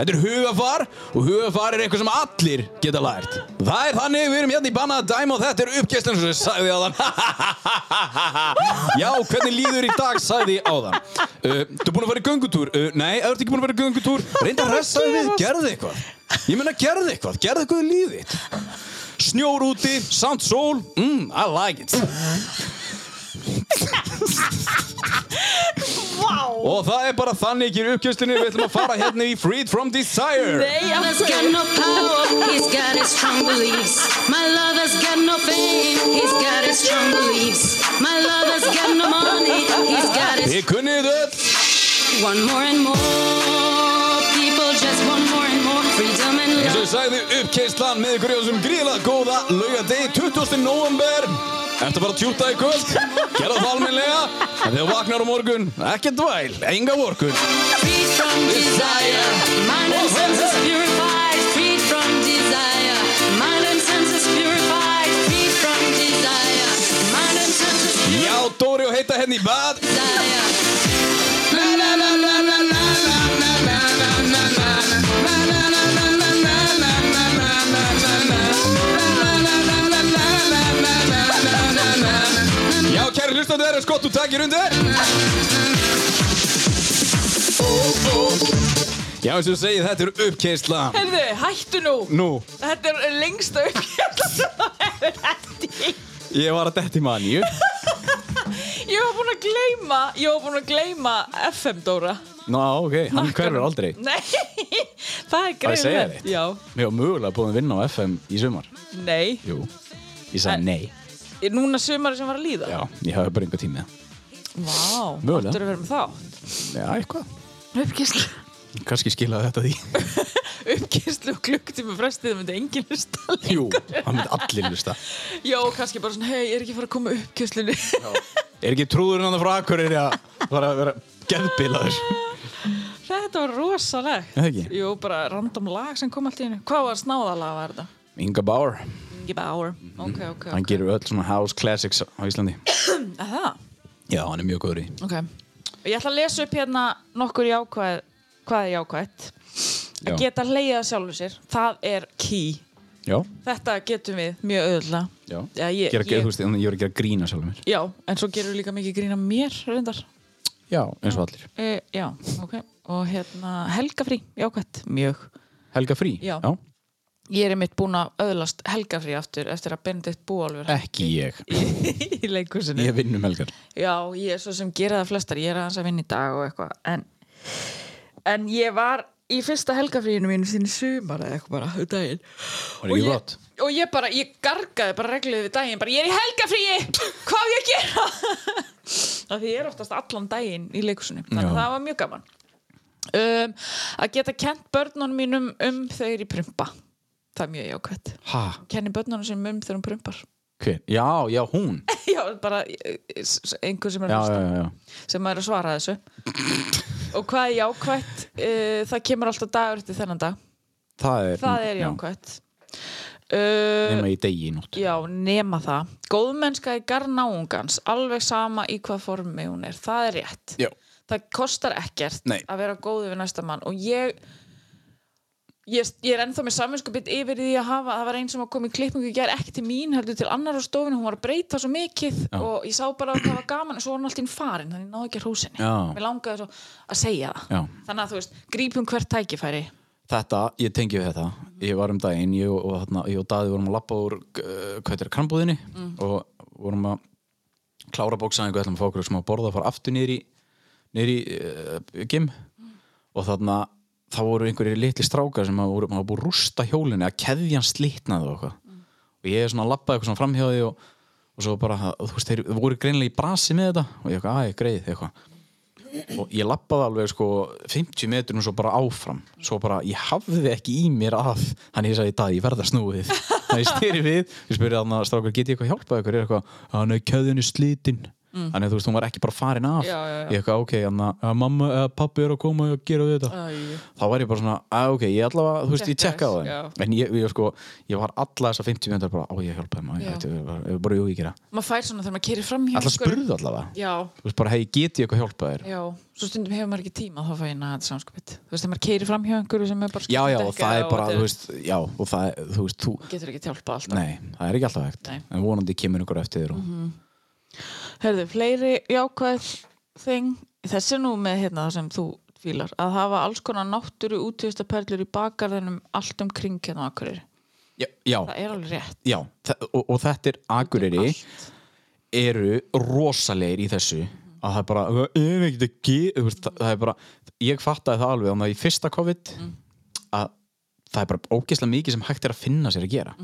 Speaker 2: Þetta er hugafar og hugafar er eitthvað sem allir geta lært. Það er þannig, við erum hérna í bannað að dæma og þetta er uppgæslan sem ég sagði áðan. Já, hvernig líður í dag sagði ég áðan. Uh, þú er búin að fara í göngutúr. Uh, nei, þú ert ekki búin að fara í göngutúr. Reynda að ressaði við, gerðu eitthvað. Ég meina, gerðu eitthvað, gerðu eitthvað í lífið. þitt. Snjór úti, samt sól, mm, I like it.
Speaker 3: Vá
Speaker 2: Og það er bara þannig hér í uppgjörslinni Við ætlum að fara hérna í Freed from Desire
Speaker 3: Nei, af
Speaker 8: lover's got
Speaker 3: hverju?
Speaker 8: no power, he's got his strong beliefs. My lover's got no fame, he's got his strong beliefs. My lover's got no money, he's got his
Speaker 2: Þið kunnið þetta
Speaker 8: One more and more people just want more and more freedom and
Speaker 2: Eins og
Speaker 8: love.
Speaker 2: ég sagði uppgjörslan með ykkur í þessum gríðlega góða laugadegi 20. november Eftir bara tjúta í kvöld Gerða það almennlega En þegar þú vaknar á morgun Ekki dvæl, enga vorkun
Speaker 8: Free from desire, mind and senses purified. Free from desire, mind and senses purified. Free from desire, mind and senses
Speaker 2: Já,
Speaker 8: purified.
Speaker 2: Dóri og heita hérna í bad
Speaker 8: Na, na, na, na, na, na, na, na, na, na, na, na. Na, na, na, na, na, na, na, na, na, na, na, na. Na, na, na, na, na, na, na, na, na, na, na, na.
Speaker 2: Já, kæri hlustandi, það er skott og takir undir Já, eins og ég segi, þetta er uppgjörslan
Speaker 3: Heyrðu, hættu nú
Speaker 2: Nú,
Speaker 3: Þetta er lengsta uppgjörn sem það hefur hætti
Speaker 2: ég var að detti manju
Speaker 3: Ég var búin að gleyma Ég var búin að gleyma FM Dóra
Speaker 2: Ná, ok, hann hverfur aldrei
Speaker 3: Nei, það er
Speaker 2: Á ég
Speaker 3: greið
Speaker 2: að segja þér eitt?
Speaker 3: Já,
Speaker 2: Mér var mögulega búin að vinna á FM í sumar
Speaker 3: nei
Speaker 2: Jú Ég sagði nei
Speaker 3: Ég- Núna sumari sem var að líða
Speaker 2: Já, ég hafði bara einhver tími
Speaker 3: Vá,
Speaker 2: Mögulega.
Speaker 3: áttur að vera með þá
Speaker 2: Já, eitthvað
Speaker 3: Uppgjörn
Speaker 2: Kanski skilaði þetta því
Speaker 3: uppkýrslu og klukktíma frestið það myndi enginn hlusta
Speaker 2: Jú, hann myndi allir lusta
Speaker 3: já, kannski bara svona, hei, ég er ekki að fara að koma uppkýrslunni
Speaker 2: Er ekki trúðurinn hann frá Akureyri að fara að vera geðbilaður?
Speaker 3: þetta var rosalegt
Speaker 2: Er það ekki?
Speaker 3: jú, bara random lag sem kom allt í hennu hvað var snáðalag var þetta?
Speaker 2: Inga Bauer,
Speaker 3: Ingi Bauer, ok, ok,
Speaker 2: Mhm. hann
Speaker 3: ok
Speaker 2: gerur öll svona house classics á Íslandi
Speaker 3: Er það,
Speaker 2: Já, hann er mjög góður í
Speaker 3: ok ég ætla að lesa upp hérna nokkur jákvæð hvað er jákvætt
Speaker 2: Já.
Speaker 3: að geta leiða sjálfur sér, það er key
Speaker 2: Já,
Speaker 3: þetta getum við mjög auðvitað
Speaker 2: já
Speaker 3: Já, ég-
Speaker 2: Gera,
Speaker 3: ég-
Speaker 2: ég... Veist, ég var að gera grína sjálfur mér
Speaker 3: já, en svo gerum við líka mikið grína mér reyndar
Speaker 2: Já, eins og allir
Speaker 3: e, já, ok og hérna, helgafrí, jákvætt, mjög
Speaker 2: Helga Frí
Speaker 3: Já. Ég er einmitt búin að öðlast helgafrí aftur eftir að Benedikt Búálfur
Speaker 2: Ekki ég
Speaker 3: í leikúsinu.
Speaker 2: Ég vinn um helgar
Speaker 3: Já, ég er svo sem gera það flestar, ég er aðeins að vinna í dag og eitthvað. En, en ég var í fyrsta helgafríinu mínu sinni sumar eða eitthvað bara, um daginn.
Speaker 2: Var ekki gott?
Speaker 3: Og ég bara, ég gargaði bara regluði við daginn, bara ég er í helgafríi, hvað á ég að gera? Af því ég er oftast allan daginn í leikúsinu, þannig að
Speaker 2: Já.
Speaker 3: það var mjög gaman. Um, að geta kent börnunum mínum um þau eru í prumpa, það er mjög jákvætt
Speaker 2: Ha,
Speaker 3: kenni börnunum sem um þegar hún prumpar
Speaker 2: hver? Já, já, hún
Speaker 3: já, bara eh, s- einhver sem er,
Speaker 2: Já,
Speaker 3: að
Speaker 2: já,
Speaker 3: hlusta,
Speaker 2: já, já.
Speaker 3: sem er að svara þessu og hvað er jákvætt uh, það kemur alltaf dagur eftir þennan dag
Speaker 2: Það er,
Speaker 3: það er jákvætt uh,
Speaker 2: Nefna í degi í nótt
Speaker 3: já, nema það góðmennska er garnáungans alveg sama í hvað formi hún er það er rétt
Speaker 2: Já.
Speaker 3: það kostar ekkert
Speaker 2: Nei.
Speaker 3: að vera góðu við næsta mann og ég ég, ég er ennþá með samvinskupið yfir því að hafa það var einn sem var komið í klippingu í gerð ekki til mín heldur til annar á stofinu, hún var að breyta svo mikið og ég sá bara að það var gaman en svo var hún alltaf inn farin, þannig ég náði ekki að hrósinni
Speaker 2: Já.
Speaker 3: mér langaði svo að segja það
Speaker 2: Já.
Speaker 3: þannig að þú veist, grípum hvert tækifæri
Speaker 2: Þetta, ég tengi við þetta Ég var um daginn, ég og, og, þarna, ég og Daði vorum að lappa úr uh, hvað þetta er krambúðinni og vorum að klára bóksaðingu ætlum að fá okkur sem að borða að fara aftur niður í niður í uh, gym eh, og þarna þá voru einhverjir litli strákar sem hafa voru, hafa búið að rústa hjólinu að keðjan slitnaði og eitthvað og ég er svona að labbaði eitthvað svona framhjáði og, og svo bara, þú veist, þeir voru greinlega í brasi með þetta og ég eitthvað, aðeins, greið, eitthvað og ég labbaði alveg sko 50 metrum svo bara áfram svo bara, ég hafði ekki í mér að hann ég sagði í dag, ég verða snúið þannig ég styrir við, ég spurði hann að strákar get ég eitthvað hjálpað ykkur, ég er eitthvað, hann er keðjunni slitin þannig að þú veist, hún var ekki bara farin af
Speaker 3: Mm. Já, já, já.
Speaker 2: ég eitthvað, ok, hann að mamma, eða pappi er að koma og gera við þetta
Speaker 3: Æ.
Speaker 2: þá var ég bara svona, að ok, ég allavega þú veist, ég
Speaker 3: Checka
Speaker 2: tjekkaði á
Speaker 3: þess,
Speaker 2: þeim en ég, ég sko, ég var alla þessa 50 minnur bara, á ég að hjálpa þeim, á ég
Speaker 3: Já.
Speaker 2: ætti- ég bara- ég bara, jú, ég gera
Speaker 3: maður fær svona þegar maður kýrir fram hjá
Speaker 2: alltaf
Speaker 3: einhverjum.
Speaker 2: spurðu allavega,
Speaker 3: já,
Speaker 2: þú veist, bara, hei, get ég eitthvað hjálpað þér
Speaker 3: já, svo stundum hefur maður ekki tíma þá fæ ég næða þetta samskupið þú veist þegar maður kýrir fram hjá einhverju sem er bara
Speaker 2: já, já,
Speaker 3: skotið
Speaker 2: og
Speaker 3: dekka
Speaker 2: það er
Speaker 3: og
Speaker 2: bara,
Speaker 3: þetta
Speaker 2: þú veist já, og það er, þú veist, þú
Speaker 3: getur ekki tjálpa alltaf
Speaker 2: nei, það er ekki alltaf hægt,
Speaker 3: Nei. Mhm.
Speaker 2: en vonandi kemur ykkur eftir þér og
Speaker 3: Herðu, fleiri jákvæð þing, þessi nú með hérna það sem þú fílar, að hafa alls konar náttúru útvistaperlur í bakarðinum allt um kring hérna á Akureyri.
Speaker 2: já, já,
Speaker 3: Það er alveg rétt.
Speaker 2: já þa- og, og þetta er Akureyri eru rosalegir í þessu að það er bara, "Við erum ekkert að ge-" þú veist, það- það er bara, ég fattaði það alveg þannig að í fyrsta COVID að það er bara ógeðslega mikið sem hægt er að finna sér að gera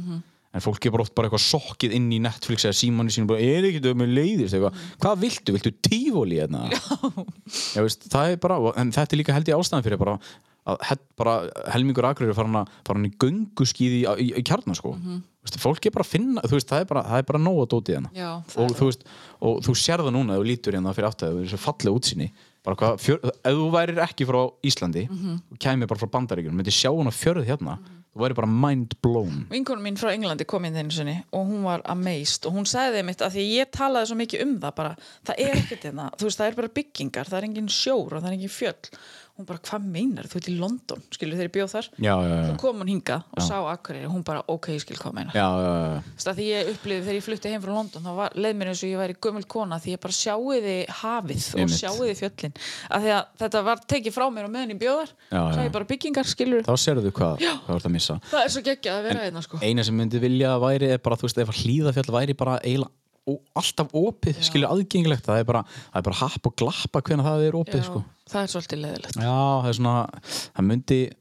Speaker 2: en fólk er bara oft bara eitthvað sokkið inn í Netflix eða símanu sínu, bara, er ekkert að með leiðist eitthvað, hvað viltu, viltu tífóli hérna? Já, veist, það er bara, en þetta er líka held ég ástæðan fyrir bara að hel, bara, helmingur akrur er farin að fara hann í gönguskýði í, í, í kjarnar sko veist, fólk er bara að finna, þú veist, það er bara, það er bara nóg að dóti hérna
Speaker 3: Já, það
Speaker 2: og, þú veist, og þú sér það núna ef þú lítur hérna fyrir áttið, þú er svo fallega útsýni bara hvað, fjör, ef þú værir ekki frá Íslandi
Speaker 3: Mhm.
Speaker 2: og kæmir bara frá Bandaríkjunum myndi sjá hana fjörð hérna þú væri bara mind blown
Speaker 3: Vinkonum mín frá Englandi kom inn einu sinni og hún var amazed og hún sagði þeim mitt að því að ég talaði svo mikið um það bara, það er ekkert hérna, þú veist það er bara byggingar, það er engin sjór og það er engin fjöll. Hún bara, hvað meinar þú ert í London, skilur þeir bjóð þar?
Speaker 2: já, já, já,
Speaker 3: Svo kom hún hinga og sá Akureyri og hún bara, ok, ég skil hvað meinar.
Speaker 2: já, já, já.
Speaker 3: Þess að því ég upplifði þegar ég flutti heim frá London þá var, leið mér eins og ég væri gömul kona því ég bara sjáiði hafið og
Speaker 2: Einmitt.
Speaker 3: sjáiði fjöllin að því að þetta var tekið frá mér og meðan í bjóðar
Speaker 2: Já,
Speaker 3: svo
Speaker 2: já.
Speaker 3: ég bara byggingar skilur
Speaker 2: þá sérðu hvað, hvað þú ert að missa
Speaker 3: það er svo geggjað að vera einna sko
Speaker 2: eina sem myndi vilja að væri er bara, þú veist, ef að hlýðafjall væri bara eiginlega ó- alltaf opið, skilur aðgengilegt það er bara, það er bara happ og glappa hvenær það er opið,
Speaker 3: Já,
Speaker 2: sko
Speaker 3: það er svolítið leiðilegt
Speaker 2: já, það er svona, það myndi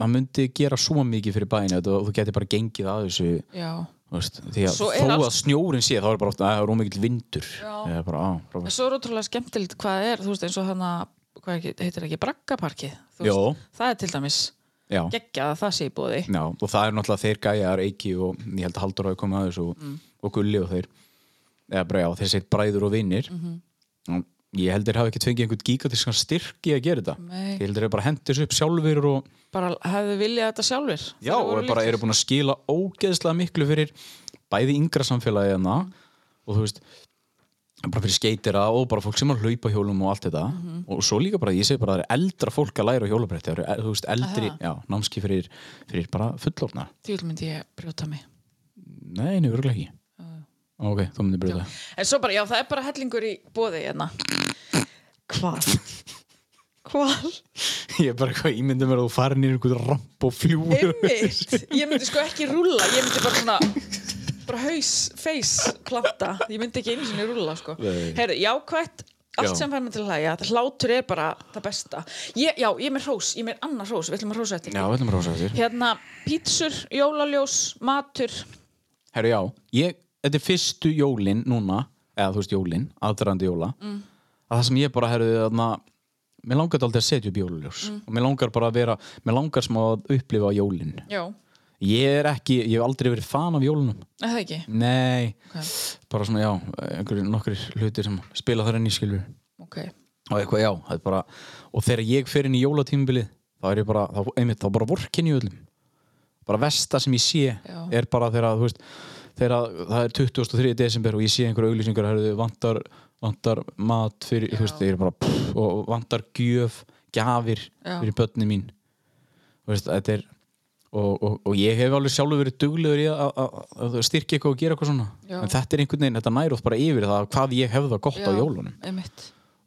Speaker 2: það myndi gera svo mikið fyrir bæinu og þú geti bara gengið að þessu
Speaker 3: já.
Speaker 2: þú veist, því að
Speaker 3: Svo er
Speaker 2: þó
Speaker 3: allt-
Speaker 2: að snjórin sé þá er bara ofta, það er ómikil vindur
Speaker 3: Já.
Speaker 2: Ég er bara, á,
Speaker 3: En
Speaker 2: bara,
Speaker 3: svo er ótrúlega skemmtilegt hvað það er þú veist eins og hana, hvað ekki, heitir ekki braggaparkið, þú
Speaker 2: Jó.
Speaker 3: veist, það er til dæmis
Speaker 2: já
Speaker 3: geggjað að það sé í bóði
Speaker 2: Já, og það er náttúrulega þeir gæjar Eiki og ég held að Haldur hafi komið að þessu og,
Speaker 3: Mm.
Speaker 2: og Gulli og þeir eða bara já, þeir seitt bræður og vinnir
Speaker 3: Mhm.
Speaker 2: og ég held þeir hafi ekki tvingið einhvern gigantískan styrki að gera þetta
Speaker 3: Nei.
Speaker 2: ég held þeir hafi bara hendið þessu upp sjálfur og
Speaker 3: bara hefðu viljað þetta sjálfur
Speaker 2: já,
Speaker 3: Þeir
Speaker 2: og
Speaker 3: voru
Speaker 2: bara
Speaker 3: litlir.
Speaker 2: eru búin að skila ógeðslega miklu fyrir bæði yngra samfélagi hana og þú veist bara fyrir skeitira og bara fólk sem er að hlaupa hjólum og allt þetta
Speaker 3: Mhm.
Speaker 2: og svo líka bara, ég segi bara það er eldra fólk að læra á hjólabretti það eru, eh, þú veist, eldri,
Speaker 3: Aha.
Speaker 2: já, námski fyrir, fyrir bara fullorna
Speaker 3: Djöfull myndi ég brjóta mig
Speaker 2: Nei, nefnilega ekki Ok, þú myndir brjóta
Speaker 3: En svo bara, já, það er bara hellingur í bóði hérna. Hvað? Hvað?
Speaker 2: Ég er bara eitthvað ímyndið mér að þú farir nýr einhvern ramp og fljúur
Speaker 3: Einmitt. Ég myndi sko ekki rúlla, ég myndi bara svona, bara haus, feis, klanta. Ég myndi ekki einu sinni rúlla, sko.
Speaker 2: Nei.
Speaker 3: Herru, jákvætt, allt
Speaker 2: Já.
Speaker 3: sem fær mig til að hlæja, þetta hlátur er bara það besta. Ég, já, ég er með hrós, ég er með annar hrós, við ætlum að hrósa eftir.
Speaker 2: Já, við ætlum að rosa þér
Speaker 3: Hérna, pítsur, jólaljós, matur,
Speaker 2: Herru, já, ég, þetta er fyrstu jólin núna eða þú veist jólin, aðdraðandi jóla að það sem ég bara herðu þarna mér langar þetta aldrei að setja upp jóluljós og mér langar bara að vera, mér langar smá að upplifa jólin.
Speaker 3: já,
Speaker 2: Ég er ekki, ég hef aldrei verið fan af jólunum
Speaker 3: er það ekki?
Speaker 2: Nei,
Speaker 3: Ok.
Speaker 2: bara svona já einhverjir nokkrir hlutir sem spila þar enn í skilur
Speaker 3: Ok,
Speaker 2: og eitthvað já, það er bara og þegar ég fer inn í jólatímabilið þá er ég bara, þá, einmitt, þá bara vorkinn í öllum bara versta sem ég sé
Speaker 3: Já.
Speaker 2: er bara þegar, að, þú veist þegar að það er 23. desember og ég sé einhverja auglýsingar, herðu, vantar vantar mat fyrir, þú veist, ég er bara pff, og vantar gjöf, gjafir
Speaker 3: Já.
Speaker 2: fyrir börnin mín þú veist, þetta er og, og, og ég hef alveg sjálfur verið duglegur í að- að að- að styrkja eitthvað og gera eitthvað svona
Speaker 3: Já.
Speaker 2: en þetta er einhvern veginn, þetta nær oft bara yfir það hvað ég hef það gott á jólunum
Speaker 3: Einmitt.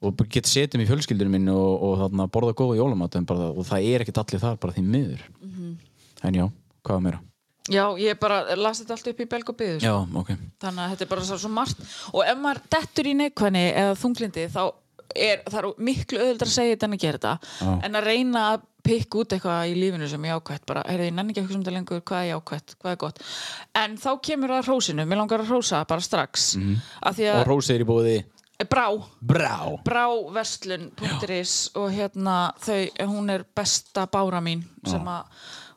Speaker 2: og bara get setið mér í fjölskyldunum minn og, og þarna borða góða jólamat en bara, og það er ekkert allir þar bara því miður
Speaker 3: Mhm.
Speaker 2: en já, hvað meira
Speaker 3: Já, ég bara las þetta allt upp í belg og sko. byður,
Speaker 2: já, ok,
Speaker 3: þannig að þetta er bara svo- svo margt og ef maður dettur í neikvæðni eða þunglindi þá er það er miklu auðvitað að segja þetta en að gera þetta
Speaker 2: Já.
Speaker 3: en að reyna að pikk út eitthvað í lífinu sem ég ákvætt bara, heyrðu, ég nenni ekki eitthvað sem þetta lengur hvað ég ákvætt, hvað er gott en þá kemur það hrósinu, mér langar að hrósa bara strax mm að því
Speaker 2: Mhm. Og
Speaker 3: að
Speaker 2: Rósi er í bóði
Speaker 3: brá,
Speaker 2: Brá
Speaker 3: bráverslun.is og hérna þau, hún er besta bára mín sem að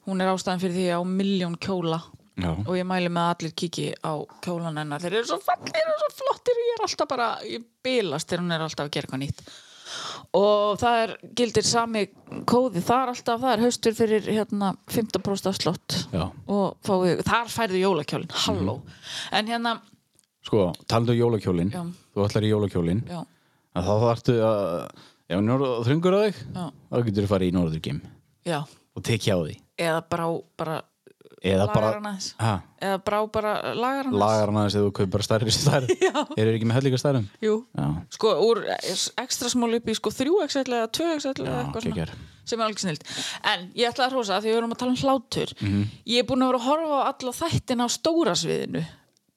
Speaker 3: hún er ástæðan fyrir því að ég á miljón kjóla
Speaker 2: Já.
Speaker 3: og ég mæli með að allir kiki á kjólan hennar, þeir eru svo fallir og svo flottir og ég er alltaf bara, ég bilast þegar hún er alltaf að gera eitthvað nýtt og það er, gildir sami kóði þar alltaf, það er haustur fyrir hérna 15% afslott
Speaker 2: Já.
Speaker 3: og fáið, þar færðu jólakjólin halló, en hérna
Speaker 2: Sko, talandu um jólakjólin
Speaker 3: Já.
Speaker 2: Þú ætlar í jólakjólin
Speaker 3: já,
Speaker 2: En þá þarftu að Ef hann er þröngur á þig
Speaker 3: Já.
Speaker 2: Þá getur þú farið í Norðurgim
Speaker 3: já
Speaker 2: Og tekja á því
Speaker 3: eða brá bara
Speaker 2: Eða
Speaker 3: lagar hann
Speaker 2: bara
Speaker 3: aðeins
Speaker 2: ha,
Speaker 3: eða brá bara lagar hann aðeins
Speaker 2: Lagar hann aðeins eða þú kaupar stærri stærri Eru þeir ekki með höllíka stærrum?
Speaker 3: Jú.
Speaker 2: Já,
Speaker 3: sko úr ekstra smól upp í sko þrjú XL eða tvö XL eða
Speaker 2: Já,
Speaker 3: eitthvað svona
Speaker 2: geggjað.
Speaker 3: sem er alveg snild en ég ætla að hrósa af því við erum að tala um hlátur
Speaker 2: Mhm.
Speaker 3: ég er búin að vera að horfa á alla þættin á stóra sviðinu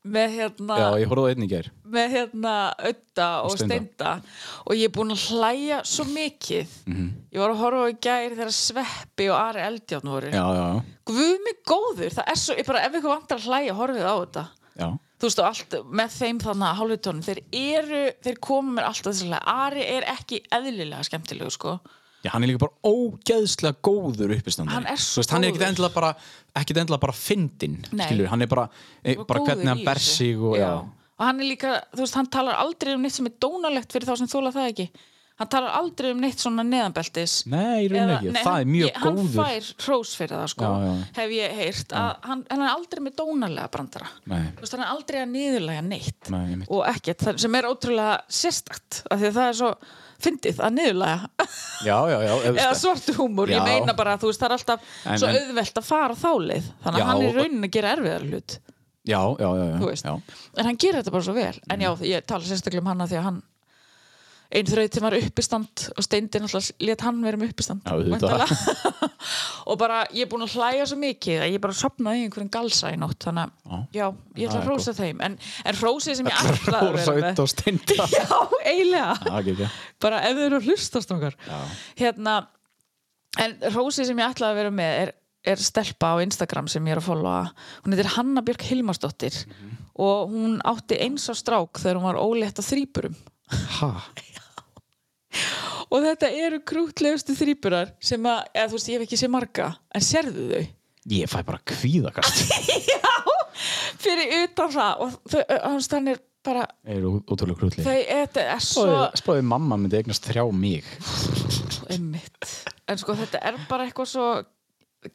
Speaker 3: með hérna
Speaker 2: já ég horfði á einn í gær
Speaker 3: með hérna Ötta og
Speaker 2: Steinda.
Speaker 3: Steinda og ég er búin að hlæja svo mikið
Speaker 2: Mhm.
Speaker 3: ég var að horfa á í gær þegar Sveppi og Ari Eldjárn voru
Speaker 2: Já, já, já,
Speaker 3: guð mig góður, það er svo ég bara, ef ykkur vantar að hlæja, horfið á þetta
Speaker 2: já.
Speaker 3: þú veist og allt með þeim þannig að hálfutónum þeir eru, þeir koma mér alltaf þess að hlæja. Ari er ekki eðlilega skemmtilegu sko
Speaker 2: Já, hann er líka bara ógeðslega góður uppistandari.
Speaker 3: Hann er svo
Speaker 2: Þú veist, Hann er ekkit
Speaker 3: góður.
Speaker 2: endilega bara, ekkit endilega bara fyndin,
Speaker 3: Nei.
Speaker 2: skilur. Hann er bara, e,
Speaker 3: Og
Speaker 2: bara
Speaker 3: góður
Speaker 2: hvernig hann
Speaker 3: í
Speaker 2: ber
Speaker 3: þessu.
Speaker 2: sig og, já.
Speaker 3: og hann er líka, þú veist, hann talar aldrei um neitt sem er dónalegt fyrir þá sem þóla það ekki hann talar aldrei um neitt svona neðanbeltis
Speaker 2: Nei, í raun
Speaker 3: Eða-
Speaker 2: ekki.
Speaker 3: nei,
Speaker 2: það
Speaker 3: hann-
Speaker 2: er mjög
Speaker 3: ég-
Speaker 2: góður.
Speaker 3: hann fær hrós fyrir það sko,
Speaker 2: Já, já.
Speaker 3: hef ég heyrt að hann, hann er aldrei með dónalega brandara
Speaker 2: Nei.
Speaker 3: Þú veist, hann er aldrei að niðurlega neitt
Speaker 2: Nei, einmitt.
Speaker 3: og ekkert, það- sem er ótrúlega sérstakt af því að það er svo fyndið að niðurlega
Speaker 2: Já, já, já. ef-
Speaker 3: eða svartu húmur, ég
Speaker 2: Já.
Speaker 3: meina bara að þú veist það er alltaf
Speaker 2: En-
Speaker 3: svo
Speaker 2: en-
Speaker 3: auðvelt að fara þálið þannig
Speaker 2: Já,
Speaker 3: að hann er
Speaker 2: og-
Speaker 3: raunin að gera erfiðar hlut
Speaker 2: Já, já, já. já,
Speaker 3: þú veist,
Speaker 2: já. Mm.
Speaker 3: en hann gerir þetta bara svo vel en já, ég tala sérstaklega um hann að því að hann einn þraut sem var uppistand og steindin alltaf let hann vera með uppistand
Speaker 2: Já, auðvitað.
Speaker 3: væntanlega. og bara ég er búin að hlæja svo mikið að ég bara sopnaði í einhverjum galsa í nótt þannig að já, ég
Speaker 2: Það
Speaker 3: ætla að
Speaker 2: er
Speaker 3: rósa þeim en, en rósið sem ég ætla að vera
Speaker 2: Rósa
Speaker 3: með
Speaker 2: upp á steinda.
Speaker 3: já, eiginlega
Speaker 2: Já, ekki, ekki.
Speaker 3: bara ef þau eru að hlustast okkar hérna en rósið sem ég ætlaði að vera með er, er stelpa á Instagram sem ég er að followa hún heitir Hanna Björk Hilmarsdóttir og hún átti eins á strák þegar hún var ólétt á þrýburum
Speaker 2: Ha,
Speaker 3: og þetta eru krútlegustu þrýburar sem að, eða þú veist, ég hef ekki sé marga en sérðu þau
Speaker 2: ég fæ bara kvíðakast.
Speaker 3: fyrir utan það og þau, hans þannig er bara
Speaker 2: Það er ótrúlega
Speaker 3: þau,
Speaker 2: krútlega.
Speaker 3: þetta er svo
Speaker 2: Spáði, spáði mamma myndi eignast þrjá mig.
Speaker 3: einmitt. en sko þetta er bara eitthvað svo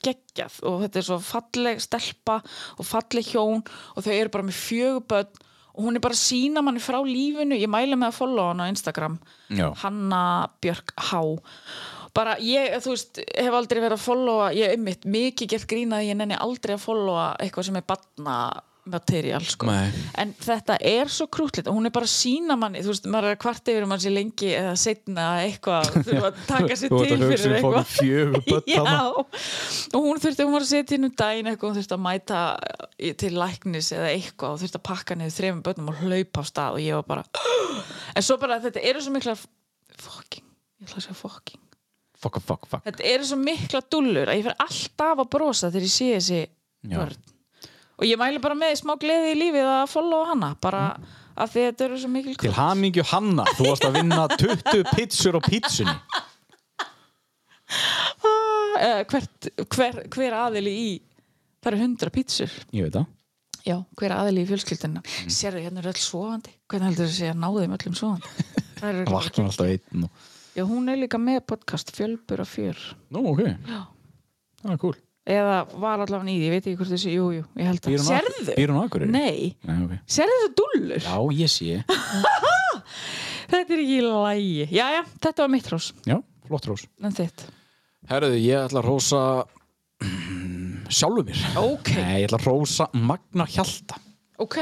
Speaker 3: geggjað og þetta er svo falleg stelpa og falleg hjón og þau eru bara með fjöguböld og hún er bara að sína manni frá lífinu ég mæli með að followa hann á Instagram
Speaker 2: Já.
Speaker 3: Hanna Björk H bara ég, þú veist, hef aldrei verið að followa ég einmitt mikið gert grína að ég nenni aldrei að followa eitthvað sem er batna material sko
Speaker 2: Nei.
Speaker 3: en þetta er svo krútlegt og hún er bara að sína manni þú veist, maður er að kvarta yfir um hann sér lengi eða setna eitthvað, þurfa að taka sér
Speaker 2: Þú ert
Speaker 3: til
Speaker 2: að hugsa
Speaker 3: fyrir
Speaker 2: um fókin
Speaker 3: eitthvað
Speaker 2: fjögur börn
Speaker 3: Já,
Speaker 2: þarna.
Speaker 3: og hún þurfti, hún var að setja inn um daginn eitthvað, hún þurfti að mæta í- til læknis eða eitthvað og þurfti að pakka niður þremur börnum og hlaupa á stað og ég var bara en svo bara þetta eru svo mikla fucking, ég ætla að segja fucking
Speaker 2: Fuck, fuck, fuck.
Speaker 3: þetta eru svo mikla dullur að ég fer alltaf að brosa þegar ég sé þessi
Speaker 2: Já.
Speaker 3: börn og ég mæli bara með smá gleði í lífið að followa hana bara af því að þetta eru svo mikil
Speaker 2: Mm. Til hamingju Hanna, þú varst að vinna 20 pítsur á pítsunni.
Speaker 3: uh, hvert, hver, hver aðili í það eru hundra pítsur
Speaker 2: Ég veit það.
Speaker 3: já, hver aðili í fjölskyldina mm. sérðu hérna eru öll svovandi hvernig heldur þessi að ná þeim öllum svovandi Það eru
Speaker 2: Það
Speaker 3: örugglega-
Speaker 2: vaknar alltaf einn og...
Speaker 3: já, hún er líka með podcast fjölbur og fjör
Speaker 2: Nú, ok. Já. Það er cool.
Speaker 3: eða var allavega í því, ég veit ekki hvort þessi jú, jú, ég held
Speaker 2: Býr hún á Akurey-
Speaker 3: að, sérðu
Speaker 2: Býr hún á Akureyri?
Speaker 3: nei,
Speaker 2: Nei, ok.
Speaker 3: sérðu þessi dullur
Speaker 2: Já, ég sé.
Speaker 3: Þetta er ekki í lægi. Jæja, þetta var mitt rós,
Speaker 2: Já, flott rós.
Speaker 3: en þitt.
Speaker 2: Herðu, ég ætla að rósa sjálfu mér.
Speaker 3: Ok.
Speaker 2: Nei, ég ætla að rósa Magna Hjalta.
Speaker 3: Ok.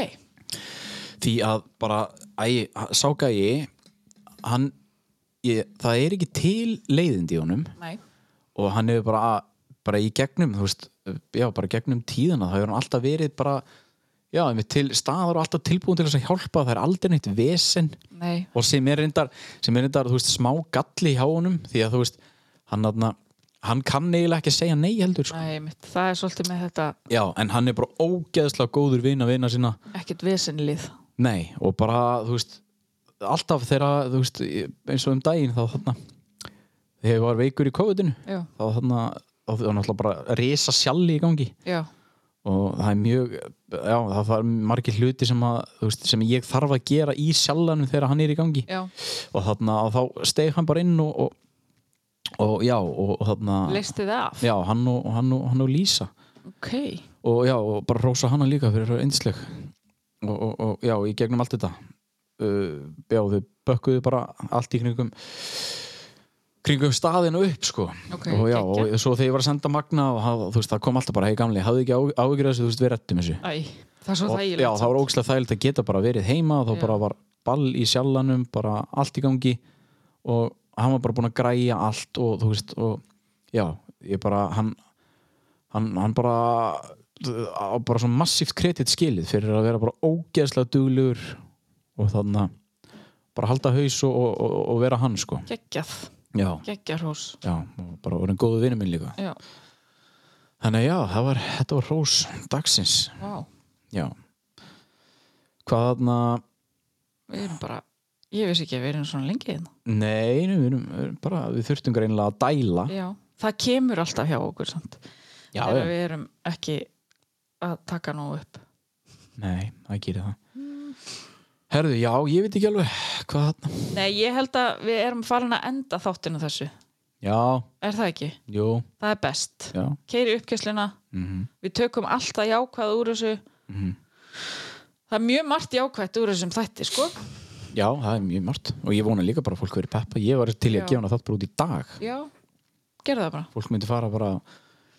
Speaker 2: Því að bara, æ, sáka ég, hann, ég, það er ekki til leiðindi í honum.
Speaker 3: Nei.
Speaker 2: og hann hefur bara, bara í gegnum þú veist, já, bara gegnum tíðana þá hefur hann alltaf verið bara já, einmitt til staðar og alltaf tilbúin til þess að hjálpa það er aldrei neitt vesen
Speaker 3: Nei.
Speaker 2: og sem er reyndar, sem er reyndar þú veist, smá galli hjá honum því að þú veist, hann aðna hann kann eiginlega ekki að segja nei heldur sko.
Speaker 3: Æ, mitt, það er svolítið með þetta
Speaker 2: já, en hann er bara ógeðslega góður vina vina sína,
Speaker 3: ekkert vesenlið
Speaker 2: nei, og bara, þú veist alltaf þegar, þú veist eins og um daginn, þá þarna þegar ég var veikur í COVID-inu
Speaker 3: Já,
Speaker 2: þá þarna, þá var náttúrulega bara risa sjalli í gangi
Speaker 3: já,
Speaker 2: og það er mjög, já, það er margir hluti sem, að, þú veist, sem ég þarf að gera í sjallanum þegar hann er í gangi
Speaker 3: já
Speaker 2: og þarna, og þá steg hann bara inn og, og, og já, og, og þarna
Speaker 3: Ah. Leistið það af?
Speaker 2: já, hann og, og hann og, hann og Lísa
Speaker 3: Ok,
Speaker 2: og já, og bara rósa hana líka fyrir að einsleg og, og, og já, í gegnum allt þetta uh, já, þau bökkuðu bara allt í kringum kringum staðinu upp sko
Speaker 3: Ok,
Speaker 2: og já,
Speaker 3: geggjað.
Speaker 2: og svo þegar ég var að senda Magna og hann, þú veist, það kom alltaf bara, hei gamli, hafðu ekki áhyggjur þessu, þú veist, við rettum þessu
Speaker 3: æ, það er svo
Speaker 2: og,
Speaker 3: þægilegt
Speaker 2: já, það var ógæslega þægilegt að geta bara verið heima þá
Speaker 3: Já.
Speaker 2: bara var ball í sjallanum bara allt í gangi og hann var bara búinn að græja allt og þú veist, og já ég bara, hann hann, hann bara á bara svo massíft kredit skilið fyrir að vera bara ógeðslega duglegur og þannig að bara halda haus og, og, og, og vera hann sko
Speaker 3: Geggjað,
Speaker 2: já,
Speaker 3: geggjað hrós
Speaker 2: já, og bara verið góðu vinur minn líka
Speaker 3: Já,
Speaker 2: þannig að já, það var, þetta var hrós dagsins,
Speaker 3: vá,
Speaker 2: já hvað þarna
Speaker 3: við erum bara Ég vissi ekki að við erum svona lengi hérna
Speaker 2: Nei, nei, við, erum, við erum bara, við þurftum greinlega að dæla
Speaker 3: Já, það kemur alltaf hjá okkur samt
Speaker 2: Já,
Speaker 3: Þegar
Speaker 2: já.
Speaker 3: við erum ekki að taka nóg upp
Speaker 2: Nei, það gerir það
Speaker 3: Mm.
Speaker 2: Herðu, já, ég veit ekki alveg hvað þarna
Speaker 3: Nei, ég held að við erum farin að enda þáttinu þessu
Speaker 2: Já,
Speaker 3: Er það ekki?
Speaker 2: jú,
Speaker 3: Það er best
Speaker 2: já
Speaker 3: Keiri uppkessluna,
Speaker 2: mhm,
Speaker 3: við tökum alltaf jákvæð úr þessu
Speaker 2: mhm.
Speaker 3: Það er mjög margt jákvætt úr þessum þætti, sko
Speaker 2: Já, það er mjög margt og ég vona líka bara að fólk verið peppa Ég var til í
Speaker 3: Já.
Speaker 2: að gefa hana þátt bara út í dag
Speaker 3: Já, gerðu það bara
Speaker 2: Fólk myndi fara bara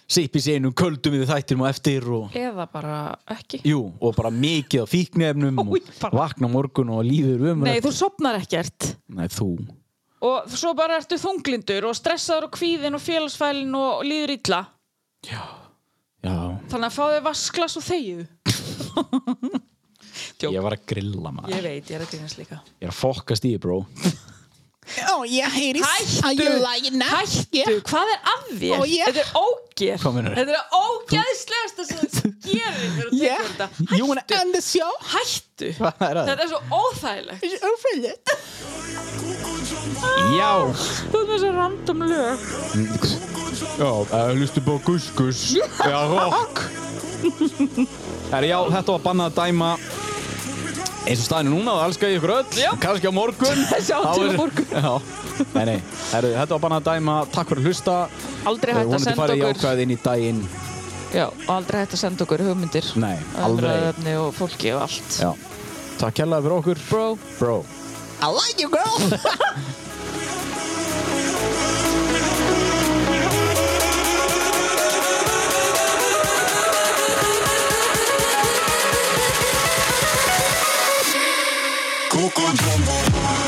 Speaker 2: Sipi sénum, köldum við þættir og eftir og
Speaker 3: Eða bara ekki
Speaker 2: Jú, og bara mikið á fíknefnum
Speaker 3: Ó,
Speaker 2: og
Speaker 3: ég bara-
Speaker 2: vakna á morgun og líður um
Speaker 3: Nei, þú sopnar ekkert
Speaker 2: Nei, þú
Speaker 3: og svo bara ertu þunglindur og stressaður og kvíðin og félagsfælin og líður illa
Speaker 2: Já,
Speaker 3: þannig að fá þau vasklas og þegju
Speaker 2: ég
Speaker 3: Djók.
Speaker 2: var að grilla maður
Speaker 3: ég veit, ég er að grínast líka
Speaker 2: Ég er að fokkast í, bró
Speaker 3: Hættu, hættu, hvað er að þér? Þetta er ógeð
Speaker 2: Hvað meinarðu?
Speaker 3: Þetta er ógeðslegasta sem þú gerir þegar þú tekur þetta
Speaker 2: You wanna end the show?
Speaker 3: Hættu,
Speaker 2: Hvað er að?
Speaker 3: þetta er svo óþægilegt
Speaker 2: Já
Speaker 3: Þú er með svo random lög
Speaker 2: Já, uh, hlustu búið Gus Gus Já, rock Herri, já, þetta var bannað að dæma eins og staðinu núna þá elskar ég ykkur öll,
Speaker 3: Já.
Speaker 2: kannski á morgun
Speaker 3: Sjáum
Speaker 2: Þá
Speaker 3: til á
Speaker 2: er-
Speaker 3: morgun.
Speaker 2: Já, nei, nei, herri, þetta var bannað að dæma Takk fyrir að hlusta
Speaker 3: Aldrei
Speaker 2: Þau
Speaker 3: hægt að
Speaker 2: vonandi
Speaker 3: senda
Speaker 2: farið
Speaker 3: okkur
Speaker 2: jákvæð inn í daginn
Speaker 3: Já, og aldrei hægt að senda okkur hugmyndir
Speaker 2: Nei, aldrei
Speaker 3: Umræðefni og fólki og allt
Speaker 2: Já, takk kærlega fyrir okkur Bro Bro
Speaker 7: Coco Jumbo.